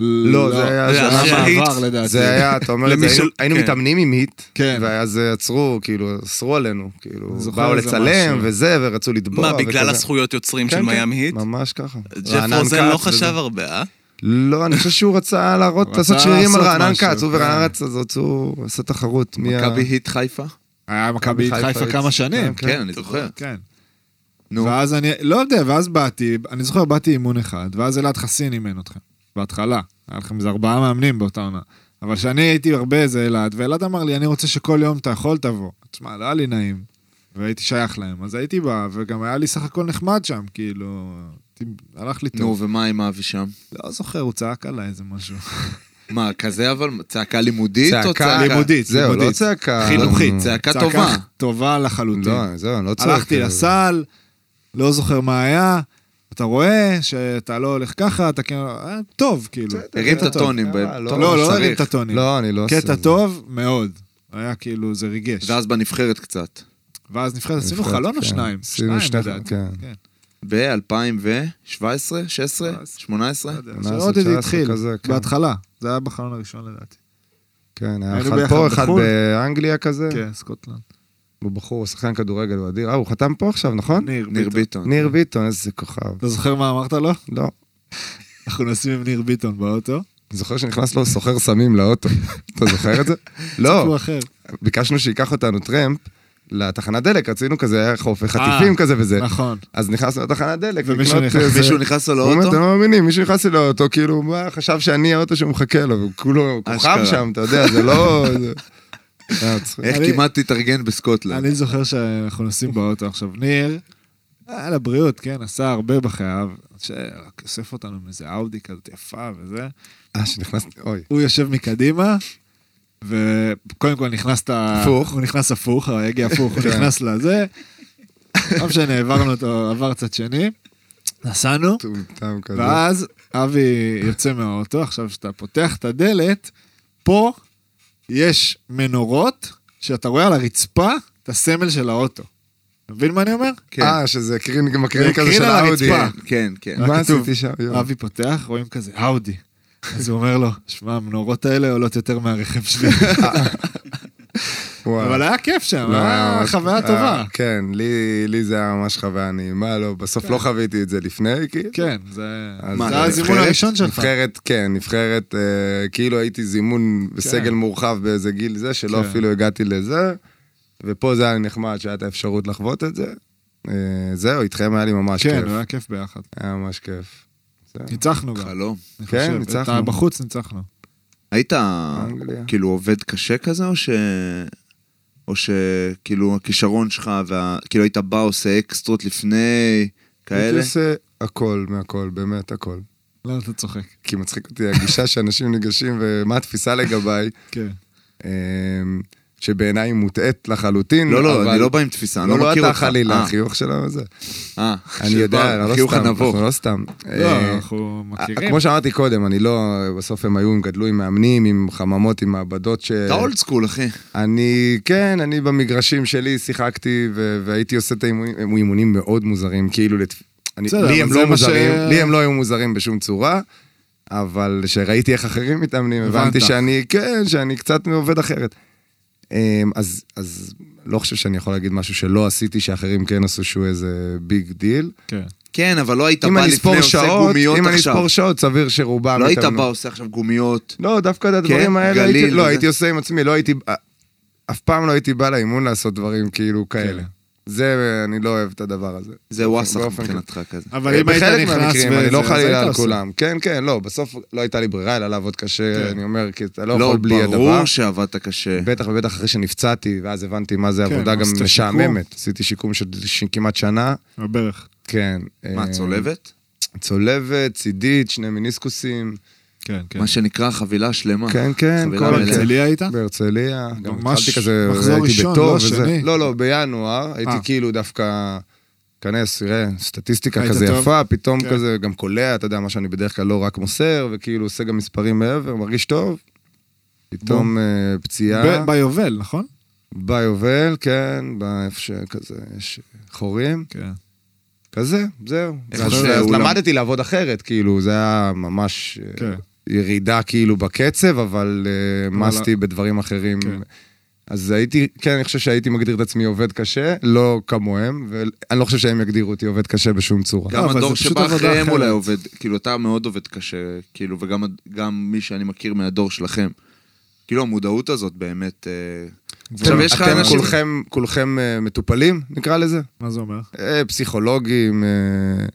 S5: לא, זה היה
S1: זה
S5: שנה
S1: אחרי ההיט.
S4: מעבר לדעתי.
S5: זה היה, אתה אומר, את
S1: למי
S5: זה, היינו-
S1: של-
S5: היינו
S1: כן.
S5: מתאמנים עם היט,
S4: כן.
S5: ואז אה, עצרו, כאילו, אסרו עלינו, כאילו,
S4: זוכר
S5: באו
S4: איזה
S5: לצלם
S4: משהו.
S5: וזה, ורצו לתבוע.
S1: מה, בגלל
S5: וכזה.
S1: הזכויות יוצרים
S5: כן,
S1: של
S5: כן,
S1: מיאמי היט?
S5: ממש ככה.
S1: ג'ף
S5: רענן
S1: רוזן לא
S5: כץ וזה.
S1: חשב הרבה, אה?
S5: לא, אני חושב שהוא רצה להראות,
S4: הוא
S5: לעשות
S4: רצה
S5: שרירים על
S4: לעשות
S5: רענן
S4: משהו,
S5: כץ, הוא ורענן
S4: כן.
S5: כץ, אז רצו, עשה תחרות. מי ה-
S2: מכבי היט חיפה?
S4: היה מכבי חיפה כמה שנים.
S5: כן,
S2: כן, אני זוכר.
S4: כן.
S2: נו.
S4: ואז אני, לא יודע, ואז באתי, אני זוכר, באתי אימון אחד, ואז אלעד חסין אימן אתכם, בהתחלה. היה לכם איזה ארבעה מאמנים באותה עונה. אבל כשאני הייתי הרבה זה אלעד, ואלעד אמר לי, אני רוצה שכל יום אתה יכול תבוא. תשמע, לא היה לי נעים, והייתי שייך להם, אז הייתי בא, וגם היה לי סך הכל נחמד שם, כאילו, הייתי- הלך לי
S2: נו,
S4: טוב.
S2: ומה עם אבי שם?
S4: לא זוכר, הוא צעק עליי איזה משהו.
S2: מה, כזה אבל? צעקה לימודית או צעקה?
S4: לימודית,
S5: זהו, לא
S4: לימודית.
S5: צעקה.
S4: חינוכית.
S2: צעקה טובה.
S4: טובה לחלוטין.
S5: לא, זהו, אני לא צועק.
S4: הלכתי
S5: כאילו.
S4: לסל, לא זוכר מה היה, אתה רואה שאתה לא הולך ככה, אתה כאילו, אה, טוב, כאילו.
S2: הרים את
S4: קטע טוב.
S2: הטונים. ב-
S5: אה,
S4: לא,
S5: לא,
S4: לא
S2: צריך.
S4: הרים את הטונים.
S5: לא, אני לא עושה.
S4: קטע
S5: את זה.
S4: טוב מאוד. היה כאילו, זה ריגש.
S2: ואז בנבחרת קצת.
S4: ואז נבחרת, עשינו
S5: נבחרת,
S4: חלון או
S5: כן.
S4: שניים? שניים,
S5: עשינו שני-
S4: לדעתי.
S5: כן.
S4: כן.
S2: ב-2017, 16, 18?
S4: לא יודע,
S5: עשרה,
S4: שעודד
S5: תשע עשרה
S4: התחיל,
S5: כזה, כן.
S4: בהתחלה. זה היה בחלון הראשון לדעתי.
S5: כן, היה
S4: היינו
S5: אחד
S4: ביחד
S5: פה, אחד
S4: בחו"ל.
S5: באנגליה כזה.
S4: כן, סקוטלנד.
S5: הוא בחור, הוא שחקן כדורגל, הוא אדיר. אה, הוא חתם פה עכשיו, נכון?
S2: ניר ביטון.
S5: ניר ביטון, איזה כוכב.
S4: אתה זוכר מה אמרת לו?
S5: לא. אני
S4: אנחנו נוסעים עם ניר ביטון באוטו.
S5: זוכר שנכנס לו סוחר סמים לאוטו. אתה זוכר את זה?
S4: הוא
S5: לא,
S4: אחר.
S5: ביקשנו שייקח אותנו טרמפ לתחנת דלק, רצינו כזה, היה חופי חטיפים כזה וזה.
S4: נכון.
S5: אז נכנסנו לתחנת דלק.
S4: ומישהו
S5: לקנות
S4: נכנס-
S5: איזה-
S2: מישהו נכנס לו
S5: הוא אומר,
S2: לאוטו?
S5: אתם לא מאמינים, מישהו נכנס לי לאוטו, כאילו, הוא בא, חשב שאני האוטו שהוא מחכה לו, הוא כולו כוכב
S2: אשכרה.
S5: שם, אתה יודע, זה לא... זה- אה, מצחיק.
S2: איך
S4: אני-
S2: כמעט תתארגן בסקוטלנד?
S4: אני זוכר שאנחנו נוסעים באוטו עכשיו. ניר, על הבריאות, כן, עשה הרבה בחייו, שאוסף אותנו מאיזה אאודי כזאת יפה וזה.
S5: אה, שנכנסתי, אוי.
S4: הוא יושב מקדימה, וקודם כל נכנס את ה...
S5: הפוך.
S4: הוא נכנס הפוך, ההגה הפוך, הוא נכנס לזה. לא משנה, העברנו אותו, עבר צד שני, נסענו,
S5: טומטם כזה.
S4: ואז אבי יוצא מהאוטו, עכשיו כשאתה פותח את הדלת, פה יש מנורות שאתה רואה על הרצפה את הסמל של האוטו. אתה מבין מה אני אומר?
S2: כן.
S5: אה, שזה קרין, גם
S4: זה
S5: הקרין כזה
S4: קרין
S5: של
S4: על
S5: האודי.
S4: הרצפה. אה,
S2: כן, כן.
S5: מה
S4: כתוב,
S5: עשיתי שם? יואו.
S4: אבי פותח, רואים כזה, האודי. אז הוא אומר לו, שמע, המנורות האלה עולות יותר מהרכב שלי.
S5: וואו.
S4: אבל היה כיף שם,
S5: לא, היה
S4: היה
S5: ממש-
S4: חוויה
S5: אה,
S4: טובה.
S5: כן, לי- לי זה היה ממש חוויה נעימה, לא, בסוף לא חוויתי את זה לפני, כאילו.
S4: כן, זה
S5: אז
S4: זה
S5: מה,
S4: היה הזימון
S5: נבחרת?
S4: הראשון שלך.
S5: נבחרת, כן, נבחרת, אה, כאילו הייתי זימון
S2: כן.
S5: בסגל מורחב באיזה גיל זה, שלא
S4: כן.
S5: אפילו הגעתי לזה, ופה זה היה נחמד שהיה את האפשרות לחוות את זה. אה, זהו, איתכם היה לי ממש
S4: כן,
S5: כיף.
S2: אה?
S4: היה כיף ביחד.
S5: היה ממש כיף. זהו.
S4: ניצחנו גם,
S2: חלום.
S4: אני
S5: כן,
S4: חושב.
S5: ניצחנו.
S4: אתה בחוץ ניצחנו.
S2: היית
S5: אנגליה.
S2: כאילו עובד קשה כזה, או ש... או שכאילו הכישרון שלך, וה... כאילו היית בא עושה אקסטרות לפני,
S5: הייתי
S2: כאלה?
S5: עושה אה, הכל מהכל, באמת הכל.
S4: למה לא, אתה צוחק?
S5: כי מצחיק אותי הגישה שאנשים ניגשים ומה התפיסה לגביי,
S4: כן.
S5: אה, שבעיניי היא מוטעית לחלוטין.
S2: לא, לא,
S5: אבל-
S2: אני לא בא עם תפיסה, אני לא
S5: לא, לא
S2: מכיר
S5: אתה
S2: אותך.
S5: חלילה,
S2: אה,
S5: החיוך שלנו זה.
S2: אה,
S5: אני
S2: שבא,
S5: יודע, לא
S2: החיוך
S5: סתם,
S2: הנבוך.
S5: אנחנו לא סתם.
S4: לא,
S5: אה,
S4: אנחנו מכירים.
S5: כמו שאמרתי קודם, אני לא... בסוף הם היו, הם גדלו עם מאמנים, עם חממות, עם מעבדות ש...
S2: אתה אולד סקול, אחי.
S5: אני, כן, אני במגרשים שלי שיחקתי, ו- והייתי עושה את האימונים, הם אימונים מאוד מוזרים, כאילו, לת... אני,
S4: בסדר,
S5: לי
S4: אבל
S5: הם
S4: זה
S5: לא
S4: מה
S5: מוזרים,
S4: ש-
S5: לי הם לא היו מוזרים בשום צורה, אבל כשראיתי איך אחרים מתאמנים, הבנתי
S4: הבנת.
S5: שאני, כן, שאני קצת עובד אחרת. אמ, אז, אז לא חושב שאני יכול להגיד משהו שלא עשיתי, שאחרים כן עשו שהוא איזה ביג דיל.
S4: כן.
S2: כן, אבל לא היית
S5: אם
S2: בא
S5: אני
S2: לפני
S5: אספור
S2: עושה
S5: שעות,
S2: גומיות
S5: אם אני
S2: עכשיו.
S5: אספור שעות, סביר שרובם...
S2: לא היית
S5: התאמנו.
S2: בא עושה עכשיו גומיות.
S5: לא, דווקא את הדברים
S2: כן,
S5: האלה
S2: גליל
S5: הייתי, לא,
S2: וזה.
S5: הייתי עושה עם עצמי, לא הייתי, אף פעם לא הייתי בא לאימון לעשות דברים כאילו כאלה. זה, אני לא אוהב את הדבר הזה.
S2: זה וואסך
S5: באופן
S2: מבחינתך כזה.
S4: אבל אם היית
S5: בחלק
S4: נכנס
S5: מהמקרים,
S4: וזה,
S5: אני לא
S4: אז היית
S5: חלילה על
S4: עושה.
S5: כולם. כן, כן, לא, בסוף לא הייתה לי ברירה אלא לעבוד קשה,
S4: כן.
S5: אני אומר, כי אתה לא
S2: לא,
S5: יכול בלי הדבר.
S2: ברור שעבדת קשה.
S5: בטח ובטח אחרי שנפצעתי, ואז הבנתי מה זה
S4: כן,
S5: עבודה גם
S4: עשית שיקום.
S5: משעממת. עשיתי שיקום של ש- כמעט שנה,
S4: הברך.
S5: כן.
S2: מה,
S5: אה,
S2: צולבת?
S5: צולבת, צידית, שני מיניסקוסים.
S4: כן, כן.
S2: מה שנקרא חבילה שלמה.
S5: כן, כן,
S2: חבילה
S5: כל
S2: מלאה.
S5: הצליל.
S4: בהרצליה היית?
S5: בהרצליה, גם
S4: ממש
S5: התחלתי כזה,
S4: מחזור
S5: הייתי
S4: ראשון,
S5: בטוב
S4: לא
S5: וזה.
S4: שני.
S5: לא, לא, בינואר, הייתי
S4: אה.
S5: כאילו דווקא כנס, תראה, סטטיסטיקה
S4: היית
S5: כזה
S4: טוב.
S5: יפה, פתאום
S4: כן.
S5: כזה גם קולע, אתה יודע, מה שאני בדרך כלל לא רק מוסר, וכאילו עושה גם מספרים מעבר, מרגיש טוב. פתאום אה, פציעה,
S4: ב- ביובל, נכון?
S5: ביובל, כן, באיפה שכזה, יש חורים.
S4: כן.
S5: כזה, זהו.
S1: איפה
S5: אז
S1: שזה
S5: אז
S1: אולם.
S5: למדתי לעבוד אחרת, כאילו, זה היה ממש אה,
S4: כן.
S5: ירידה כאילו בקצב, אבל אה,
S4: אבל-
S5: מאסתי בדברים אחרים.
S4: כן.
S5: אז הייתי, כן, אני חושב שהייתי מגדיר את עצמי עובד קשה, לא כמוהם, ואני לא חושב שהם יגדירו אותי עובד קשה בשום צורה.
S2: גם
S4: לא, אבל
S2: הדור
S4: זה פשוט
S2: שבא
S4: עבודה
S2: אחריהם
S4: אחרת.
S2: אולי עובד, כאילו אתה מאוד עובד קשה, כאילו, וגם הד- גם מי שאני מכיר מהדור שלכם. כאילו המודעות הזאת באמת... אה, עכשיו, יש לך
S5: אתם
S2: אנשים-
S5: כולכם- כולכם אה, מטופלים, נקרא לזה?
S4: מה זה אומר?
S5: אה, פסיכולוגים, אה,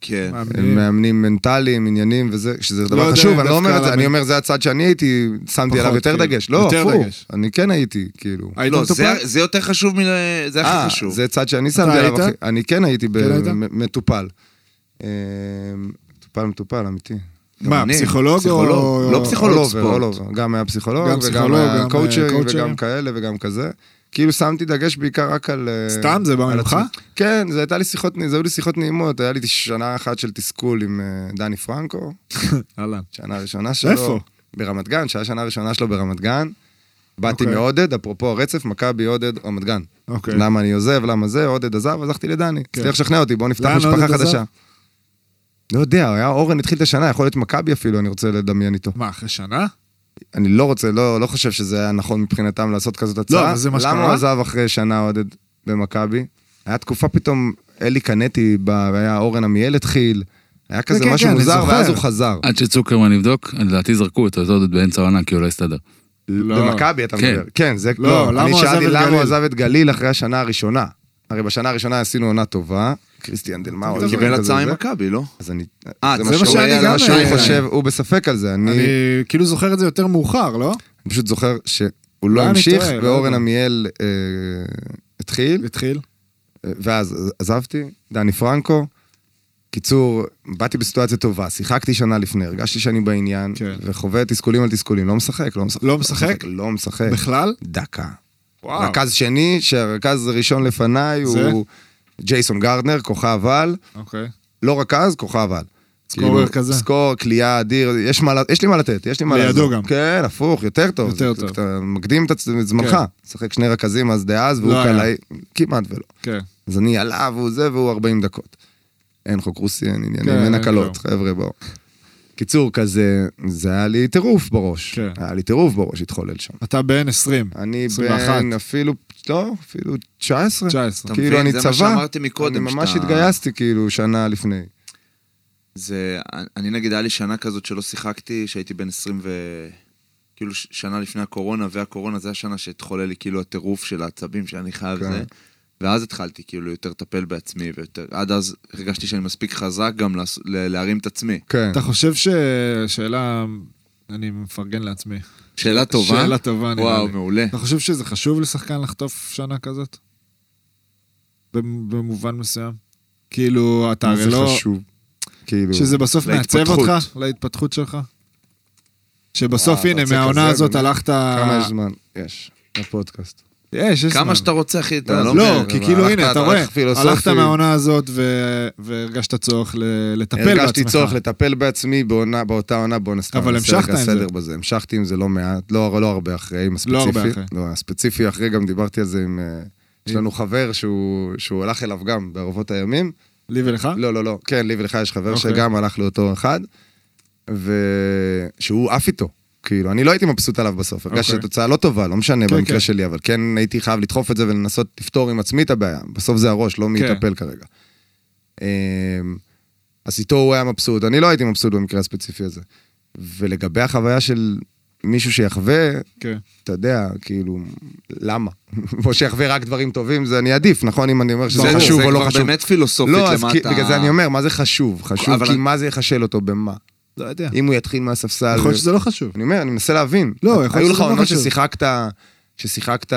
S2: כן.
S4: מאמנים.
S5: מאמנים מנטליים, עניינים וזה, שזה
S4: לא
S5: דבר
S4: יודע,
S5: חשוב, אני לא אומר
S4: דווקא
S5: את זה,
S4: למה-
S5: אני אומר זה הצד שאני הייתי, שמתי
S4: פחות,
S5: עליו יותר
S4: כאילו.
S5: דגש, לא,
S4: יותר
S5: הפוך,
S4: דגש. אה,
S5: אני כן הייתי, כאילו.
S4: היית
S2: לא,
S4: מטופל?
S2: זה- זה יותר חשוב מל... זה
S5: אה,
S2: הכי חשוב.
S5: זה צד שאני שמתי עליו,
S4: היית?
S5: הכי- אני כן הייתי ב-
S4: כן היית?
S5: מ- מטופל. אה, מטופל, מטופל, אמיתי.
S4: מה,
S2: אני.
S4: פסיכולוג או...
S2: פסיכולוג. לא פסיכולוג.
S5: All over,
S2: ספורט.
S5: all over. גם היה פסיכולוג,
S4: גם
S5: וגם
S4: פסיכולוג, גם,
S5: היה
S4: אה,
S5: קואוצ'רים, וגם
S4: קואוצ'רים.
S5: כאלה וגם כזה. כאילו שמתי דגש בעיקר רק על... אה,
S4: סתם? זה
S5: על
S4: במלוכה?
S5: עצמי. כן, זה הייתה לי שיחות, זה היו לי שיחות נעימות, היה לי שנה אחת של תסכול עם אה, דני פרנקו,
S4: אהלן.
S5: שנה ראשונה שלו.
S4: איפה?
S5: ברמת גן, שהיה שנה ראשונה שלו ברמת גן. באתי
S4: אוקיי.
S5: מעודד, אפרופו הרצף, מכבי עודד, רמת גן.
S4: אוקיי. כן.
S5: למה אני עוזב, למה זה, עודד עזב, אז הלכתי לדני. הצליח לשכנע אותי, בוא נפתח
S4: לאן
S5: משפחה
S4: עודד עזב?
S5: חדשה. לא יודע, הוא היה אורן התחיל את השנה, יכול להיות מכבי אפילו, אני רוצה לדמיין איתו.
S4: מה, אחרי שנה?
S5: אני לא רוצה, לא לא חושב שזה היה נכון מבחינתם לעשות כזאת הצעה.
S4: לא, אבל זה מה
S5: למה
S4: שקרה?
S5: הוא עזב אחרי שנה עודד במכבי? היה תקופה פתאום, אלי קנטי בא, והיה אורן עמיאל התחיל, היה כזה
S4: כן,
S5: משהו
S4: כן, אני
S5: מוזר,
S4: זוכר.
S5: ואז הוא חזר.
S6: עד שצוקרמן יבדוק, לדעתי זרקו אותו, זה עוד באמצע העונה, כי הוא לא הסתדר.
S4: לא.
S5: במכבי אתה
S6: כן.
S5: מדבר. כן, זה...
S4: לא,
S5: לא,
S4: למה
S5: אני
S4: הוא עזב
S5: שאלתי
S4: את
S5: למה
S4: גליל?
S5: הוא עזב את גליל אחרי השנה הראשונה. הרי בשנה הראשונה עשינו עונה טובה, כריסטיאן דלמאו.
S2: הוא קיבל הצעה עם מכבי, לא?
S5: אז אני...
S2: אה,
S5: זה
S2: זה
S5: מה
S4: מה
S5: שהוא
S4: שאני
S5: היה, זה
S4: גם
S5: מה שהוא
S4: היה.
S5: חושב, הוא בספק על זה. אני
S4: אני כאילו זוכר את זה יותר מאוחר, לא?
S5: אני פשוט זוכר שהוא לא
S4: אני
S5: המשיך,
S4: טועה, לא
S5: ואורן
S4: יודע.
S5: עמיאל אה, התחיל,
S4: התחיל.
S5: אה, ואז עזבתי, דני פרנקו. קיצור, באתי בסיטואציה טובה, שיחקתי שנה לפני, הרגשתי שאני בעניין,
S4: כן.
S5: וחווה תסכולים על תסכולים, לא משחק, לא משחק.
S4: לא משחק?
S5: לא משחק.
S4: בכלל?
S5: דקה.
S4: וואו.
S5: רכז שני, שהרכז הראשון לפניי
S4: זה?
S5: הוא ג'ייסון גרדנר, כוכב על,
S4: אוקיי.
S5: לא רכז, כוכב על.
S4: סקורר כזה.
S5: סקור, כליאה, אדיר, יש, מה, ל- יש לי מה לתת, יש לי מה
S4: לידו
S5: לעזור.
S4: גם.
S5: כן, הפוך, יותר טוב.
S4: יותר
S5: זה-
S4: טוב. כן.
S5: אתה מקדים את הצ- את זמנך. שחק שני רכזים אז דאז, והוא
S4: לא
S5: קלעי,
S4: היה.
S5: כמעט ולא.
S4: כן.
S5: אז אני עליו, הוא זה, והוא 40 דקות. אין חוק רוסי, אין עניינים,
S4: כן,
S5: אין
S4: אין
S5: הקלות, חבר'ה, בואו. קיצור, כזה, זה היה לי טירוף בראש.
S4: כן.
S5: היה לי טירוף בראש, התחולל שם.
S4: אתה בן 20.
S5: אני
S4: 21.
S5: בן אפילו, לא, אפילו 19.
S4: 19.
S2: אתה
S5: כאילו,
S2: מבין?
S5: אני
S2: זה מה
S5: צבא.
S2: שאמרתי מקודם.
S5: אני ממש
S2: שאתה-
S5: התגייסתי, כאילו, שנה לפני.
S2: זה, אני נגיד, היה לי שנה כזאת שלא שיחקתי, שהייתי בן 20 ו... כאילו ש- שנה לפני הקורונה, והקורונה זה השנה שהתחולל לי כאילו הטירוף של העצבים שאני חייב
S5: כן.
S2: זה. ואז התחלתי כאילו יותר לטפל בעצמי, ויותר... עד אז הרגשתי שאני מספיק חזק גם לעש... ל- להרים את עצמי.
S5: כן.
S4: אתה חושב ש... שאלה... אני מפרגן לעצמי.
S2: שאלה טובה.
S4: שאלה טובה, נראה
S2: וואו,
S4: לי.
S5: אה.
S2: מעולה.
S4: אתה חושב שזה חשוב לשחקן לחטוף שנה כזאת? במ- במובן מסוים? כאילו, אתה
S5: מה
S4: הרי
S5: זה
S4: לא...
S5: חשוב. כאילו,
S4: שזה בסוף מעצב
S2: להתפתחות.
S4: אותך, להתפתחות שלך? שבסוף,
S5: וואו,
S4: הנה,
S5: אה, אתה רוצה
S4: מהעונה
S5: כזה,
S4: הזאת
S5: באמת?
S4: הלכת... אה,
S5: כמה יש זמן? יש, לפודקאסט.
S4: יש, יש זמן.
S2: כמה שאתה רוצה, אחי, אתה לא...
S4: לא,
S2: מבין.
S4: כי כאילו,
S5: הלכת-
S4: הנה, אתה
S5: הלכת
S4: רואה,
S5: פילוסופי.
S4: הלכת מהעונה הזאת ו- והרגשת צורך ל- לטפל בעצמך.
S5: הרגשתי צורך לטפל בעצמי בעונה- באותה עונה, בוא נסתם.
S4: אבל המשכת עם זה.
S5: סדר בזה. המשכתי עם זה לא מעט, לא לא הרבה אחרי, עם הספציפי.
S4: לא הרבה אחרי.
S5: לא, הספציפי אחרי, גם דיברתי על זה עם... אה, יש לנו חבר שהוא שהוא הלך אליו גם בערבות הימים.
S4: לי ולך?
S5: לא, לא, לא. כן, לי ולך יש חבר
S4: אוקיי.
S5: שגם הלך לאותו אחד, ושהוא עף איתו. כאילו, אני לא הייתי מבסוט עליו בסוף, הרגשתי
S4: אוקיי.
S5: שהתוצאה לא טובה, לא משנה
S4: כן,
S5: במקרה
S4: כן.
S5: שלי, אבל כן הייתי חייב לדחוף את זה ולנסות לפתור עם עצמי את הבעיה. בסוף זה הראש, לא מי
S4: כן.
S5: יטפל כרגע. אמ, אז איתו הוא היה מבסוט, אני לא הייתי מבסוט במקרה הספציפי הזה. ולגבי החוויה של מישהו שיחווה,
S4: כן.
S5: אתה יודע, כאילו, למה? או שיחווה רק דברים טובים, זה אני עדיף, נכון? אם אני אומר שזה
S2: זה,
S5: חשוב
S2: זה
S5: או לא
S2: כבר
S5: חשוב.
S2: באמת פילוסופית
S5: לא, אז
S2: למה
S5: כי-
S2: אתה...
S5: בגלל זה אני אומר, מה זה חשוב? חשוב
S2: אבל-
S5: כי מה זה יחשל אותו במה?
S4: לא יודע.
S5: אם אה, הוא יתחיל מהספסל...
S4: יכול להיות שזה לא חשוב.
S5: אני אומר, אני מנסה להבין.
S4: לא, יכול להיות
S5: היו
S4: שזה
S5: לך
S4: לא
S5: עונות
S4: חשוב.
S5: ששיחקת, ששיחקת,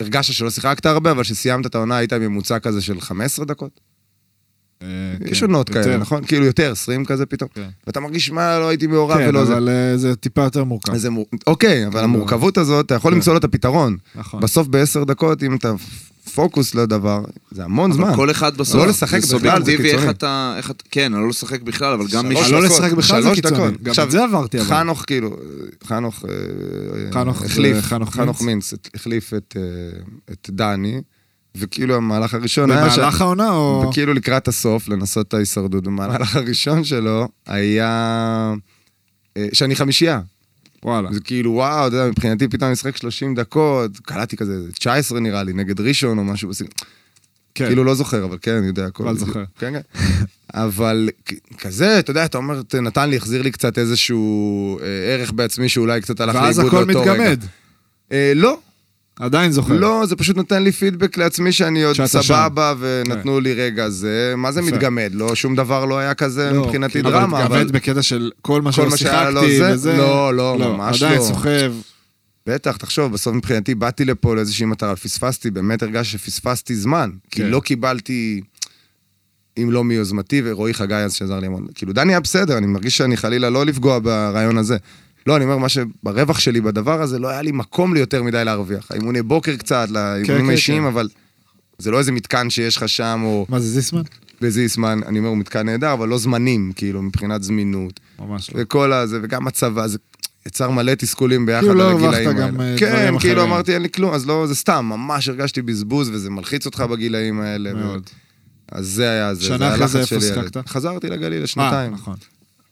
S5: הרגשת שלא שיחקת הרבה, אבל כשסיימת את העונה היית עם ממוצע כזה של 15 דקות?
S4: אה,
S5: יש
S4: כן,
S5: עונות כאלה,
S4: יותר.
S5: נכון? כאילו יותר, 20 כזה פתאום.
S4: כן.
S5: ואתה מרגיש, מה, לא הייתי מעורב
S4: כן,
S5: ולא זה.
S4: אבל אה, זה טיפה יותר מורכב.
S5: אז זה מור- אוקיי, אבל
S4: לא.
S5: המורכבות הזאת, אתה יכול למצוא לו את הפתרון.
S4: נכון.
S5: בסוף בעשר דקות, אם אתה פוקוס לדבר, זה המון זמן.
S2: אבל כל אחד בסוף,
S5: לא לשחק
S2: זה
S5: בכלל, זה
S2: סובייקטיבי
S5: קיצוני.
S2: איך אתה, איך אתה, כן, אני לא לשחק בכלל, אבל גם מי
S5: שלוש
S2: ש...
S4: אבל לא
S5: דקות,
S4: לשחק בכלל זה
S5: שלוש
S4: קיצוני.
S5: דקות.
S4: גם
S5: עכשיו,
S4: את זה עברתי, אבל.
S5: חנוך כאילו, חנוך, אה,
S4: חנוך,
S5: החליף,
S4: אה, חנוך
S5: חנוך מינץ, החליף את, אה, את דני, וכאילו המהלך הראשון היה...
S4: במהלך העונה או...
S5: וכאילו לקראת הסוף, לנסות את ההישרדות. במהלך הראשון שלו היה... אה, שאני חמישייה.
S4: וואלה.
S5: זה כאילו, וואו, אתה יודע, מבחינתי פתאום משחק 30 דקות, קלעתי כזה 19 נראה לי, נגד ראשון או משהו בסגנון.
S4: כן.
S5: כאילו לא זוכר, אבל כן, אני יודע הכל.
S4: אבל זוכר.
S5: כן, כן. אבל כ- כזה, אתה יודע, אתה אומר, "ת- נתן לי, החזיר לי קצת איזשהו אה, ערך בעצמי שאולי קצת לא הלך
S4: ואז
S5: לאיבוד
S4: הכל
S5: באותו רגע.
S4: מתגמד. אוקיי.
S5: אה, לא,
S4: עדיין זוכר.
S5: לא, זה פשוט נותן לי פידבק לעצמי שאני עוד
S4: שאתה
S5: סבבה, ונתנו לי רגע זה, מה זה
S4: כן. יפה.
S5: מתגמד? לא, שום דבר לא היה כזה
S4: לא,
S5: מבחינתי
S4: כן,
S5: דרמה,
S4: אבל
S5: אבל
S4: התגמד בקטע של כל מה
S5: כל
S4: שלא
S5: מה שהיה לו
S4: שיחקתי
S5: זה?
S4: וזה.
S5: לא, לא, ממש
S4: עדיין
S5: לא.
S4: סוחב.
S5: בטח, תחשוב, בסוף מבחינתי באתי לפה לאיזושהי מטרה, פספסתי, באמת הרגשתי שפספסתי זמן, כי
S4: כן.
S5: לא קיבלתי, אם לא מיוזמתי, ורועי חגי אז שעזר לי המון, כאילו דני היה בסדר, אני מרגיש שאני חלילה לא לפגוע ברעיון הזה. לא, אני אומר, מה שברווח שלי בדבר הזה, לא היה לי מקום לי יותר מדי להרוויח. האימוני בוקר קצת,
S4: כן,
S5: לאימונים האישיים, אבל זה לא איזה מתקן שיש לך שם, או...
S4: מה זה, זיסמן?
S5: בזיסמן, אני אומר, הוא מתקן נהדר, אבל לא זמנים, כאילו, מבחינת זמינות.
S4: ממש לא.
S5: וכל הזה, וגם הצבא, זה יצר מלא תסכולים ביחד
S4: כאילו
S5: על
S4: לא
S5: הגילאים
S4: הרווחת
S5: האלה.
S4: גם, אה, דברים
S5: כן, כאילו
S4: אחרים.
S5: אמרתי, אין לי כלום, אז לא, זה סתם, ממש הרגשתי בזבוז, וזה מלחיץ אותך בגילאים האלה. ו-
S4: מאוד.
S5: אז זה היה זה,
S4: שנה
S5: זה היה
S4: אחרי זה
S5: לחץ
S4: איפה
S5: שלי. ילד.
S4: שיחקת?
S5: חזרתי לגליל
S4: אה,
S5: לשנתיים.
S4: נכון.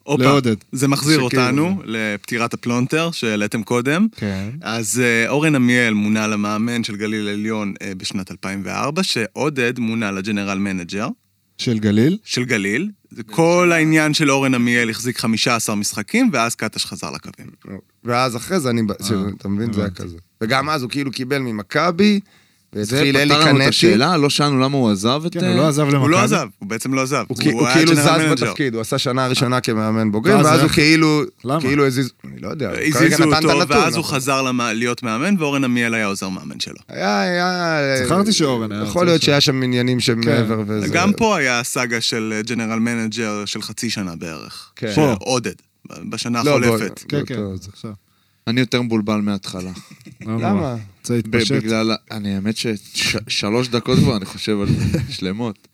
S1: הופה,
S4: לעודד.
S1: זה מחזיר
S5: שכאילו-
S1: אותנו לפטירת הפלונטר שהעליתם קודם.
S4: כן.
S1: אז אה, אורן עמיאל מונה למאמן של גליל עליון אה, בשנת 2004, שעודד מונה לג'נרל מנג'ר
S4: של גליל?
S1: של גליל. זה כל העניין של אורן עמיאל החזיק 15 משחקים, ואז קטש חזר לקווים.
S4: נכון.
S5: ואז אחרי זה אני, ב-
S4: אה,
S5: ש- אתה מבין, זה היה כזה. וגם אז הוא כאילו קיבל ממכבי,
S2: זה
S5: והתחיל אלי
S2: פתר לנו את
S5: קנטי.
S2: השאלה, לא שאלנו למה הוא עזב את... אה,
S4: כן, הוא לא עזב למכבי.
S1: הוא לא עזב, הוא בעצם לא עזב.
S5: הוא כי- הוא
S1: היה
S5: כאילו
S1: general
S5: זז
S1: manager.
S5: בתפקיד, הוא עשה שנה ראשונה כמאמן בוגרים,
S4: ואז
S5: ואז
S4: היה-
S5: הוא כאילו,
S4: אה. למה?
S5: כאילו הזיז, אני לא יודע, הוא כרגע
S1: הזיזו
S5: נתן את
S1: אותו,
S5: הנתון. נכון.
S1: ואז הוא
S5: אבל-
S1: חזר למ- להיות מאמן, ואורן עמיאל היה עוזר מאמן שלו.
S5: היה, היה...
S4: זכרתי שאורן היה
S5: יכול
S4: רוצה
S5: להיות
S4: לשאול.
S5: שהיה שם עניינים
S4: כן.
S5: שמעבר וזה...
S1: גם פה היה סאגה של ג'נרל מנג'ר של חצי שנה בערך.
S5: כן.
S1: של
S5: פה.
S1: עודד, בשנה
S5: לא,
S1: החולפת.
S5: בוא-
S4: כן, כן.
S5: באותו- זה-
S4: עכשיו.
S2: אני יותר מבולבל מההתחלה.
S4: לא נורא.
S5: למה?
S4: רוצה להתפשט?
S2: בגלל... ה- אני האמת ששלוש דקות כבר, אני חושב על זה, שלמות.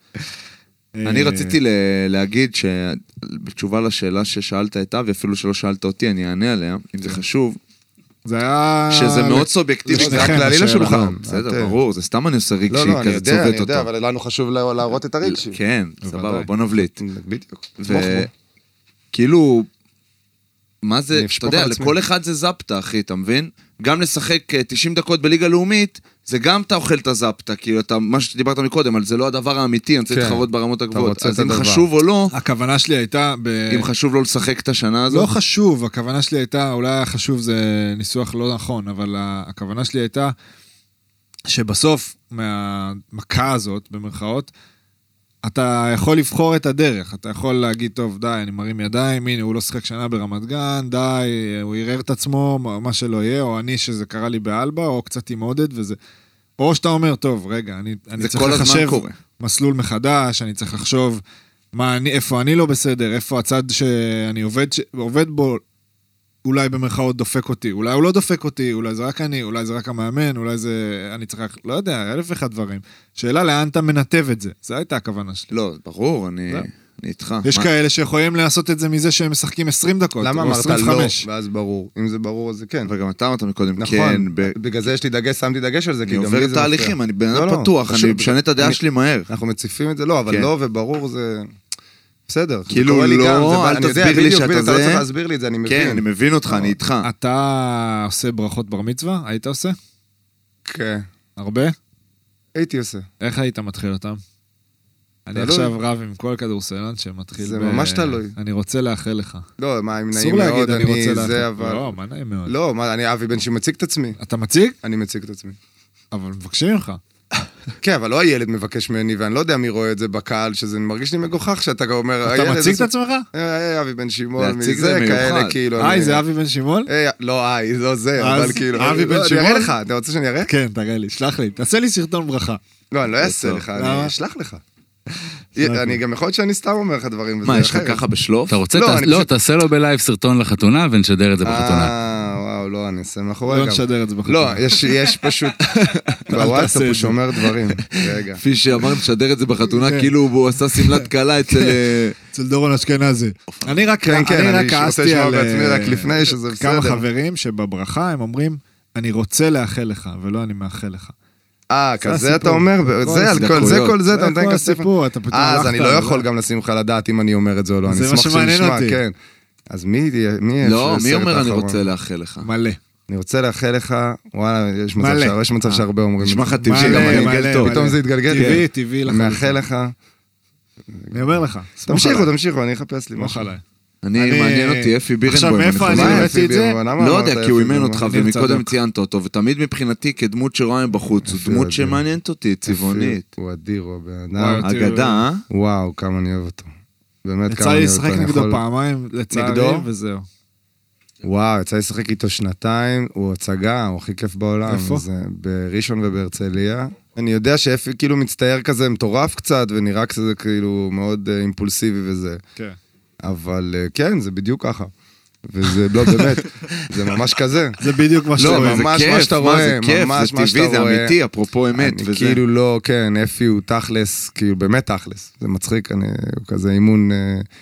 S2: אני
S4: אה,
S2: רציתי ל- להגיד שבתשובה לשאלה ששאלת את אבי, אפילו שלא שאלת אותי, אני אענה עליה, אם
S5: כן.
S2: זה חשוב,
S4: זה היה...
S2: שזה מאוד
S5: לא,
S2: סובייקטיבי, זה
S4: לשניכם
S2: רק כללי
S4: השאלה.
S2: לשולחן.
S5: אה,
S2: בסדר,
S5: אוקיי.
S2: ברור, זה סתם אני עושה
S5: לא,
S2: רגשי,
S5: לא, אני
S2: כזה
S5: יודע, אני
S2: צובט
S5: יודע,
S2: אותו.
S5: אבל לנו חשוב לה- להראות את הרגשי.
S2: כן, סבבה, בוא נבליט.
S5: בדיוק. תתמוך
S2: כן, ו-
S5: בו.
S2: כאילו, מה זה,
S5: אני אשפוך
S2: אתה יודע,
S5: על עצמי.
S2: לכל אחד זה זפטה, אחי, אתה מבין? גם לשחק אה, 90 דקות בליגה לאומית, זה גם אתה אוכל את הזפטה, כאילו, אתה, מה שדיברת מקודם, על זה לא הדבר האמיתי, אני צריך
S5: כן.
S2: להתחרות ברמות הגבוהות.
S5: רוצה את
S2: אז אם
S5: הדבר. אה.
S2: חשוב או לא,
S4: הכוונה שלי הייתה ב...
S2: אם חשוב לא לשחק את השנה
S4: לא
S2: הזאת,
S4: חשוב, הכוונה שלי הייתה, אולי היה חשוב זה ניסוח לא נכון, אבל ה- הכוונה שלי הייתה שבסוף, מהמכה הזאת, במרכאות, אתה יכול לבחור את הדרך. אתה יכול להגיד, טוב, די, אני מרים ידיים, הנה, הוא לא שיחק שנה ברמת גן, די, הוא ערער את עצמו, מה- מה שלא יהיה, או אני, שזה קרה לי באלבה, או קצת עם עודד, וזה... או שאתה אומר, טוב, רגע, אני, אני
S2: זה
S4: צריך
S2: כל הזמן
S4: לחשב
S2: קורה.
S4: מסלול מחדש, אני צריך לחשוב מה אני, איפה אני לא בסדר, איפה הצד שאני עובד, ש... עובד בו, אולי במרכאות דופק אותי, אולי הוא לא דופק אותי, אולי זה רק אני, אולי זה רק המאמן, אולי זה... אני צריך, לא יודע, אלף ואחד דברים. שאלה לאן אתה מנתב את זה, זו הייתה הכוונה שלי.
S2: לא, ברור, אני
S4: זה.
S2: אני איתך.
S4: יש
S2: מה-
S4: כאלה שיכולים לעשות את זה מזה שהם משחקים 20 דקות,
S5: למה
S4: או
S5: אמרת לא,
S4: 25.
S5: ואז ברור. אם זה ברור, אז זה כן.
S2: אבל גם אתה אמרת מקודם, כן,
S5: נכון,
S2: ב-
S5: בגלל זה יש לי דגש, שמתי דגש על זה,
S2: אני
S5: כי גם לי
S2: עובר
S5: זה
S2: תהליכים,
S5: מפריע.
S2: אני בן
S5: לא,
S2: אדם
S5: לא,
S2: פתוח,
S5: פשוט-
S2: אני משנה את הדעה
S5: אני-
S2: שלי מהר.
S5: אנחנו מציפים את זה, לא, אבל
S2: כן.
S5: לא וברור זה... בסדר, זה
S2: כאילו,
S5: קורה לי
S2: לא,
S5: גם, זה בא-
S2: אל
S5: אני יודע,
S2: תסביר לי
S5: בדיוק,
S2: שאתה
S5: בדיוק, אתה לא
S2: זה.
S5: צריך להסביר לי את זה, אני
S2: כן, אני
S5: מבין. אה,
S2: מבין אותך, אני איתך.
S4: אתה עושה ברכות בר מצווה? היית עושה?
S5: כן,
S4: הרבה?
S5: הייתי עושה.
S4: איך היית מתחיל אותם? אני
S5: תלוי.
S4: עכשיו רב עם כל כדורסלן שמתחיל
S5: זה ממש תלוי.
S4: אני רוצה לאחל לך.
S5: לא, מה, אם
S4: אסור
S5: נעים
S4: להגיד,
S5: מאוד,
S4: אני רוצה
S5: אני
S4: לאחל.
S5: זה, אבל...
S4: לא, מה נעים מאוד.
S5: לא, מה, אני אבי בן שמציג את עצמי.
S4: אתה מציג?
S5: אני מציג את עצמי.
S4: אבל מבקשים ממך.
S5: כן, אבל לא הילד מבקש ממני, ואני לא יודע מי רואה את זה בקהל, שזה מרגיש לי מגוחך שאתה אומר,
S4: אתה מציג את עצמך?
S5: עצמך? אה, אבי בן שמעון,
S2: להציג
S5: מזה,
S2: זה מיוחד.
S5: כאלה, כאילו.
S4: היי,
S5: אני-
S4: זה אבי בן שמעון?
S5: היי, לא, היי, לא זה,
S4: אז
S5: אבל כאילו...
S4: אבי בן
S5: לא, אני אראה
S4: שמעון?
S5: לך, אתה רוצה שאני אראה?
S4: כן, תראה לי, שלח לי. תעשה לי סרטון ברכה.
S5: לא, אני לא אעשה
S2: טוב.
S5: לך, אני
S4: למה?
S5: אשלח לך.
S4: לי.
S5: אני גם יכול להיות שאני סתם אומר לך דברים.
S2: מה,
S5: וזה
S2: יש לך
S5: אחרת.
S2: ככה בשלוף?
S6: אתה רוצה?
S5: לא,
S6: תעש-
S5: אני
S6: לא,
S5: פשוט-
S6: תעשה לו בלייב סרטון לחתונה ונשדר את זה בחתונה.
S5: אה, וואו, לא, לא, אני אעשה מאחורי
S4: לא
S5: גם.
S4: נשדר את זה בחוץ.
S5: לא, יש- יש פשוט בוואטסאפ
S4: תעשה
S5: הוא
S4: את זה.
S5: שומר דברים. רגע.
S2: פישר אמר לשדר את זה בחתונה,
S5: כן.
S2: כאילו הוא עשה שמלת כלה אצל... אה,
S4: אצל דורון אשכנזי. אני רק
S5: כן, כן,
S4: אני רק
S5: אני רוצה
S4: כעסתי
S5: לשמוע
S4: על,
S5: בעצמי
S4: אה,
S5: רק לפני שזה
S4: כמה
S5: בסדר.
S4: חברים שבברכה הם אומרים, אני רוצה לאחל לך, ולא אני מאחל לך.
S5: אה, כזה
S4: הסיפור.
S5: אתה אומר?
S4: כל
S5: זה, על כל זה,
S2: הסדקויות.
S5: כל זה,
S4: זה
S5: אתה נותן
S4: כמו
S5: כסף.
S4: הסיפור, אתה פתאום
S5: אה, אז
S4: הלכת,
S5: אני לא
S4: אבל-
S5: יכול גם לשים לך לדעת אם אני אומר את זה או לא, אני
S4: זה מה
S5: אשמח
S4: שמעניין
S5: שנשמע,
S4: אותי.
S5: כן. אז מי, מי יש
S2: לא, מי
S5: סרט
S2: אומר אני
S5: האחרון"?
S2: רוצה לאחל לך?
S4: מלא.
S5: אני רוצה לאחל לך, וואלה, יש מצב
S4: מלא. אה.
S5: שה- יש מצב שהרבה אומרים את זה.
S2: נשמע לך טבעי
S4: מלא,
S2: שגם אני
S4: מלא,
S2: אגל טוב.
S4: מלא.
S5: פתאום זה התגלגל.
S4: טבעי,
S5: כן.
S4: טבעי לחלוטין.
S5: מאחל לך.
S4: אני אומר לך. סמוך
S5: תמשיכו,
S4: עליי,
S5: תמשיכו, אני אחפש לי
S4: סמוך
S5: משהו.
S4: עליי.
S2: אני,
S4: אני-
S2: מעניין אותי, אפי בירנבוים,
S4: עכשיו,
S2: אני
S4: מאיפה
S2: חוזר.
S4: אני
S5: מה,
S4: הבאתי
S5: אפי
S4: את זה?
S5: בירנבוים? למה
S2: לא
S5: אמרת
S2: יודע, כי
S5: אפי
S2: הוא אימן
S5: בירנבוים?
S2: אותך,
S4: אני
S2: ומקודם
S4: צדוק.
S2: ציינת אותו, ותמיד מבחינתי, כדמות שרואה מבחוץ, הוא
S5: אפי
S2: דמות
S5: אדיר.
S2: שמעניינת אותי, צבעונית.
S5: אפי, הוא אדיר, הוא הבן
S4: וואו,
S5: אדם.
S4: אותי הוא-
S2: אגדה, אה?
S5: וואו, כמה אני אוהב אותו. באמת,
S4: יצא
S5: כמה אני
S4: לי
S5: אוהב אותו.
S4: לשחק
S5: אני
S4: נגדו
S5: יכול-
S4: פעמיים, לצערי,
S5: נגדו?
S4: וזהו.
S5: וואו, יצא לי לשחק איתו שנתיים, הוא הצגה, הוא הכי כיף בעולם.
S4: איפה?
S5: זה בראשון ובהרצליה. אני יודע שאפי כאילו מצטייר כזה מטורף קצת, ונראה כזה כאילו מאוד אה, אימפולסיבי וזה.
S4: כן.
S5: אבל אה, כן, זה בדיוק ככה. וזה, לא, באמת, זה ממש כזה.
S4: זה בדיוק מה
S5: לא,
S4: שאתה
S5: אבל
S4: אומר.
S2: זה
S5: ממש,
S2: כיף,
S5: מה שאתה
S2: מה,
S5: רואה,
S2: זה כיף,
S5: ממש,
S2: זה
S5: מה
S2: טבעי,
S5: שאתה
S2: זה
S5: רואה.
S2: אמיתי, אפרופו אמת,
S5: אני
S2: וזה.
S5: כאילו לא, כן, אפי הוא תכלס, כאילו באמת תכלס. זה מצחיק, אני, הוא כזה אימון, אה,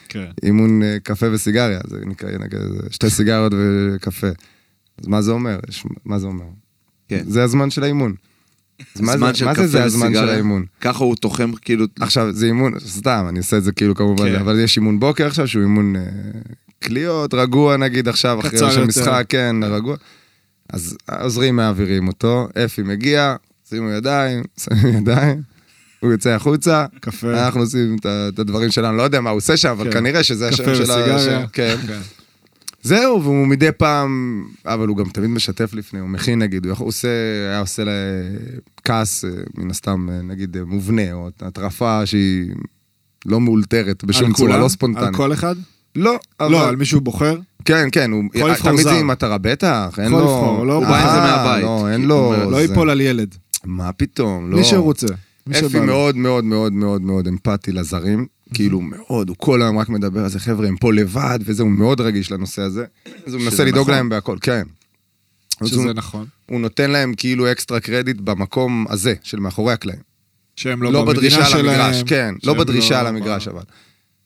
S4: כן.
S5: אימון אה, קפה וסיגריה, זה נקרא, נגיד, שתי סיגריות וקפה. אז מה זה אומר? יש- מה זה אומר?
S2: כן.
S5: זה הזמן של האימון. אז מה
S2: זמן
S5: זה-
S2: של
S5: מה זה
S2: קפה
S5: זה הזמן של
S2: וסיגריה.
S5: האימון?
S2: ככה הוא תוחם, כאילו,
S5: עכשיו, זה אימון, סתם, אני עושה את זה כאילו כמובן,
S4: כן.
S5: אבל יש אימון בוקר עכשיו שהוא אימון אה, קליעות, רגוע נגיד עכשיו, אחרי
S4: קצר
S5: ראש
S4: יותר.
S5: המשחק, כן, רגוע. אז העוזרים מעבירים אותו, אפי מגיע, שימו ידיים, שמים ידיים, הוא יוצא החוצה,
S4: קפה.
S5: אנחנו עושים את ה- את הדברים שלנו, לא יודע מה הוא עושה שם, אבל
S4: כן.
S5: כנראה שזה
S4: קפה
S5: השם של ה...
S4: וסיגריה.
S5: ש- כן. זהו, והוא מדי פעם, אבל הוא גם תמיד משתף לפני, הוא מכין נגיד, הוא יכול- הוא עושה, היה עושה לה כעס, אה, מן הסתם, אה, נגיד, אה, מובנה, או הטרפה שהיא לא מאולתרת בשום
S4: על
S5: צורה,
S4: כולם?
S5: לא
S4: על
S5: ספונטנית.
S4: כל אחד?
S5: לא,
S4: לא,
S5: אבל...
S4: על מישהו בוחר?
S5: כן, כן, הוא...
S4: יכול לבחור
S5: תמיד זה
S4: זר.
S5: עם מטרה, בטח, אין לו...
S4: יכול לבחור, הוא לא- הוא
S2: בא עם זה
S5: אה,
S2: מהבית.
S5: לא, אין
S2: הוא
S5: לו...
S2: אומר,
S4: לא
S5: זה-
S4: ייפול על ילד.
S5: מה פתאום, לא.
S4: מי שהוא רוצה. מי שבא
S5: אפי
S4: לו.
S5: מאוד מאוד מאוד מאוד מאוד אמפתי לזרים, כאילו מאוד, הוא כל היום רק מדבר על זה, חבר'ה, הם פה לבד, וזה, הוא מאוד רגיש לנושא הזה. אז הוא מנסה לדאוג
S2: נכון.
S5: להם בהכל, כן. אז
S4: שזה
S5: הוא-
S4: נכון.
S5: הוא נותן להם כאילו אקסטרה קרדיט במקום הזה, של מאחורי הקלעים.
S4: שהם
S5: לא
S4: לא במדינה
S5: בדרישה על המגרש,
S4: שלהם.
S5: כן, לא
S4: שהם אה,
S5: בדרישה על המגרש, אבל.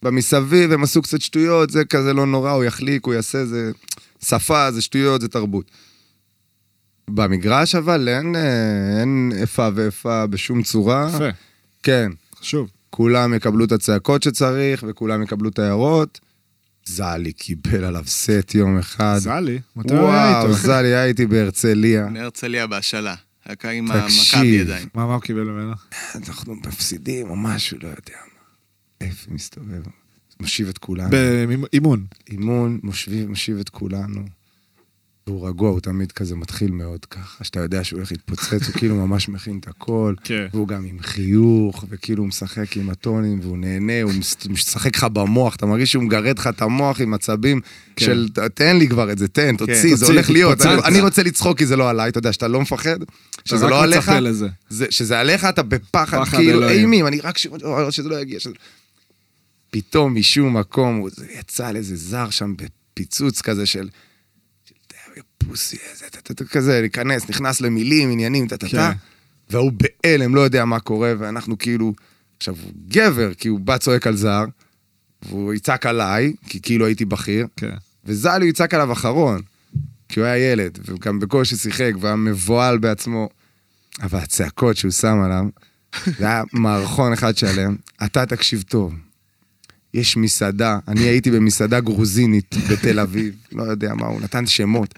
S5: במסביב הם עשו קצת שטויות, זה כזה לא נורא, הוא יחליק, הוא יעשה, זה שפה, זה שטויות, זה תרבות. במגרש אבל אין, אה, אין איפה ואיפה בשום צורה.
S4: יפה,
S5: כן.
S4: אה, חשוב.
S5: כולם יקבלו את הצעקות שצריך, וכולם יקבלו את ההערות. זלי קיבל עליו סט יום אחד.
S4: זלי, מתי הוא היה
S5: וואו,
S4: איתו?
S5: זלי היה איתי בהרצליה.
S1: מהרצליה בהשאלה. היה עם
S5: תקשיב.
S1: המכבי ידיים.
S4: מה, מה הוא קיבל ממנו?
S5: אנחנו מפסידים או משהו, לא יודע מה. אפי מסתובב, מושיב את כולנו.
S4: באימון.
S5: אימון, מושיב, מושיב את כולנו. והוא רגוע, הוא תמיד כזה מתחיל מאוד ככה, שאתה יודע שהוא הולך להתפוצץ, הוא כאילו ממש מכין את הכל.
S4: כן.
S5: והוא גם עם חיוך, וכאילו הוא משחק עם הטונים, והוא נהנה, הוא מס- משחק לך במוח, אתה מרגיש שהוא מגרד לך את המוח עם עצבים
S4: כן.
S5: של "ת- תן לי כבר את זה, תן, תוציא, זה
S4: תוציא,
S5: הולך להיות. אני-
S4: תתפוצץ.
S5: אני רוצה לצחוק כי זה לא עליי, אתה יודע, שאתה לא מפחד, שזה
S4: רק
S5: לא עליך,
S4: מצפה לזה.
S5: זה- שזה עליך, אתה בפחד,
S4: פחד
S5: כאילו
S4: אלוהים.
S5: אימים, אני רק ש... או, שזה לא יגיע. שזה- פתאום משום מקום, הוא זה יצא על איזה זר שם בפיצוץ כזה של... של פוסי, איזה... טה, טה, טה, כזה, להיכנס, נכנס למילים, עניינים, טה טה טה.
S4: כן.
S5: והוא בהלם, לא יודע מה קורה, ואנחנו כאילו... עכשיו, הוא גבר, כי הוא בא צועק על זר, והוא יצעק עליי, כי כאילו הייתי בכיר,
S4: כן.
S5: וזלי יצעק עליו אחרון, כי הוא היה ילד, והוא גם בקושי שיחק, והיה מבוהל בעצמו. אבל הצעקות שהוא שם עליו, זה היה מערכון אחד שלם. אתה תקשיב טוב. יש מסעדה, אני הייתי במסעדה גרוזינית בתל אביב, לא יודע מה, הוא נתן שמות.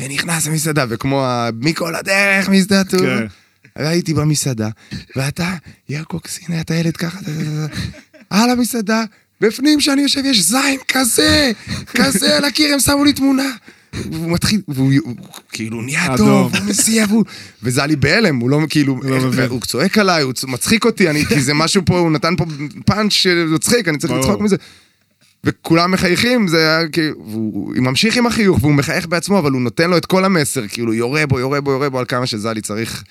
S5: ונכנס למסעדה, וכמו ה... מכל הדרך, משדה טור.
S4: כן.
S5: והייתי במסעדה, ואתה, יעקב קסיני, אתה ילד ככה, אתה- אתה- אתה- על המסעדה, בפנים שאני יושב, יש זין כזה, כזה על הקיר, הם שמו לי תמונה. והוא מתחיל, והוא הוא- כאילו נהיה
S4: אדום.
S5: טוב, הוא מסיע, והוא... וזה היה לי בהלם, הוא לא כאילו,
S4: לא מבין.
S5: הוא צועק עליי, הוא צ- מצחיק אותי, אני- כי זה משהו פה, הוא נתן פה פאנץ' שמצחיק, אני צריך
S4: ברור.
S5: לצחוק מזה. וכולם מחייכים, זה היה כאילו, והוא הוא ממשיך עם החיוך, והוא מחייך בעצמו, אבל הוא נותן לו את כל המסר, כאילו, יורה בו, יורה בו, יורה בו, על כמה שזלי צריך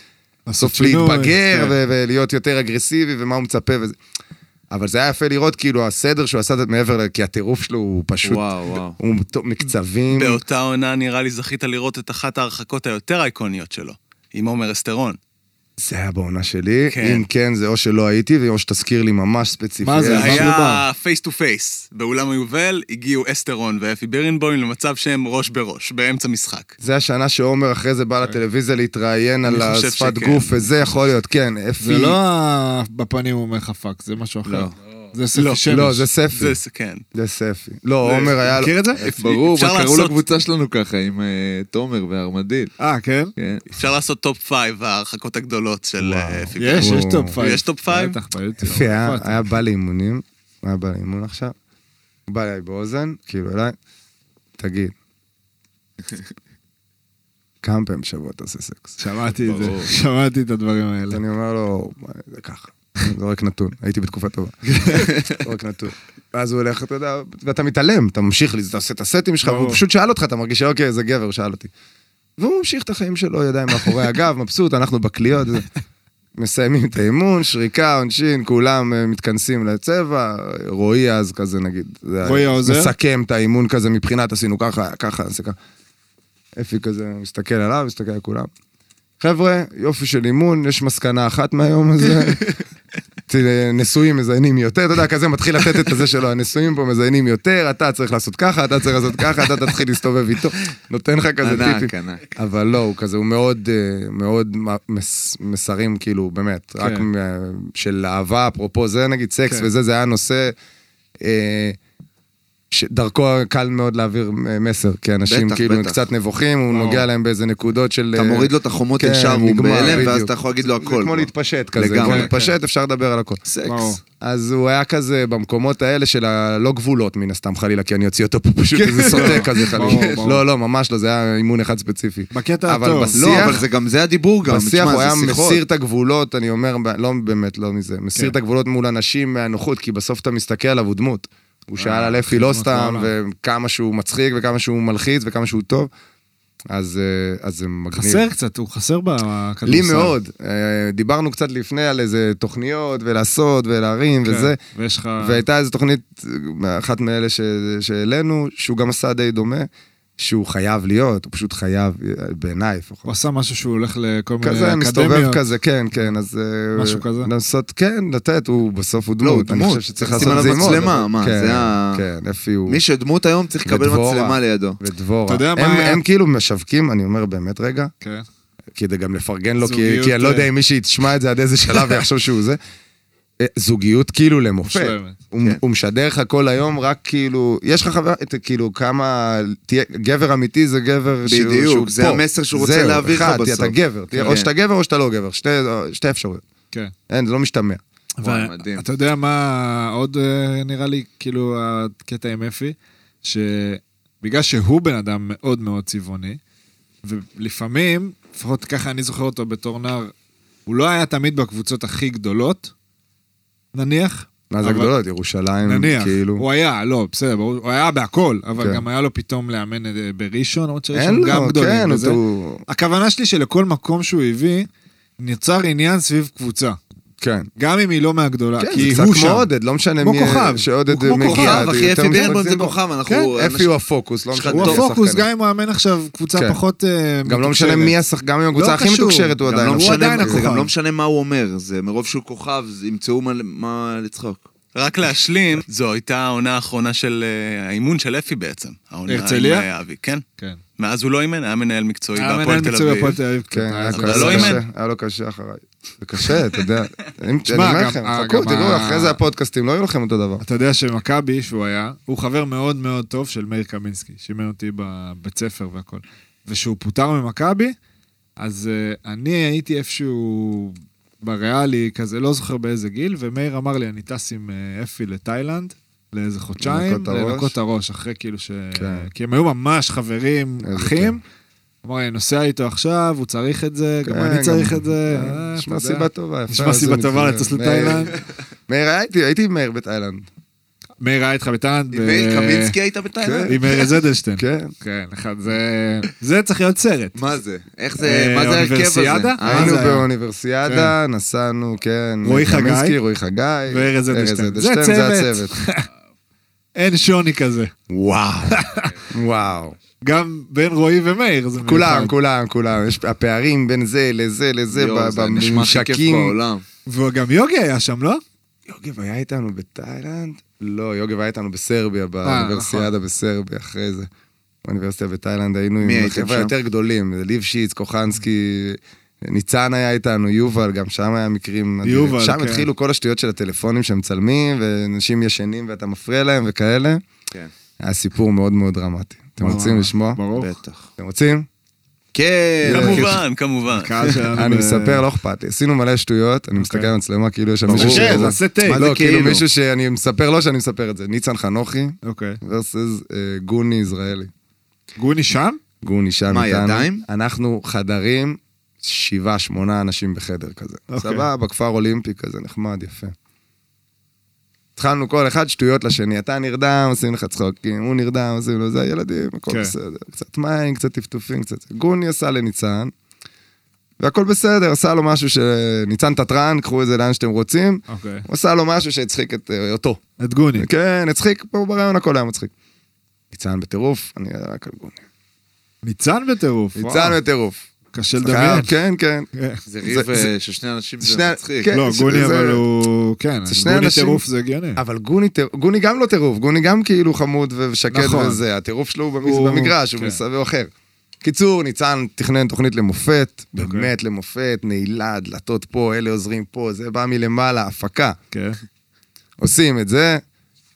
S5: בסוף
S4: שינוי,
S5: להתבגר
S4: כן.
S5: ו- ולהיות יותר אגרסיבי, ומה הוא מצפה וזה. אבל זה היה יפה לראות כאילו הסדר שהוא עשה את- מעבר, ל- כי הטירוף שלו הוא פשוט,
S7: וואו, וואו.
S5: הוא טוב, מקצבים.
S1: באותה עונה נראה לי זכית לראות את אחת ההרחקות היותר אייקוניות שלו, עם עומר אסטרון.
S5: זה היה בעונה שלי,
S1: כן.
S5: אם כן זה או שלא הייתי, או שתזכיר לי ממש ספציפית.
S4: מה זה?
S1: זה
S4: על מדובר?
S1: היה פייס טו פייס. באולם היובל הגיעו אסטרון ואפי בירנבוים למצב שהם ראש בראש, באמצע משחק.
S5: זה השנה שעומר אחרי זה
S4: כן.
S5: בא לטלוויזיה להתראיין על
S1: אני חושב
S5: השפת
S1: שכן.
S5: גוף, וזה יכול להיות, כן, אפי.
S4: זה לא ה- בפנים הוא אומר לך פאק, זה משהו אחר. זה ספי שמש.
S5: לא, זה ספי.
S1: זה, זה- כן.
S5: זה ספי. לא, עומר היה...
S4: מכיר את זה?
S2: ברור,
S1: אפשר
S2: אבל קראו
S1: לעשות-
S2: לקבוצה שלנו ככה, עם אה, תומר והארמדיל.
S4: אה, כן?
S2: כן.
S1: אפשר לעשות טופ פייב ההרחקות הגדולות של אה, אפי בירנבוים.
S4: יש, יש
S5: וואו.
S4: טופ פייב.
S1: יש טופ פייב?
S4: בטח, ביוטיוב.
S5: יפי, היה,
S4: איפה אתה?
S5: היה בא לאימונים, היה בא לאימון עכשיו, הוא בא אליי באוזן, כאילו אליי, תגיד, כמה פעמים בשבוע אתה עושה סקס?
S4: שמעתי את זה, שמעתי את הדברים האלה.
S5: אני אומר לו, "מה, זה ככה, זורק נתון, הייתי בתקופה טובה, זורק נתון. ואז הוא הולך, אתה יודע, ואתה מתעלם, אתה ממשיך, אתה עושה את הסטים שלך,
S4: ברור.
S5: והוא פשוט שאל אותך, אתה מרגיש שאוקיי, זה גבר, הוא שאל אותי. והוא ממשיך את החיים שלו, ידיים מאחורי הגב, מבסוט, אנחנו בקליות. זה. מסיימים את האימון, שריקה, עונשין, כולם אה, מתכנסים לצבע, רועי אז כזה נגיד. זה היה-
S4: רועי העוזר?
S5: מסכם את האימון כזה מבחינת עשינו ככה, ככה, עשה ככה. אפי כזה מסתכל עליו, מסתכל על כולם. חבר'ה, יופי של אימון, יש מסקנה אחת מהיום הזה. ת- נשואים מזיינים יותר, אתה יודע, כזה מתחיל לתת את הזה שלו, הנשואים פה מזיינים יותר, אתה צריך לעשות ככה, אתה צריך לעשות ככה, אתה תתחיל להסתובב איתו, נותן לך כזה
S2: ענק,
S5: טיפים.
S2: ענק.
S5: אבל לא, הוא כזה, הוא מאוד, אה, מאוד מ- מס- מסרים, כאילו, באמת, רק
S4: כן.
S5: מ- של אהבה, אפרופו זה נגיד סקס
S4: כן.
S5: וזה, זה היה נושא... אה, שדרכו קל מאוד להעביר אה, מסר, כי אנשים
S2: בטח,
S5: כאילו הם
S2: בטח.
S5: קצת נבוכים, הוא נוגע להם באיזה נקודות של...
S2: אתה
S5: אה,
S2: מוריד לו את החומות
S5: כן,
S2: ישר, הוא
S5: נגמר,
S2: בהלם, ואז
S5: בדיוק.
S2: אתה יכול להגיד לו
S5: זה
S2: הכל.
S5: כמו להתפשט כזה,
S2: לגמרי.
S5: כמו
S2: כן,
S5: להתפשט, אפשר לדבר על הכל.
S4: וואו.
S2: סקס.
S5: אז הוא היה כזה במקומות האלה של הלא גבולות, מן הסתם, חלילה, כי אני אוציא אותו פה פשוט
S2: כן.
S5: איזה סוטה כזה,
S4: ברור,
S5: חלילה.
S4: ברור.
S5: לא, לא, ממש לא, זה היה אימון אחד ספציפי.
S4: בקטע
S5: אבל
S4: הטוב.
S5: בס-
S2: לא,
S5: שיח-
S2: אבל זה גם זה הדיבור גם.
S5: בשיח
S2: תשמע,
S5: הוא
S2: זה
S5: היה
S2: שיחות. כן.
S5: מסיר את הגבולות, אני אומר, ב- לא באמת, לא מזה, מסיר את הגבולות מול אנשים מהנוחות, כי בסוף אתה מסתכל עליו, הוא דמות.
S2: אה,
S5: הוא שאל
S2: כן,
S5: על אפי לא
S4: חזק
S5: סתם,
S4: בעולם.
S5: וכמה שהוא מצחיק, וכמה שהוא מלחיץ, וכמה שהוא טוב. אז אה, אז זה מגניב.
S4: חסר קצת, הוא חסר בכדורסל.
S5: לי מאוד. אה, דיברנו קצת לפני על איזה תוכניות, ולעשות, ולהרים,
S4: כן,
S5: וזה.
S4: ויש לך...
S5: והייתה איזו תוכנית, אה, אחת מאלה ש- שהעלינו, שהוא גם עשה די דומה, שהוא חייב להיות, הוא פשוט חייב, אה, בעיניי
S4: הוא
S5: לפחות.
S4: עשה משהו שהוא הולך לכל מיני
S5: כזה,
S4: אה, אקדמיות.
S5: מסתובב כזה, כן, כן, אז... אה,
S4: משהו כזה?
S5: לעשות, כן, לתת, הוא בסוף הוא דמות.
S2: לא, הוא
S5: אני
S2: דמות.
S5: חושב שצריך
S2: שים
S5: לעשות
S2: עליו
S5: את זה עם עוד.
S2: מצלמה,
S5: אבל-
S2: מה,
S5: כן,
S2: זה ה-
S5: כן, אפי הוא...
S2: מי שדמות היום צריך לקבל
S5: ודבורה.
S2: מצלמה לידו.
S5: ודבורה.
S4: אתה יודע מה
S5: הם-
S4: היה-
S5: הם כאילו משווקים, אני אומר באמת רגע,
S4: כן.
S5: כדי גם לפרגן לו, כי,
S4: זוגיות,
S5: כי אני לא יודע
S4: אה,
S5: אם מישהי תשמע את זה עד איזה שלב ויחשוב שהוא זה. אה, זוגיות כאילו למופת.
S4: מושלמת.
S5: הוא,
S2: כן.
S5: הוא משדר לך כל היום רק כאילו, יש לך חבר, את- כאילו כמה, תהיה, גבר אמיתי זה גבר שהוא-
S2: בדיוק,
S5: שהוא
S2: זה
S5: פה.
S2: המסר שהוא רוצה להעביר לך
S5: אחד, תהיה-
S2: בסוף.
S5: אתה גבר, תהיה,
S2: כן.
S5: או שאתה גבר או שאתה לא גבר, שתי, שתי אפשרויות.
S4: כן.
S5: אין, זה לא משתמע.
S2: וואי,
S4: ו-
S2: מדהים.
S4: אתה יודע מה עוד אה, נראה לי, כאילו, הקטע עם אפי? שבגלל שהוא בן אדם מאוד מאוד צבעוני, ולפעמים, לפחות ככה אני זוכר אותו בתור נער, הוא לא היה תמיד בקבוצות הכי גדולות, נניח.
S5: מה זה
S4: אבל-
S5: הגדולות? ירושלים,
S4: נניח,
S5: כאילו.
S4: הוא היה, לא, בסדר, ברור, הוא היה בהכל, אבל
S5: כן.
S4: גם היה לו פתאום לאמן אה, בראשון, למרות
S5: אין
S4: שראשון גם
S5: לו,
S4: גדולים.
S5: כן,
S4: וזה.
S5: הוא...
S4: הכוונה שלי שלכל מקום שהוא הביא, נוצר עניין סביב קבוצה.
S5: כן.
S4: גם אם היא לא מהגדולה,
S5: כן,
S4: כי
S5: זה
S4: הוא
S5: קצת
S4: שם.
S5: כמו עודד, לא משנה
S4: כמו
S5: מי...
S4: כוכב.
S5: שעודד
S4: הוא כמו
S5: מגיע,
S4: כוכב,
S5: זה
S2: אחי,
S5: יותר
S2: אפי
S5: מזרזים
S2: בירנבוים זה
S5: בו.
S2: כוכב, אנחנו
S5: כן, אפי
S2: אנשים-
S5: הוא הפוקוס, לא
S2: יש לך
S5: משנה.
S4: הוא
S2: טוב,
S4: הפוקוס,
S5: השחקנים.
S4: גם אם הוא מאמן עכשיו קבוצה
S5: כן.
S4: פחות... אה,
S5: גם לא
S4: מתוקשרת.
S5: משנה מי השחק... גם אם הקבוצה
S4: לא
S5: הכי
S4: קשור.
S5: מתוקשרת הוא
S2: גם
S5: עדיין...
S2: לא
S5: הפוקוס.
S2: משנה
S4: עדיין
S2: מה- זה
S4: הכוכב.
S2: גם לא משנה מה הוא אומר, זה מרוב שהוא כוכב, אז ימצאו מה- מה לצחוק.
S1: רק להשלים, זו הייתה העונה האחרונה של אה, האימון של אפי בעצם. העונה עם,
S4: הרצליה?
S1: אה, אבי, כן.
S4: כן.
S1: מאז הוא לא אימן, היה מנהל מקצועי
S4: היה
S1: בהפועל
S4: מנהל
S1: תל
S4: מקצועי בהפועל
S1: אביב.
S4: תל אביב.
S5: כן, היה
S4: אז
S5: לו
S1: אבל
S5: קשה,
S1: לא
S5: קשה,
S1: אימן.
S5: היה לו קשה אחריי. זה קשה, אתה יודע. אם- אני
S4: תשמע,
S5: אומר
S4: גם-
S5: לכם,
S4: אה,
S5: חכו,
S4: גם
S5: תראו,
S4: ה-
S5: אחרי זה הפודקאסטים לא יהיו לכם אותו דבר.
S4: אתה יודע שמכבי, שהוא היה, הוא חבר מאוד מאוד טוב של מאיר קמינסקי, שאימן אותי בבית ספר והכל. ושהוא פוטר ממכבי, אז uh, אני הייתי איפשהו בריאלי, כזה, לא זוכר באיזה גיל, ומאיר אמר לי, אני טס עם אה, אפי לתאילנד, לאיזה חודשיים,
S5: לנקות את הראש.
S4: לנקות את הראש, אחרי כאילו ש...
S5: כן.
S4: כי הם היו ממש חברים,
S5: איזה
S4: אחים. אמר לי, אני נוסע איתו עכשיו, הוא צריך את זה, גם
S5: כן,
S4: אני
S5: גם-
S4: צריך את זה.
S5: כן,
S4: אה,
S5: נשמע
S4: אתה יודע.
S5: סיבה טובה, יפה.
S4: נשמע
S5: אז
S4: סיבה
S5: אני-
S4: טובה לטוס
S5: מאיר-
S4: לתאילנד.
S5: מאיר, הייתי- הייתי עם מאיר בתאילנד.
S4: מאיר היה איתך בתאילנד.
S1: עם
S4: ב-
S1: מאיר קמינסקי היית בתאילנד?
S4: כן, עם ארז אדלשטיין.
S5: אה, כן.
S4: כן, אחד, זה... זה צריך להיות סרט.
S2: מה זה? איך
S4: אה,
S2: זה, מה זה ההרכב הזה?
S4: האוניברסיאדה?
S2: אה,
S4: מה
S5: היינו
S4: זה היה?
S5: באוניברסיאדה, נסענו, כן.
S4: רועי
S5: קמינסקי,
S4: חגי?
S5: רועי חגי.
S4: וארז אדלשטיין. זה הצוות. אין שוני כזה.
S5: וואו. וואו.
S4: גם בין רועי ומאיר זה
S5: כולם,
S4: מיוחד.
S5: כולם, כולם. יש הפערים בין זה לזה לזה,
S2: יואו,
S5: ב-
S2: זה נשמע הכי כיף
S5: בממשקים.
S2: בעולם.
S4: וגם יוגי היה שם, לא?
S5: יוגב היה איתנו בתאילנד? לא, יוגב היה איתנו
S4: אה,
S5: בסרביה,
S4: נכון.
S5: באוניברסיאדה בסרביה, אחרי זה. באוניברסיטה בתאילנד היינו עם
S2: מי הייתם
S5: החבר'ה
S2: שם?
S5: יותר גדולים, ליב שיץ, קוחנסקי, ניצן היה איתנו, יובל, גם שם היה מקרים... אדירים.
S4: יובל,
S5: שם
S4: כן.
S5: התחילו כל השטויות של הטלפונים שמצלמים, ואנשים ישנים ואתה מפריע להם וכאלה.
S2: כן.
S5: היה סיפור מאוד מאוד דרמטי. אתם רוצים לשמוע?
S4: ברור.
S2: בטח.
S5: אתם רוצים?
S2: כן.
S1: כמובן, כמובן.
S4: הקהל שלנו...
S5: אני
S4: ב-
S5: מספר, לא אכפת לי. עשינו מלא שטויות, אני מסתכל על המצלמה כאילו יש שם מישהו
S4: כן,
S5: שהוא-
S4: תעשה טייק.
S2: מה זה
S5: לא, כאילו
S2: כאילו?
S5: מישהו שאני מספר, לא שאני מספר את זה. ניצן חנוכי
S4: אוקיי.
S5: versus אה, גוני ישראלי.
S4: גוני שם?
S5: גוני שם
S2: מה,
S5: איתנו.
S2: ידיים?
S5: אנחנו חדרים, שבעה, שמונה אנשים בחדר כזה.
S4: אוקיי.
S5: סבבה, כפר אולימפי כזה, נחמד, יפה. התחלנו כל אחד שטויות לשני, אתה נרדם, עושים לך צחוקים, הוא נרדם, עושים לו זה, ילדים, הכל
S4: כן.
S5: בסדר. קצת מים, קצת טפטופים, קצת... זה. גוני עשה לניצן, והכל בסדר, עשה לו משהו ש... ניצן תתרן, קחו את זה לאן שאתם רוצים.
S4: אוקיי.
S5: הוא עשה לו משהו שהצחיק את אה, אותו.
S4: את גוני.
S5: כן, הצחיק, פה ברעיון הכל היה מצחיק. ניצן בטירוף, אני רק על גוני.
S4: ניצן בטירוף.
S5: ניצן
S4: וואו.
S5: בטירוף.
S4: קשה לדמיין.
S5: כן, כן.
S4: כן.
S2: זה
S5: זה-
S2: ריב
S5: זה-
S2: אה, של שני אנשים, זה
S5: שני-
S2: מצחיק.
S5: כן.
S4: לא,
S5: זה-
S4: גוני
S5: זה-
S4: אבל הוא... כן,
S5: זה שני
S4: גוני
S5: אנשים- אה.
S4: טירוף זה הגיוני.
S2: אה.
S5: אבל גוני, טיר- גוני גם לא טירוף, גוני גם כאילו חמוד ו- ושקט
S4: נכון.
S5: וזה, הטירוף שלו הוא
S4: הוא-
S5: במג- במגרש, הוא
S4: כן.
S5: מסביב אחר. קיצור, ניצן תכנן תוכנית למופת,
S4: אוקיי.
S5: באמת למופת, נעילה, דלתות פה, אלה עוזרים פה, זה בא מלמעלה, הפקה.
S4: כן.
S5: עושים את זה,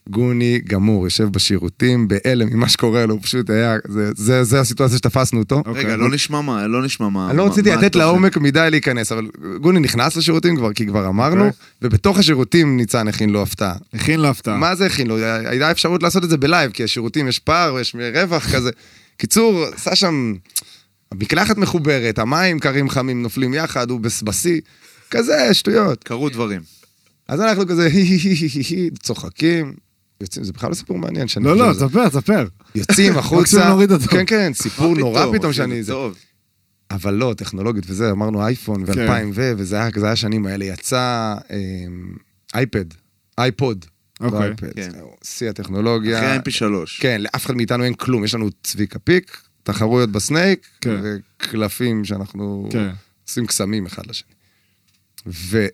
S5: גוני גמור, יושב בשירותים, בהלם ממה שקורה לו, הוא פשוט היה, זה- זה זה הסיטואציה שתפסנו אותו.
S4: אוקיי.
S2: רגע, לא נשמע מה, לא נשמע מה.
S5: אוקיי. אני לא
S2: מה-
S5: רציתי
S2: מה
S5: לתת
S2: התוכן.
S5: לעומק מדי להיכנס, אבל גוני נכנס לשירותים כבר, כי כבר אמרנו,
S4: אוקיי.
S5: ובתוך השירותים ניצן הכין לו הפתעה.
S4: הכין לה הפתעה.
S5: מה זה הכין לו? הייתה אפשרות לעשות את זה בלייב, כי השירותים יש פער, יש רווח כזה. קיצור, עשה שם... המקלחת מחוברת, המים קרים חמים נופלים יחד, הוא בס- בשיא, כזה שטויות.
S2: קרו דברים.
S5: אז אנחנו כזה "הי, הי, הי, הי, הי", צוחקים, יוצאים, זה בכלל לא סיפור מעניין. שאני
S4: לא,
S5: חושב
S4: לא,
S5: על זה.
S4: ספר, ספר.
S5: יוצאים
S4: מקסימום
S5: החוצה,
S4: נוריד אותו.
S5: כן כן, סיפור נורא פתאום
S2: אפילו,
S5: שאני, זה-
S2: טוב.
S5: אבל לא, טכנולוגית וזה, אמרנו אייפון
S4: כן.
S5: ו-2000 ו... וזה היה, זה היה השנים האלה, יצא אמ, אייפד, אייפוד. לא
S4: אוקיי.
S5: אייפד,
S2: כן.
S5: זהו, שיא הטכנולוגיה.
S2: אחרי mp3.
S5: כן, לאף אחד מאיתנו אין כלום, יש לנו צביקה פיק, תחרויות בסנייק,
S4: כן.
S5: וקלפים שאנחנו
S4: כן.
S5: עושים קסמים אחד לשני. ו...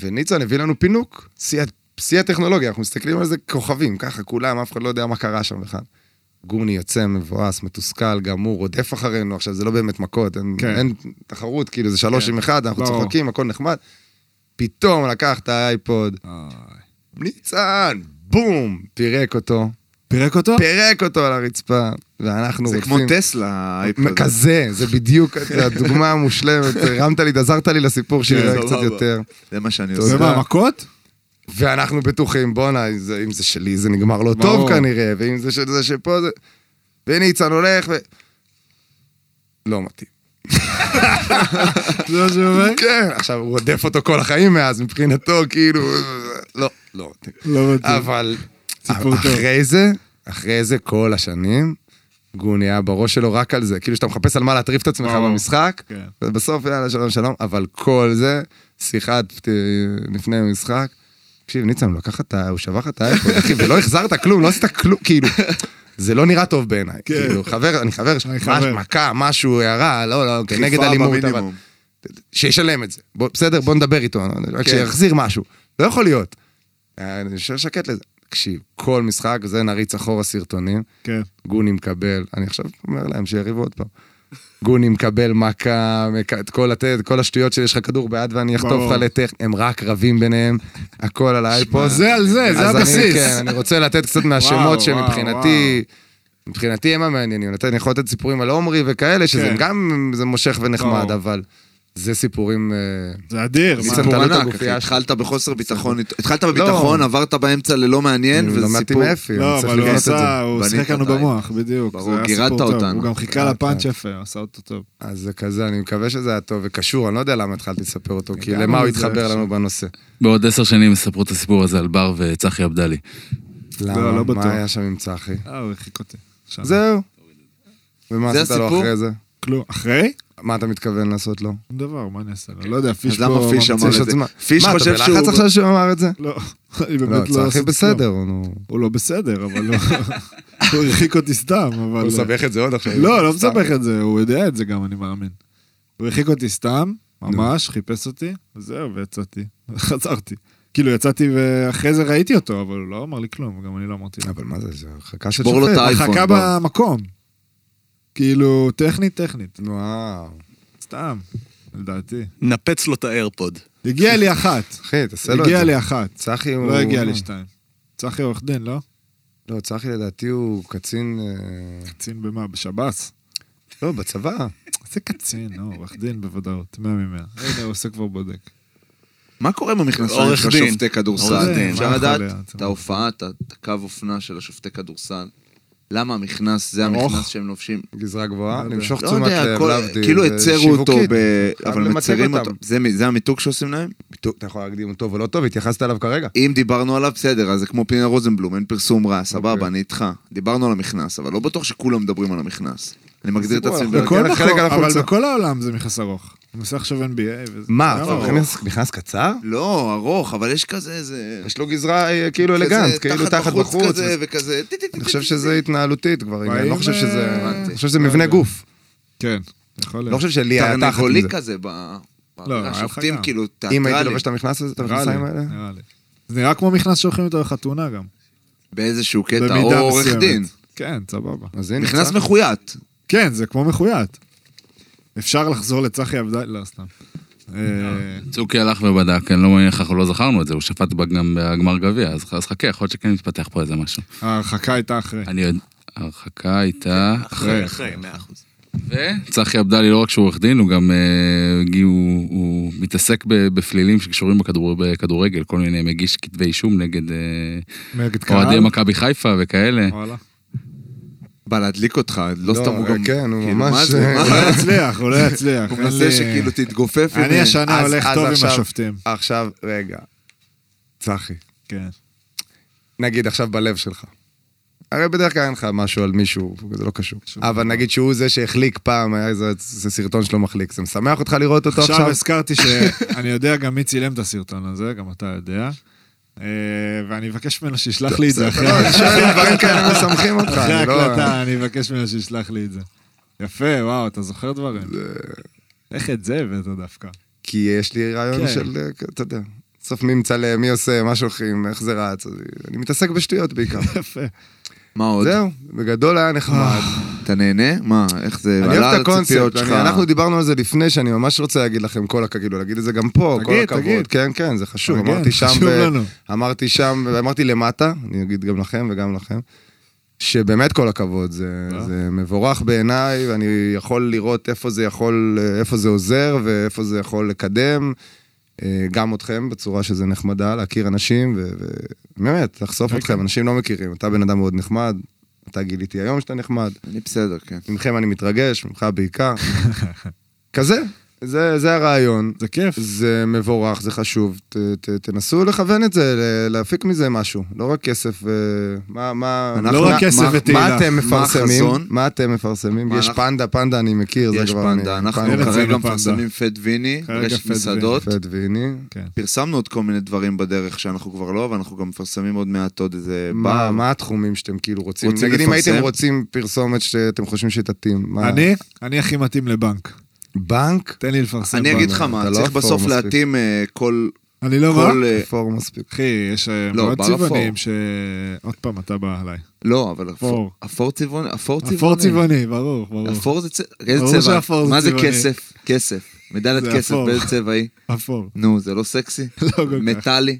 S5: וניצן הביא לנו פינוק, שיא ה- שיא הטכנולוגיה, אנחנו מסתכלים על זה כוכבים, ככה כולם, אף אחד לא יודע מה קרה שם בכלל. גורני יוצא מבואס, מתוסכל, גמור, רודף אחרינו, עכשיו זה לא באמת מכות, אין,
S4: כן.
S5: כן. אין תחרות, כאילו זה שלוש
S4: כן.
S5: עם אחד, אנחנו
S4: ברור.
S5: צוחקים, הכל נחמד. פתאום לקח את האייפוד,
S4: אה,
S5: ניצן, בום, פירק אותו,
S4: פירק אותו?
S5: פירק אותו על הרצפה, ואנחנו
S2: זה
S5: רוצים...
S2: כמו טסלה, האייפוד.
S5: כזה, זה בדיוק הדוגמה המושלמת, הרמת לי, עזרת לי לסיפור שלי
S2: כן,
S5: רק קצת
S2: סבבה.
S5: לא יותר.
S2: זה מה שאני עושה.
S4: ומה, מכות?
S5: ואנחנו בטוחים, בואנה, אם זה- אם זה שלי זה נגמר לא
S4: ברור.
S5: טוב כנראה, ואם זה של זה שפה זה... וניצן הולך ו... לא מתאים.
S4: זה מה שהוא אומר?
S5: כן, עכשיו הוא רודף אותו כל החיים מאז, מבחינתו, כאילו... לא, לא מתאים.
S4: לא מתאים.
S5: אבל
S4: סיפור טוב.
S5: אחרי זה, אחרי זה כל השנים, גוני היה בראש שלו רק על זה. כאילו שאתה מחפש על מה להטריף את עצמך
S4: ברור.
S5: במשחק,
S4: כן.
S5: ובסוף יאללה שלום שלום, אבל כל זה, שיחת אה, לפני המשחק. תקשיב, ניצן, הוא לקח את ה... הוא שבח את האייפון, אחי, ולא החזרת כלום, לא עשית כלום, כאילו. זה לא נראה טוב בעיניי.
S4: כן.
S5: כאילו, חבר, אני חבר,
S4: אני
S5: מש-
S4: חבר.
S5: מכה, משהו, הערה, לא, לא, כנגד
S2: חיפה
S5: אלימות, אבל...
S2: במינימום.
S5: שישלם את זה. בוא, בסדר, בוא נדבר איתו, רק
S2: כן.
S5: שיחזיר משהו. לא יכול להיות. אה, אני יושב שקט לזה. תקשיב, כל משחק, זה נריץ אחורה סרטונים,
S4: כן.
S5: גוני מקבל, אני עכשיו אומר להם שיריבו עוד פעם. גוני מקבל מכה, מק- את כל, הת... את כל השטויות של יש לך כדור ביד ואני אחטוף
S4: ברור.
S5: לך לטכ... הם רק רבים ביניהם, הכל על האייפוד.
S4: זה על זה, זה
S5: אז אני-
S4: הבסיס.
S5: כן, אני רוצה לתת קצת מהשמות
S4: וואו,
S5: שמבחינתי... מבחינתי הם המעניינים, לתת- אני יכול לתת סיפורים על עומרי וכאלה, שזה
S4: כן.
S5: גם, זה מושך ונחמד,
S4: ברור.
S5: אבל זה סיפורים... אה,
S4: זה אדיר. מה?
S5: ניצן,
S2: סיפור
S5: תעלה את
S2: ענק, אחי.
S5: הגופייה שלך.
S2: התחלת בחוסר ביטחון, התחלת בביטחון, עברת באמצע ללא מעניין,
S5: לא. אני
S2: וזה
S5: למדתי
S2: סיפור...
S5: מאפי,
S4: לא,
S5: אני צריך
S4: אבל הוא
S5: לקנות את זה.
S4: עשה, הוא
S2: בנית
S4: שיחק לנו
S2: אותה.
S4: במוח, בדיוק.
S2: ברור,
S4: זה היה
S2: גירדת
S4: סיפור טוב.
S2: אותנו.
S4: הוא גם חיכה
S5: גירדת.
S4: לפאנץ' יפה, עשה אותו טוב.
S5: אז זה כזה, אני מקווה שזה היה טוב וקשור, אני לא יודע למה התחלתי לספר אותו, כי
S4: הגענו
S5: למה הוא
S4: לזה
S5: התחבר
S4: עכשיו.
S5: לנו בנושא.
S6: בעוד עשר שנים יספרו את הסיפור הזה על בר וצחי עבדלי.
S5: למה?
S4: לא בטוח.
S5: מה היה שם עם צחי?
S4: אה, הוא הרחיק אותי. שם.
S5: זהו. ומה
S2: זה
S5: עשית לו
S2: הסיפור?
S5: אחרי זה?
S4: כלום. אחרי?
S5: מה אתה מתכוון לעשות לו?
S4: שום דבר, מה אני אעשה לו? לא יודע, פיש
S2: אז
S4: פה...
S2: למה פיש
S4: ממציא
S2: אמר את
S5: יש
S4: ש-
S5: עוד
S2: זה?
S5: זמן.
S2: פיש
S5: מה, אתה
S2: חושב
S5: בלחץ
S2: שהוא...
S5: עכשיו שהוא אמר את זה?
S4: לא, אני באמת לא
S5: לא,
S4: עשיתי כלום.
S5: צחי בסדר, הוא...
S4: הוא לא בסדר, אבל הוא הוא הרחיק אותי סתם, אבל...
S5: הוא מסבך את זה עוד עכשיו.
S4: לא, לא
S5: סתם.
S4: מסבך את זה, הוא יודע את זה גם, אני מאמין. הוא הרחיק אותי סתם, ממש, חיפש אותי, וזהו, ויצאתי. חזרתי. כאילו, יצאתי ואחרי זה ראיתי אותו, אבל הוא לא אמר לי כלום, וגם אני לא אמרתי לו.
S5: אבל מה זה, זה הרחקה של
S2: בור לו את
S5: שופט.
S2: האייפון.
S4: חכה
S2: בר.
S4: במקום. כאילו, טכנית, טכנית.
S5: וואו.
S4: סתם, לדעתי.
S1: נפץ לו את האיירפוד.
S4: הגיעה לי אחת.
S5: אחי, תעשה לו את
S4: הגיעה
S5: זה.
S4: לי אחת.
S5: צחי הוא...
S4: לא הגיעה לי שתיים. צחי עורך דין, לא?
S5: לא, צחי לדעתי הוא קצין... אה,
S4: קצין במה? בשב"ס?
S5: לא, בצבא.
S4: זה קצין, נו, עורך דין בוודאות, 100 מ-100. הנה, הוא עושה כבר בודק.
S2: מה קורה עם המכנסיים
S1: עורך
S2: של
S1: דין.
S2: השופטי
S1: עורך
S2: כדורסל?
S1: דין,
S2: אפשר
S4: מה
S2: לדעת
S4: יכול להיות?
S2: את ההופעה, את ה- את הקו אופנה של השופטי כדורסל? למה המכנס, זה
S4: ארוך.
S2: המכנס שהם לובשים?
S5: גזרה גבוהה,
S4: לא יודע.
S5: למשוך
S2: לא
S5: תשומת
S2: יודע,
S5: לב,
S2: כל-
S5: להבדיל.
S2: כאילו
S5: זה
S2: הצרו אותו,
S5: שיווקית.
S2: ב-
S5: חייב
S2: אבל
S5: למתג
S2: מצרים
S5: אותם.
S2: אותו. זה מ- זה המיתוג שעושים להם?
S5: טוב, אתה יכול להקדים אותו ולא טוב, התייחסת אליו כרגע.
S2: אם דיברנו עליו, בסדר, אז זה כמו פינה רוזנבלום, אין פרסום רע, סבבה,
S5: אוקיי.
S2: אני איתך. דיברנו על המכנס, אבל לא בטוח שכולם מדברים על המכנס. אני מגדיר את
S5: הסיפור,
S2: עצמי.
S5: אנחנו
S2: בדרך-
S4: בכל
S5: נגיע לחלק
S4: מקום,
S5: על
S4: אבל
S5: החולצה.
S4: בכל העולם זה מכס ארוך. הוא עושה עכשיו NBA וזה...
S5: מה,
S4: גם
S5: אתה
S4: ארוך.
S5: נכנס- נכנס קצר?
S2: לא, ארוך, אבל יש כזה איזה...
S5: יש לו גזרה אה, כאילו אלגנט,
S2: כזה
S5: כאילו תחת בחוץ.
S2: כזה וכזה. טי, טי, טי,
S5: אני
S2: טי,
S5: חושב
S2: טי,
S5: שזה התנהלותית כבר, אני
S4: באים,
S5: לא חושב שזה...
S4: אה,
S5: אני חושב שזה מבנה גוף.
S4: כן, יכול
S5: לא
S4: להיות.
S5: חושב שלי היה תחת
S2: תרנגולי
S5: מזה.
S2: כזה ב...
S4: לא, היה
S2: השופטים
S4: חכם.
S2: כאילו
S5: אם הייתי לא
S2: תיאטרלים
S5: לובש את המכנס הזה, את
S4: נראה לי,
S5: המכנסיים האלה?
S4: נראה לי. זה נראה כמו מכנס שהולכים איתו לחתונה גם.
S2: באיזשהו קטע, או
S4: במידה
S2: עורך
S4: מסוימת.
S2: דין.
S4: כן, סבבה.
S5: אז הנה,
S2: נכנס
S5: צח.
S2: מחויט.
S4: כן, זה כמו מחויית. אפשר לחזור לצחי עבדאי... לא, סתם. אה,
S6: צוקי הלך ובדק, אני לא מניח, אנחנו לא זכרנו את זה, הוא שפט בה גם בגמר גביע, אז אז חכה, יכול להיות שכן מתפתח פה איזה משהו.
S4: ההרחקה הייתה אחרי.
S6: אני יודע, ההרחקה הייתה...
S1: אחרי, אחרי, מאה אחוז.
S6: וצחי עבדלי לא רק שהוא עורך דין, הוא גם אה, הגיע- הוא- הוא מתעסק ב- בפלילים שקשורים בכדור- בכדורגל, כל מיני מגיש כתבי אישום נגד אה,
S4: נגד קהל.
S6: אוהדי מכבי חיפה וכאלה.
S4: וואלה.
S2: בא להדליק אותך, לא
S5: לא,
S2: סתם הוא
S5: אה,
S2: גם...
S5: כן, הוא
S2: כאילו,
S5: ממש-
S2: מה זה?
S4: הוא לא יצליח, הוא לא יצליח.
S2: הוא
S4: אין
S2: מנסה
S4: לי-
S2: שכאילו תתגופף.
S4: אני
S2: הנה.
S4: השנה
S5: אז-
S4: הולך
S5: אז
S4: טוב עם
S5: עכשיו-
S4: השופטים.
S5: עכשיו, רגע. צחי,
S4: כן.
S5: נגיד עכשיו בלב שלך. הרי בדרך כלל אין לך משהו על מישהו, זה לא קשור. אבל נגיד שהוא זה שהחליק פעם, היה איזה איזה סרטון שלו מחליק. זה משמח אותך לראות אותו
S4: עכשיו
S5: עכשיו?
S4: הזכרתי שאני יודע גם מי צילם את הסרטון הזה, גם אתה יודע. אה, ואני אבקש ממנו שישלח לי את זה אחרי
S5: לא, אני שואל אם דברים כאלה משמחים אותך.
S4: אחרי
S5: אני לא-
S4: ההקלטה, אני אבקש ממנו שישלח לי את זה. יפה, וואו, אתה זוכר דברים. איך את זה הבאת דווקא?
S5: כי יש לי רעיון
S4: כן.
S5: של, אה, אתה יודע, בסוף מי ימצא למי עושה, מה שולחים, איך זה רץ. אז אני מתעסק בשטויות בעיקר.
S4: יפה.
S2: מה עוד?
S5: זהו, בגדול היה נחמד.
S4: אה,
S2: אתה נהנה? מה, איך זה?
S5: אני אוהב
S2: עלה
S5: את
S2: על הציפיות
S5: הקונספט,
S2: שלך?
S5: אני- אנחנו דיברנו על זה לפני, שאני ממש רוצה להגיד לכם כל הכבוד, כאילו להגיד את זה גם פה, כל
S4: תגיד,
S5: הכבוד.
S4: תגיד.
S5: כן, כן, זה חשוב.
S4: תגיד,
S5: אמרתי שם,
S4: חשוב
S5: ב-
S4: לנו.
S5: אמרתי שם, אמרתי למטה, אני אגיד גם לכם וגם לכם, שבאמת כל הכבוד, זה
S4: לא.
S5: זה מבורך בעיניי, ואני יכול לראות איפה זה יכול, איפה זה עוזר ואיפה זה יכול לקדם. אה, גם אתכם, בצורה שזה נחמדה, להכיר אנשים, ובאמת, לחשוף
S4: כן,
S5: אתכם,
S4: כן.
S5: אנשים לא מכירים. אתה בן אדם מאוד נחמד, אתה גיליתי היום שאתה נחמד.
S2: אני בסדר, כן.
S5: ממכם אני מתרגש, ממך בעיקר. כזה, זה, זה הרעיון.
S4: זה כיף.
S5: זה מבורך, זה חשוב. ת, ת, תנסו לכוון את זה, ל- להפיק מזה משהו. לא רק כסף, אה, מה, מה...
S2: אנחנו-
S4: לא רק
S5: מה-
S4: כסף
S5: מה-
S4: ותהילה.
S5: מה אתם
S2: מה
S5: מפרסמים?
S2: החזון?
S5: מה אתם מפרסמים?
S2: מה
S5: יש
S2: אנחנו-
S5: פנדה, פנדה אני מכיר, זה
S2: יש
S5: כבר...
S2: פנדה,
S5: אני-
S2: אנחנו
S5: פנדה,
S4: אין
S2: כרגע
S4: אצלנו פנדה.
S2: מפרסמים פד ויני,
S4: כרגע פד
S2: רשת
S4: ויני.
S2: מסעדות.
S5: פד ויני.
S2: פרסמנו עוד כל מיני דברים בדרך שאנחנו כבר לא, ואנחנו גם מפרסמים עוד מעט עוד איזה
S5: מה,
S2: בר.
S5: מה התחומים שאתם כאילו רוצים?
S2: רוצים
S5: נגיד אם
S2: לפרסם?
S5: הייתם רוצים פרסומת שאתם חושבים שתתאים. מה?
S4: אני, אני הכי מתאים לבנק.
S5: בנק?
S4: תן לי לפרסם.
S2: אני אגיד לך
S4: בנק.
S2: מה,
S5: אתה לא
S2: צריך
S5: אפור
S2: בסוף
S5: מספיק.
S2: להתאים אה, כל...
S4: אני לא מה?
S2: כל... אה,
S5: פור מספיק.
S4: אחי, יש אה,
S2: לא,
S4: מאוד
S2: בר
S4: צבעונים
S2: אפור.
S4: ש... עוד פעם, אתה בא עליי.
S2: לא, אבל אפור.
S4: אפור.
S2: אפור צבעוני? אפור צבעוני.
S4: אפור צבעוני, ברור, ברור.
S2: אפור זה צבע. איזה
S4: ברור
S2: צבע?
S4: שאפור זה
S2: מה זה
S4: צבעוני.
S2: כסף? כסף. מדלת
S4: זה
S2: כסף,
S4: אפור.
S2: באיזה צבע היא?
S4: אפור.
S2: נו, זה לא סקסי?
S4: כל כך.
S2: מטאלי.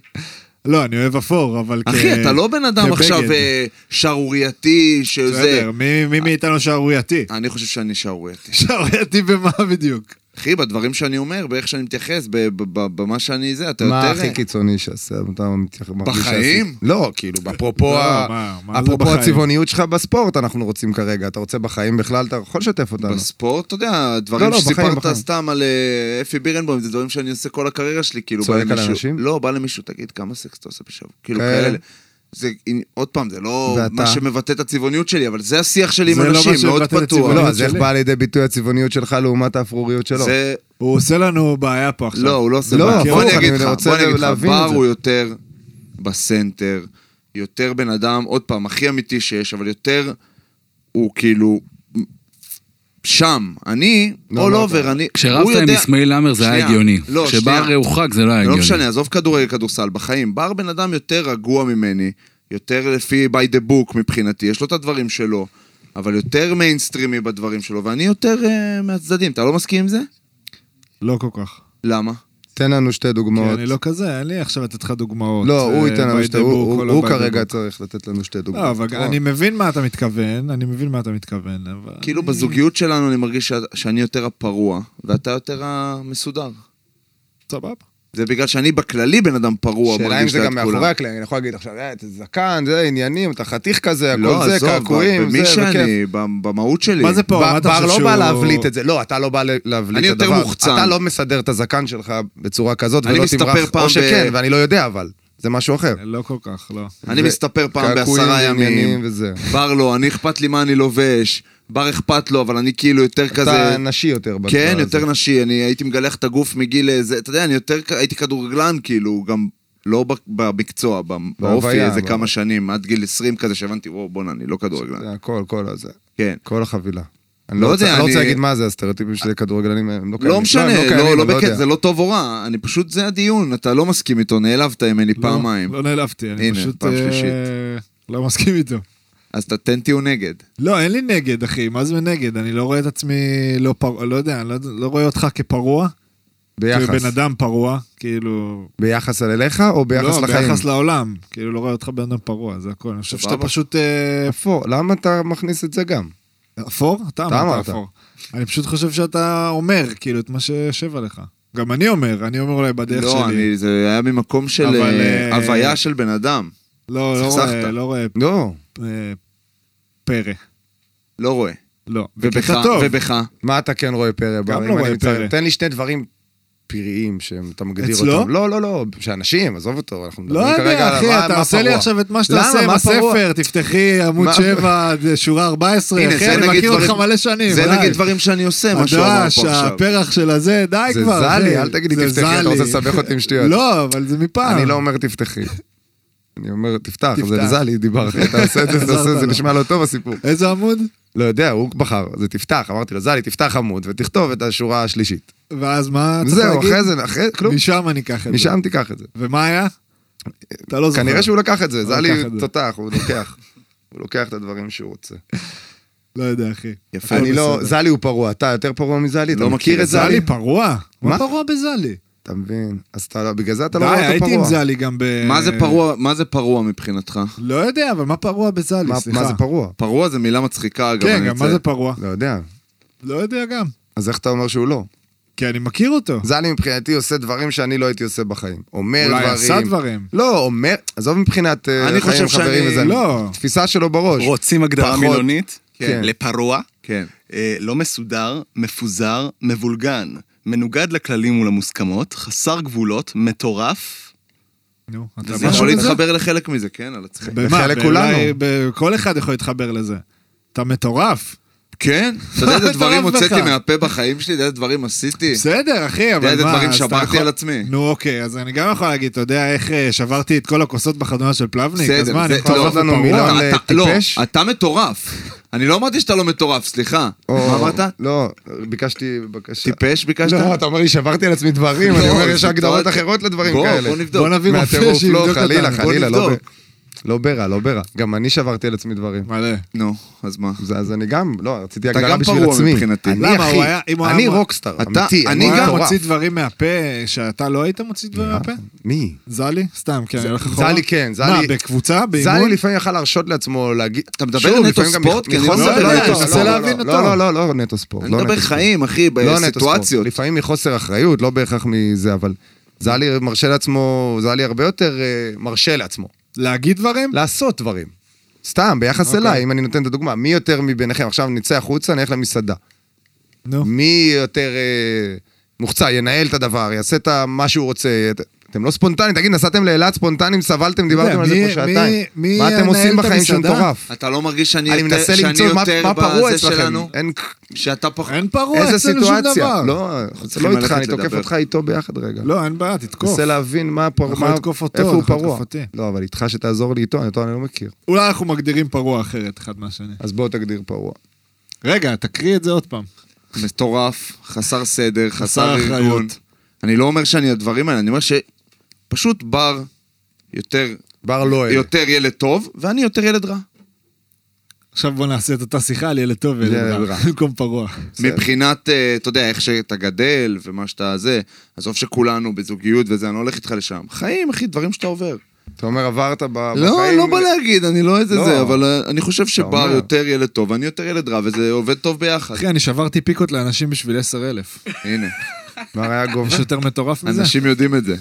S4: לא, אני אוהב אפור, אבל כ...
S2: אחי, אתה לא בן אדם
S4: כבגד.
S2: עכשיו אה, שערורייתי, שזה...
S4: בסדר, מי מי מאיתנו שערורייתי?
S2: אני חושב שאני שערורייתי.
S4: שערורייתי במה בדיוק?
S2: אחי, בדברים שאני אומר, באיך שאני מתייחס, ב- ב- ב- במה שאני זה, אתה
S5: מה
S2: יותר...
S5: הכי קיצוני שעשה? אתה מתייח- מרגיש
S2: בחיים?
S5: שעשית? לא, כאילו, אפרופו ה-
S4: מה, מה זה
S5: אפרופו
S4: בחיים?
S5: הצבעוניות שלך בספורט, אנחנו רוצים כרגע. אתה רוצה בחיים בכלל, אתה יכול לשתף אותנו.
S2: בספורט, אתה יודע, דברים
S5: לא, בחיים,
S2: שסיפרת
S5: בחיים.
S2: סתם על אה, אפי בירנבוים, זה דברים שאני עושה כל הקריירה שלי, כאילו,
S5: צועק
S2: בא
S5: על
S2: למישהו-
S5: אנשים?
S2: לא, בא למישהו, תגיד, כמה סקס אתה עושה בשבוע? כאילו,
S5: כאלה.
S2: כאלה. זה, הנה, עוד פעם, זה לא
S5: ואתה?
S2: מה שמבטא את הצבעוניות שלי, אבל זה השיח שלי עם
S4: זה לא מה
S2: אנשים, מאוד
S4: שמבטא את
S2: פתוח.
S5: לא,
S4: הצבעוניות
S5: אז לא. איך
S4: שלי.
S5: באה לידי ביטוי הצבעוניות שלך לעומת האפרוריות שלו?
S2: זה,
S4: הוא עושה לנו בעיה פה עכשיו.
S2: לא, הוא לא עושה
S5: לא,
S2: בעיה.
S5: הפוך,
S2: בוא אני אגיד
S5: אני
S2: לך,
S5: רוצה
S2: בוא אני אגיד לך,
S5: להבין את
S2: בר
S5: זה.
S2: הוא יותר בסנטר, יותר בן אדם, עוד פעם, הכי אמיתי שיש, אבל יותר, הוא כאילו... שם, אני, all
S5: לא, לא,
S2: over, אני... הוא
S6: כשרבת עם
S2: יודע-
S6: אסמאעיל עמר זה היה
S2: שנייה.
S6: הגיוני.
S2: לא,
S6: כשבר
S2: שנייה.
S6: הורחק זה לא היה
S2: לא
S6: הגיוני.
S2: משנה, עזוב כדורגל, כדורסל, בחיים. בר בן אדם יותר רגוע ממני, יותר לפי by the book מבחינתי, יש לו את הדברים שלו, אבל יותר מיינסטרימי בדברים שלו, ואני יותר uh, מהצדדים. אתה לא מסכים עם זה?
S4: לא כל כך.
S2: למה?
S5: תן לנו שתי
S4: כי
S5: דוגמאות.
S4: אני לא כזה, אין לי עכשיו לתת לך דוגמאות.
S5: לא,
S4: אה,
S5: הוא ייתן לנו
S4: by
S5: שתי,
S4: the book
S5: הוא-
S4: או
S5: הוא
S4: לא
S5: הוא
S4: by the
S5: כרגע
S4: book.
S5: צריך לתת לנו שתי דוגמאות.
S4: לא, אבל אני מבין מה אתה מתכוון, אני מבין מה אתה מתכוון, אבל...
S2: כאילו
S4: אני-
S2: בזוגיות שלנו אני מרגיש ש- שאני יותר הפרוע, ואתה יותר המסודר.
S4: סבבה.
S2: זה בגלל שאני בכללי בן אדם פרוע,
S5: שאלה אם
S2: מרגיש
S5: זה
S2: ליד
S5: גם מאחורי
S2: כולם.
S5: הקלעים, אני יכול להגיד עכשיו, אה, אתה זקן, זה עניינים, אתה חתיך כזה,
S2: לא,
S5: הכל זה,
S2: עזוב,
S5: קעקועים, זה,
S2: במי
S5: וכיף.
S2: שאני, במ- במהות שלי.
S4: מה זה פה? מה
S5: בר
S4: אתה
S5: בר
S4: חושב
S5: לא
S4: שהוא-
S5: בא להבליט את זה, לא, אתה לא בא ל- להבליט
S2: אני
S5: את הדבר.
S2: יותר מוחצן.
S5: אתה לא מסדר את הזקן שלך בצורה כזאת,
S2: אני
S5: ולא
S2: מסתפר
S5: תמרח,
S2: פעם
S5: או
S2: ב-
S5: שכן, ואני לא יודע, אבל. זה משהו אחר.
S4: לא כל כך, לא.
S2: אני
S5: זה-
S2: מסתפר פעם
S5: קעקועים
S2: בעשרה
S5: ועניינים
S2: ימים,
S5: וזה.
S2: בר לא, אני אכפת לי מה אני לובש, בר אכפת לו, אבל אני כאילו יותר כזה...
S5: אתה נשי יותר. בדבר
S2: כן,
S5: הזה.
S2: יותר נשי, אני הייתי מגלח את הגוף מגיל איזה, אתה יודע, אני יותר, הייתי כדורגלן, כאילו, גם לא ב- במקצוע, ב- באופי
S5: בהוויה,
S2: איזה
S5: ב-
S2: כמה שנים, עד גיל 20 כזה, שהבנתי, וואו, בואנה, אני לא כדורגלן.
S5: זה הכל, כל הזה.
S2: כן.
S5: כל החבילה. אני
S2: לא
S5: לא רוצה
S2: יודע,
S5: אני לא רוצה
S2: אני-
S5: להגיד מה זה הסטריאוטיפים של כדורגלנים, הם לא קיימים.
S2: לא משנה,
S5: הם קיימים,
S2: לא,
S5: אני
S2: לא בקטע,
S5: יודע.
S2: זה לא טוב או רע, אני פשוט, זה הדיון, אתה לא מסכים איתו, נעלבת ממני
S4: לא,
S2: פעמיים.
S4: לא נעלבתי, אני
S2: הנה,
S4: פשוט...
S2: פעם
S4: אה,
S2: שלישית.
S4: לא מסכים איתו.
S2: אז אתה תן טיעון נגד.
S4: לא, אין לי נגד, אחי, מה זה נגד? אני לא רואה את עצמי, לא פרוע, לא יודע, אני לא, לא רואה אותך כפרוע, כבן
S5: ביחס.
S4: אדם פרוע, כאילו...
S5: ביחס על אליך או ביחס
S4: לא,
S5: לחיים?
S4: ביחס לעולם, כאילו לא רואה אותך בן אדם פרוע, זה הכל. אני חושב שאתה
S2: סבבה.
S4: פשוט... אה,
S5: אפור, למה אתה מכניס את זה גם?
S4: אפור? אתה
S5: אתה
S4: אמרת
S5: אמרת.
S4: אפור. אני פשוט חושב שאתה אומר, כאילו, את מה שיושב עליך. גם אני אומר, אני אומר אולי בדרך
S2: לא,
S4: שלי.
S2: אני, זה היה ממקום של
S4: אבל,
S2: אה,
S4: אה,
S2: הוויה של בן אדם.
S4: לא, לא
S2: סכסכת.
S4: רואה, לא רואה
S5: לא.
S4: אה, פרא.
S2: לא רואה.
S4: לא.
S2: ובך,
S4: בקטע טוב.
S2: ובך.
S5: מה אתה כן רואה פרא? בר,
S4: לא
S5: אם אני
S4: רואה
S5: מצטער?
S4: פרא.
S5: תן לי שני דברים פראיים שאתה מגדיר
S4: אצלו?
S5: אותם. לא, לא, לא, שאנשים, עזוב אותו, אנחנו
S4: לא
S5: מדברים כרגע
S4: יודע,
S5: על מה-
S4: אחי, אתה
S5: מה
S4: עושה לי
S5: פרוע.
S4: עכשיו את מה שאתה
S5: למה?
S4: עושה עם
S5: מה פרוע?
S4: הספר, תפתחי עמוד
S5: מה-
S4: 7, שורה 14,
S2: הנה,
S4: אחי,
S2: זה
S4: כן, אני
S2: נגיד
S4: מכיר אותך
S2: דברים-
S4: מלא שנים.
S2: זה
S4: די.
S2: נגיד דברים שאני עושה, מה שהוא אמר
S4: הדש,
S2: פה עכשיו.
S4: הפרח של הזה, די
S5: זה
S4: כבר. אחי.
S5: זלי, אל תגידי
S4: זה
S5: תפתחי, אתה
S4: זלי.
S5: רוצה לסבך אותי עם שטויות.
S4: לא, אבל זה מפעם.
S5: אני לא אומר תפתחי. אני אומר, תפתח,
S4: תפתח.
S5: זה זלי דיבר, אחי, אתה עושה את זה, אתה עושה את זה,
S4: עזרת
S5: זה
S4: לו.
S5: נשמע לא טוב הסיפור.
S4: איזה עמוד?
S5: לא יודע, הוא בחר, זה תפתח, אמרתי לו, זלי, תפתח עמוד ותכתוב את השורה השלישית.
S4: ואז מה צריך
S5: זהו,
S4: להגיד?
S5: אחרי זה, אחרי, כלום,
S4: משם אני אקח את זה.
S5: משם תיקח את זה.
S4: ומה היה? אתה לא זוכר.
S5: כנראה שהוא לקח את זה,
S4: הוא
S5: זלי
S4: לקח את זה.
S5: תותח, הוא לוקח. הוא לוקח את הדברים שהוא רוצה.
S4: לא יודע, אחי.
S2: יפה.
S5: אני לא,
S4: בסדר.
S5: זלי הוא פרוע, אתה יותר פרוע מזלי, אתה
S2: לא מכיר
S5: מכיר את
S2: את זלי?
S5: זלי?
S4: זלי פרוע? מה
S5: מה?
S4: פרוע בזלי?
S5: אתה מבין, אז אתה לא, בגלל זה אתה
S4: די,
S5: לא רואה אותו
S4: הייתי עם
S5: פרוע.
S4: זלי גם ב...
S2: מה זה פרוע, מה זה פרוע מבחינתך?
S4: לא יודע, אבל מה פרוע בזלי?
S5: מה-
S4: סליחה.
S5: מה זה פרוע?
S2: פרוע זה מילה מצחיקה, אגב.
S4: כן,
S2: אני
S4: גם מה
S2: אצא.
S4: זה פרוע?
S5: לא יודע.
S4: לא יודע גם.
S5: אז איך אתה אומר שהוא לא?
S4: כי אני מכיר אותו.
S5: זלי מבחינתי עושה דברים שאני לא הייתי עושה בחיים. אומר דברים.
S4: אולי עשה דברים.
S5: לא, אומר, עזוב מבחינת אה,
S2: אני
S5: חיים
S2: חושב
S5: חברים
S2: שאני-
S5: וזה,
S4: לא.
S5: תפיסה שלו בראש.
S1: רוצים הגדרה
S5: פחות.
S1: מילונית?
S5: כן.
S1: לפרוע?
S2: כן.
S1: אה, לא מסודר, מפוזר, מבולגן. מנוגד לכללים ולמוסכמות, חסר גבולות, מטורף.
S4: נו, אתה
S2: וזה
S4: משהו
S2: יכול
S4: בזה?
S2: להתחבר לחלק מזה, כן, על עצמך.
S4: במה?
S5: לחלק
S4: באולי-
S5: כולנו.
S4: ב- כל אחד יכול להתחבר לזה. אתה מטורף.
S2: כן? אתה יודע איזה דברים
S4: מטורף
S2: הוצאתי
S4: בך.
S2: מהפה בחיים שלי? אתה יודע איזה דברים עשיתי?
S4: בסדר, אחי, אבל מה...
S2: יודע איזה דברים
S4: אז אתה
S2: שברתי
S4: יכול-
S2: על עצמי?
S4: נו, אוקיי, אז אני גם יכול להגיד, אתה יודע איך אה, שברתי את כל הכוסות בחתונה של פלבניק? אז
S2: בסדר,
S4: מה, אני
S2: זה-
S4: מטורף
S2: לא,
S5: לנו
S4: ופרוע?
S5: מילה.
S2: אתה-
S5: גם
S2: אתה- לא,
S5: לטיפש?
S2: אתה מטורף. אני לא אמרתי שאתה לא מטורף, סליחה. מה אמרת?
S5: לא, ביקשתי בקשה.
S2: טיפש ביקשת?
S5: לא, אתה אומר לי שברתי על עצמי דברים,
S2: לא,
S5: אני אומר
S2: זה
S5: יש הגדרות
S2: סיטואציה-
S5: אחרות לדברים
S2: בוא,
S5: כאלה.
S2: בוא נבדוק.
S4: בוא נביא רופא
S5: מהטירוף,
S4: שיבדוק
S5: לא,
S4: אותנו.
S5: חלילה,
S2: בוא
S5: חלילה, לא ב...
S2: נבדוק.
S5: לא ברע, לא ברע. גם אני שברתי על עצמי דברים.
S4: מלא.
S2: נו, אז מה?
S5: אז- אז אני גם, לא, רציתי
S2: אתה
S5: הגדרה
S2: גם
S5: בשביל
S2: פרוע
S5: עצמי.
S2: מבחינתי.
S5: אני,
S4: למה,
S5: אחי,
S4: הוא היה- אם הוא
S5: אני
S4: היה-
S5: רוקסטאר,
S2: אתה-
S5: אמיתי.
S2: אני
S5: היה
S2: גם
S5: מטורף.
S4: מוציא דברים מהפה שאתה לא היית מוציא דברים מהפה?
S5: מי?
S4: זלי? סתם, כן, אני הולך
S2: נכון.
S4: אחורה.
S5: זלי כן, זלי...
S4: מה, בקבוצה?
S5: זלי
S4: באימון?
S5: לפעמים יכל להרשות לעצמו להגיד...
S2: אתה מדבר על נטו ספורט? כי אני לא
S5: מחוסר-
S2: מדבר על
S5: לא,
S2: נטו
S5: לא,
S2: ספורט.
S5: לא,
S4: להבין
S5: לא,
S4: אותו.
S5: לא, לא, לא נטו ספורט.
S2: אני
S5: לא
S2: מדבר
S5: נטו
S2: חיים, אחי,
S5: ספורט. לא נטו
S2: בסיטואציות.
S5: ספורט. לפעמים מחוסר אחריות, לא בהכרח מזה, אבל... זלי מרשה לעצמו, זלי הרבה יותר אה, מרשה לעצמו.
S4: להגיד דברים?
S5: לעשות דברים. סתם,
S4: אוקיי.
S5: ביחס אליי, אם אני נותן את הדוגמה. מי יותר מביניכם? עכשיו נצא החוצה, נלך למסעדה.
S4: נו.
S5: מי יותר אה, מוחצה, ינהל את הדבר, יעשה את ה- מה שהוא רוצה. את- אתם לא ספונטנים, תגיד, נסעתם לאילת ספונטנים, סבלתם, דיברתם על זה
S4: מי-
S5: פה שעתיים.
S4: מי- מי
S5: מה אתם
S4: ינהל
S5: עושים
S4: את
S5: בחיים שהוא
S4: המסעדה?
S5: מטורף?
S2: אתה לא מרגיש שאני
S5: אני
S2: יותר
S5: מנסה
S2: שאני
S5: למצוא מה
S2: יותר
S5: מה פרוע
S2: בזה
S5: אצלכם.
S2: שלנו?
S5: אין-
S2: שאתה פחות...
S4: אין פרוע
S5: איזה
S4: לא, אצלנו שום
S5: סיטואציה.
S4: דבר.
S5: לא,
S2: צריכים
S5: לא איתך,
S2: ללכת
S5: אני תוקף
S2: לדבר.
S5: אותך איתו ביחד רגע.
S4: לא, אין בעיה, תתקוף.
S5: מנסה להבין מה פרוע,
S4: יכול
S5: מה-
S4: לתקוף אותו,
S5: איפה
S4: אתה
S5: הוא
S4: יכול לתקוף
S5: פרוע.
S4: אותי.
S5: לא, אבל איתך שתעזור לי איתו, אותו אני לא מכיר.
S4: אולי אנחנו מגדירים פרוע אחרת אחד מהשני.
S5: אז בוא תגדיר פרוע.
S4: רגע, תקריא את זה עוד פעם.
S2: מטורף, חסר סדר, חסר
S4: חסר
S2: ארגון.
S4: אחריות.
S2: אני לא אומר שאני הדברים האלה, אני אומר שפשוט בר יותר
S5: בר לא אלה.
S2: יותר ילד טוב, ואני יותר ילד רע.
S4: עכשיו בוא נעשה את אותה שיחה על ילד טוב וילד
S5: ילד
S4: רע.
S5: רע.
S4: במקום פרוע.
S2: מבחינת, אה, אתה יודע, איך שאתה גדל ומה שאתה זה, עזוב שכולנו בזוגיות וזה, אני לא הולך איתך לשם. חיים, אחי, דברים שאתה עובר.
S5: אתה אומר עברת ב- בחיים...
S2: לא, לא בא להגיד, אני לא איזה
S5: לא.
S2: זה, אבל אה, אני חושב שבר
S5: אומר. כן.
S2: יותר ילד טוב, ואני יותר ילד רע, וזה עובד טוב ביחד.
S4: אחי, אני שברתי פיקות לאנשים בשביל 10,000.
S2: הנה,
S5: מה היה גובה?
S4: יש יותר מטורף מזה?
S2: אנשים יודעים את זה.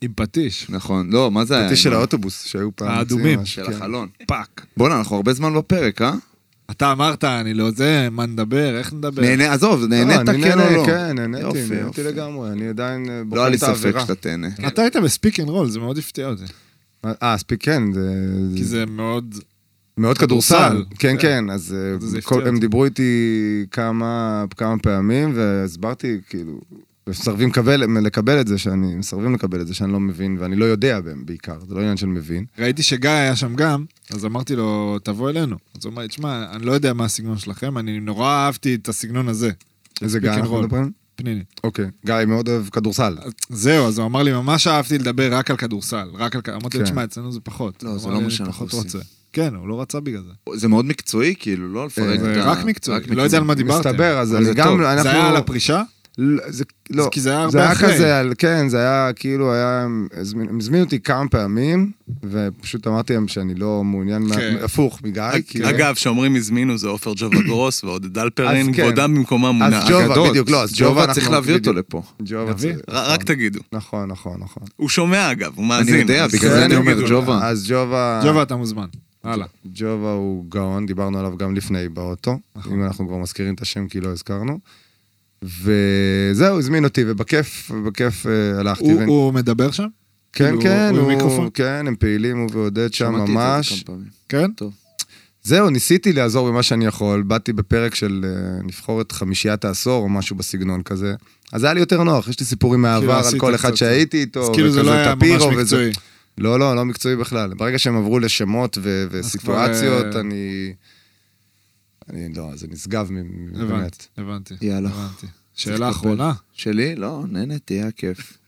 S4: עם פטיש.
S2: נכון, לא, מה זה היה?
S5: הפטיש
S2: עם
S5: של
S2: ה-
S5: האוטובוס שהיו פעם.
S4: האדומים.
S5: מוציאים
S2: של
S5: משהו, כן.
S2: החלון.
S4: פאק.
S2: בואנה, אנחנו הרבה זמן בפרק, אה?
S4: אתה אמרת, אני לא זה, מה נדבר, איך נדבר.
S2: נהנה, עזוב,
S5: לא,
S2: נהנית
S5: אני
S2: כן
S5: נהנה,
S2: או לא?
S5: כן, נהניתי,
S2: יופי,
S5: נהניתי
S2: יופי.
S5: לגמרי, אני עדיין אה,
S2: לא היה
S5: בוחן
S2: לי
S5: את
S2: ספק
S5: העבירה.
S2: שאתה תהנה.
S4: אתה היית בספיק אנד רול, זה מאוד הפתיע אותי.
S5: אה, ספיק, כן, זה...
S4: כי זה מאוד...
S5: מאוד
S4: כדורסל.
S5: כדורסל. כן,
S4: כן.
S5: כן, אז אה,
S4: אז זה
S5: כל-
S4: הפתיע
S5: הם
S4: אותי.
S5: דיברו איתי כמה כמה פעמים, והסברתי, כאילו, מסרבים לקבל- לקבל את זה, שאני, מסרבים לקבל את זה, שאני לא מבין, ואני לא יודע בהם בעיקר, זה לא עניין של מבין.
S4: ראיתי שגיא היה שם גם, אז אמרתי לו, תבוא אלינו. אז הוא אמר לי, תשמע, אני לא יודע מה הסגנון שלכם, אני נורא אהבתי את הסגנון הזה. של
S5: איזה
S4: speak
S5: גיא
S4: and
S5: אנחנו
S4: roll.
S5: מדברים?
S4: פניני.
S5: אוקיי, גיא מאוד אוהב כדורסל.
S4: אז זהו, אז הוא אמר לי, ממש אהבתי לדבר רק על כדורסל, רק על... כ-" אמרתי לו,
S5: כן.
S4: תשמע, אצלנו זה פחות.
S2: לא,
S4: הוא
S2: זה
S4: אמר
S2: לא
S4: לי,
S2: מה
S4: "אני
S2: שאנחנו
S4: פחות
S2: עושים."
S4: רוצה. כן, הוא לא רצה בגלל זה.
S2: זה מאוד מקצועי, כאילו, לא לפרק
S5: אה,
S2: את
S4: זה
S2: ה...
S4: רק מקצועי, לא יודע על מה דיברתם.
S5: מסתבר, אז
S2: אבל זה
S5: אני
S2: טוב.
S5: גם,
S2: זה
S5: אנחנו...
S4: זה היה על הפרישה?
S5: לא, זה, לא.
S4: כי זה היה
S5: זה
S4: הרבה
S5: היה
S4: אחרי.
S5: כזה, על- כן, זה היה כאילו, היה, הם הזמין- הם הזמינו אותי כמה פעמים, ופשוט אמרתי להם שאני לא מעוניין, מה-
S4: כן.
S5: הפוך מגיא, כי...
S1: אגב, שאומרים הזמינו זה עופר ג'ובה גרוס ועודד דלפרין,
S5: אז כן.
S1: כבודם במקומה
S5: אז
S1: מונח.
S5: ג'ובה,
S2: הגדול.
S5: בדיוק, לא, אז ג'ובה
S2: ג'ובה
S5: אנחנו-
S2: צריך להביא אותו
S5: בדיוק.
S2: לפה.
S5: ג'ובה
S4: נביא.
S5: צ-
S1: ר- רק תגידו.
S5: נכון, נכון, נכון.
S1: הוא שומע אגב, הוא
S2: אני
S1: מאזין.
S2: יודע,
S1: אז
S2: בגלל זה אני אומר
S1: תגידו.
S2: ג'ובה.
S5: אז ג'ובה,
S4: ג'ובה, אתה מוזמן. הלאה.
S5: ג'ובה הוא גאון, דיברנו עליו גם לפני באוטו,
S4: נכון.
S5: אם אנחנו כבר מזכירים את השם כי לא הזכרנו. וזהו, הזמין אותי, ובכיף, בכיף אה, הלכתי.
S4: הוא-
S5: ואני-
S4: הוא מדבר שם?
S5: כן,
S4: כאילו,
S5: כן,
S4: הוא עם
S5: הוא,
S4: מיקרופון?
S5: כן, הם פעילים, הוא ועודד שם
S2: שמעתי את זה
S5: ממש.
S2: כמה פעמים.
S4: כן?
S5: זהו, ניסיתי לעזור במה שאני יכול, באתי בפרק של אה, נבחור את חמישיית העשור או משהו בסגנון כזה, אז היה לי יותר נוח, יש לי סיפורים מהעבר על
S4: כאילו, עשית
S5: כל אחד
S4: קצת-
S5: שהייתי איתו,
S4: אז כאילו זה לא
S5: וכזה
S4: היה ממש
S5: טפירו וזה-
S4: מקצועי.
S5: לא, לא, לא מקצועי בכלל. ברגע שהם עברו לשמות ו- וסיטואציות,
S4: כבר, אה,
S5: אני... אני לא, זה נשגב מ- מ-
S4: הבנתי,
S5: באמת.
S4: הבנתי.
S2: יאללה.
S4: הבנתי. שאלה אחרונה.
S2: שלי? לא, נהנתי, היה כיף.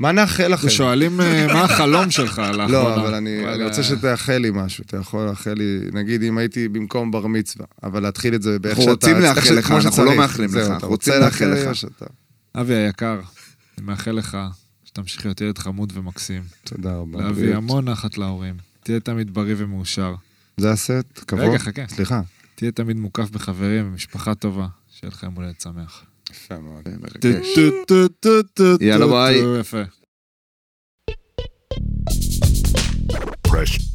S5: מה נאחל לכם?
S4: שואלים אה, מה החלום שלך לאחרונה.
S5: לא, אבל אני אני
S4: אה,
S5: רוצה שתאחל לי משהו, אתה יכול לאחל לי, נגיד אם הייתי במקום בר מצווה, אבל להתחיל את זה באיך
S2: אנחנו
S5: שאתה...
S2: רוצים
S5: איך
S2: לאחל
S5: ש-
S2: לך,
S5: כמו
S2: אנחנו
S5: שצריך.
S2: לא מאחלים
S5: זהו,
S2: לך,
S5: אתה
S2: אנחנו
S5: רוצה
S2: רוצים לאחל
S5: לאחל
S2: לך.
S5: לי או שאתה...
S4: אבי היקר, אני מאחל לך שתמשיך להיות ילד חמוד ומקסים.
S5: תודה רבה.
S4: להביא המון נחת להורים. תהיה תמיד בריא ומאושר.
S5: זה הסט, כבוד.
S4: רגע, חכה.
S5: סליחה.
S4: תהיה תמיד מוקף בחברים ומשפחה טובה. שיהיה לך יום הולדת שמח.
S5: יפה מאוד.
S4: טו, טו, טו, טו, טו, טו,
S2: יאללה, ביי.
S4: טו, יפה.
S7: Fresh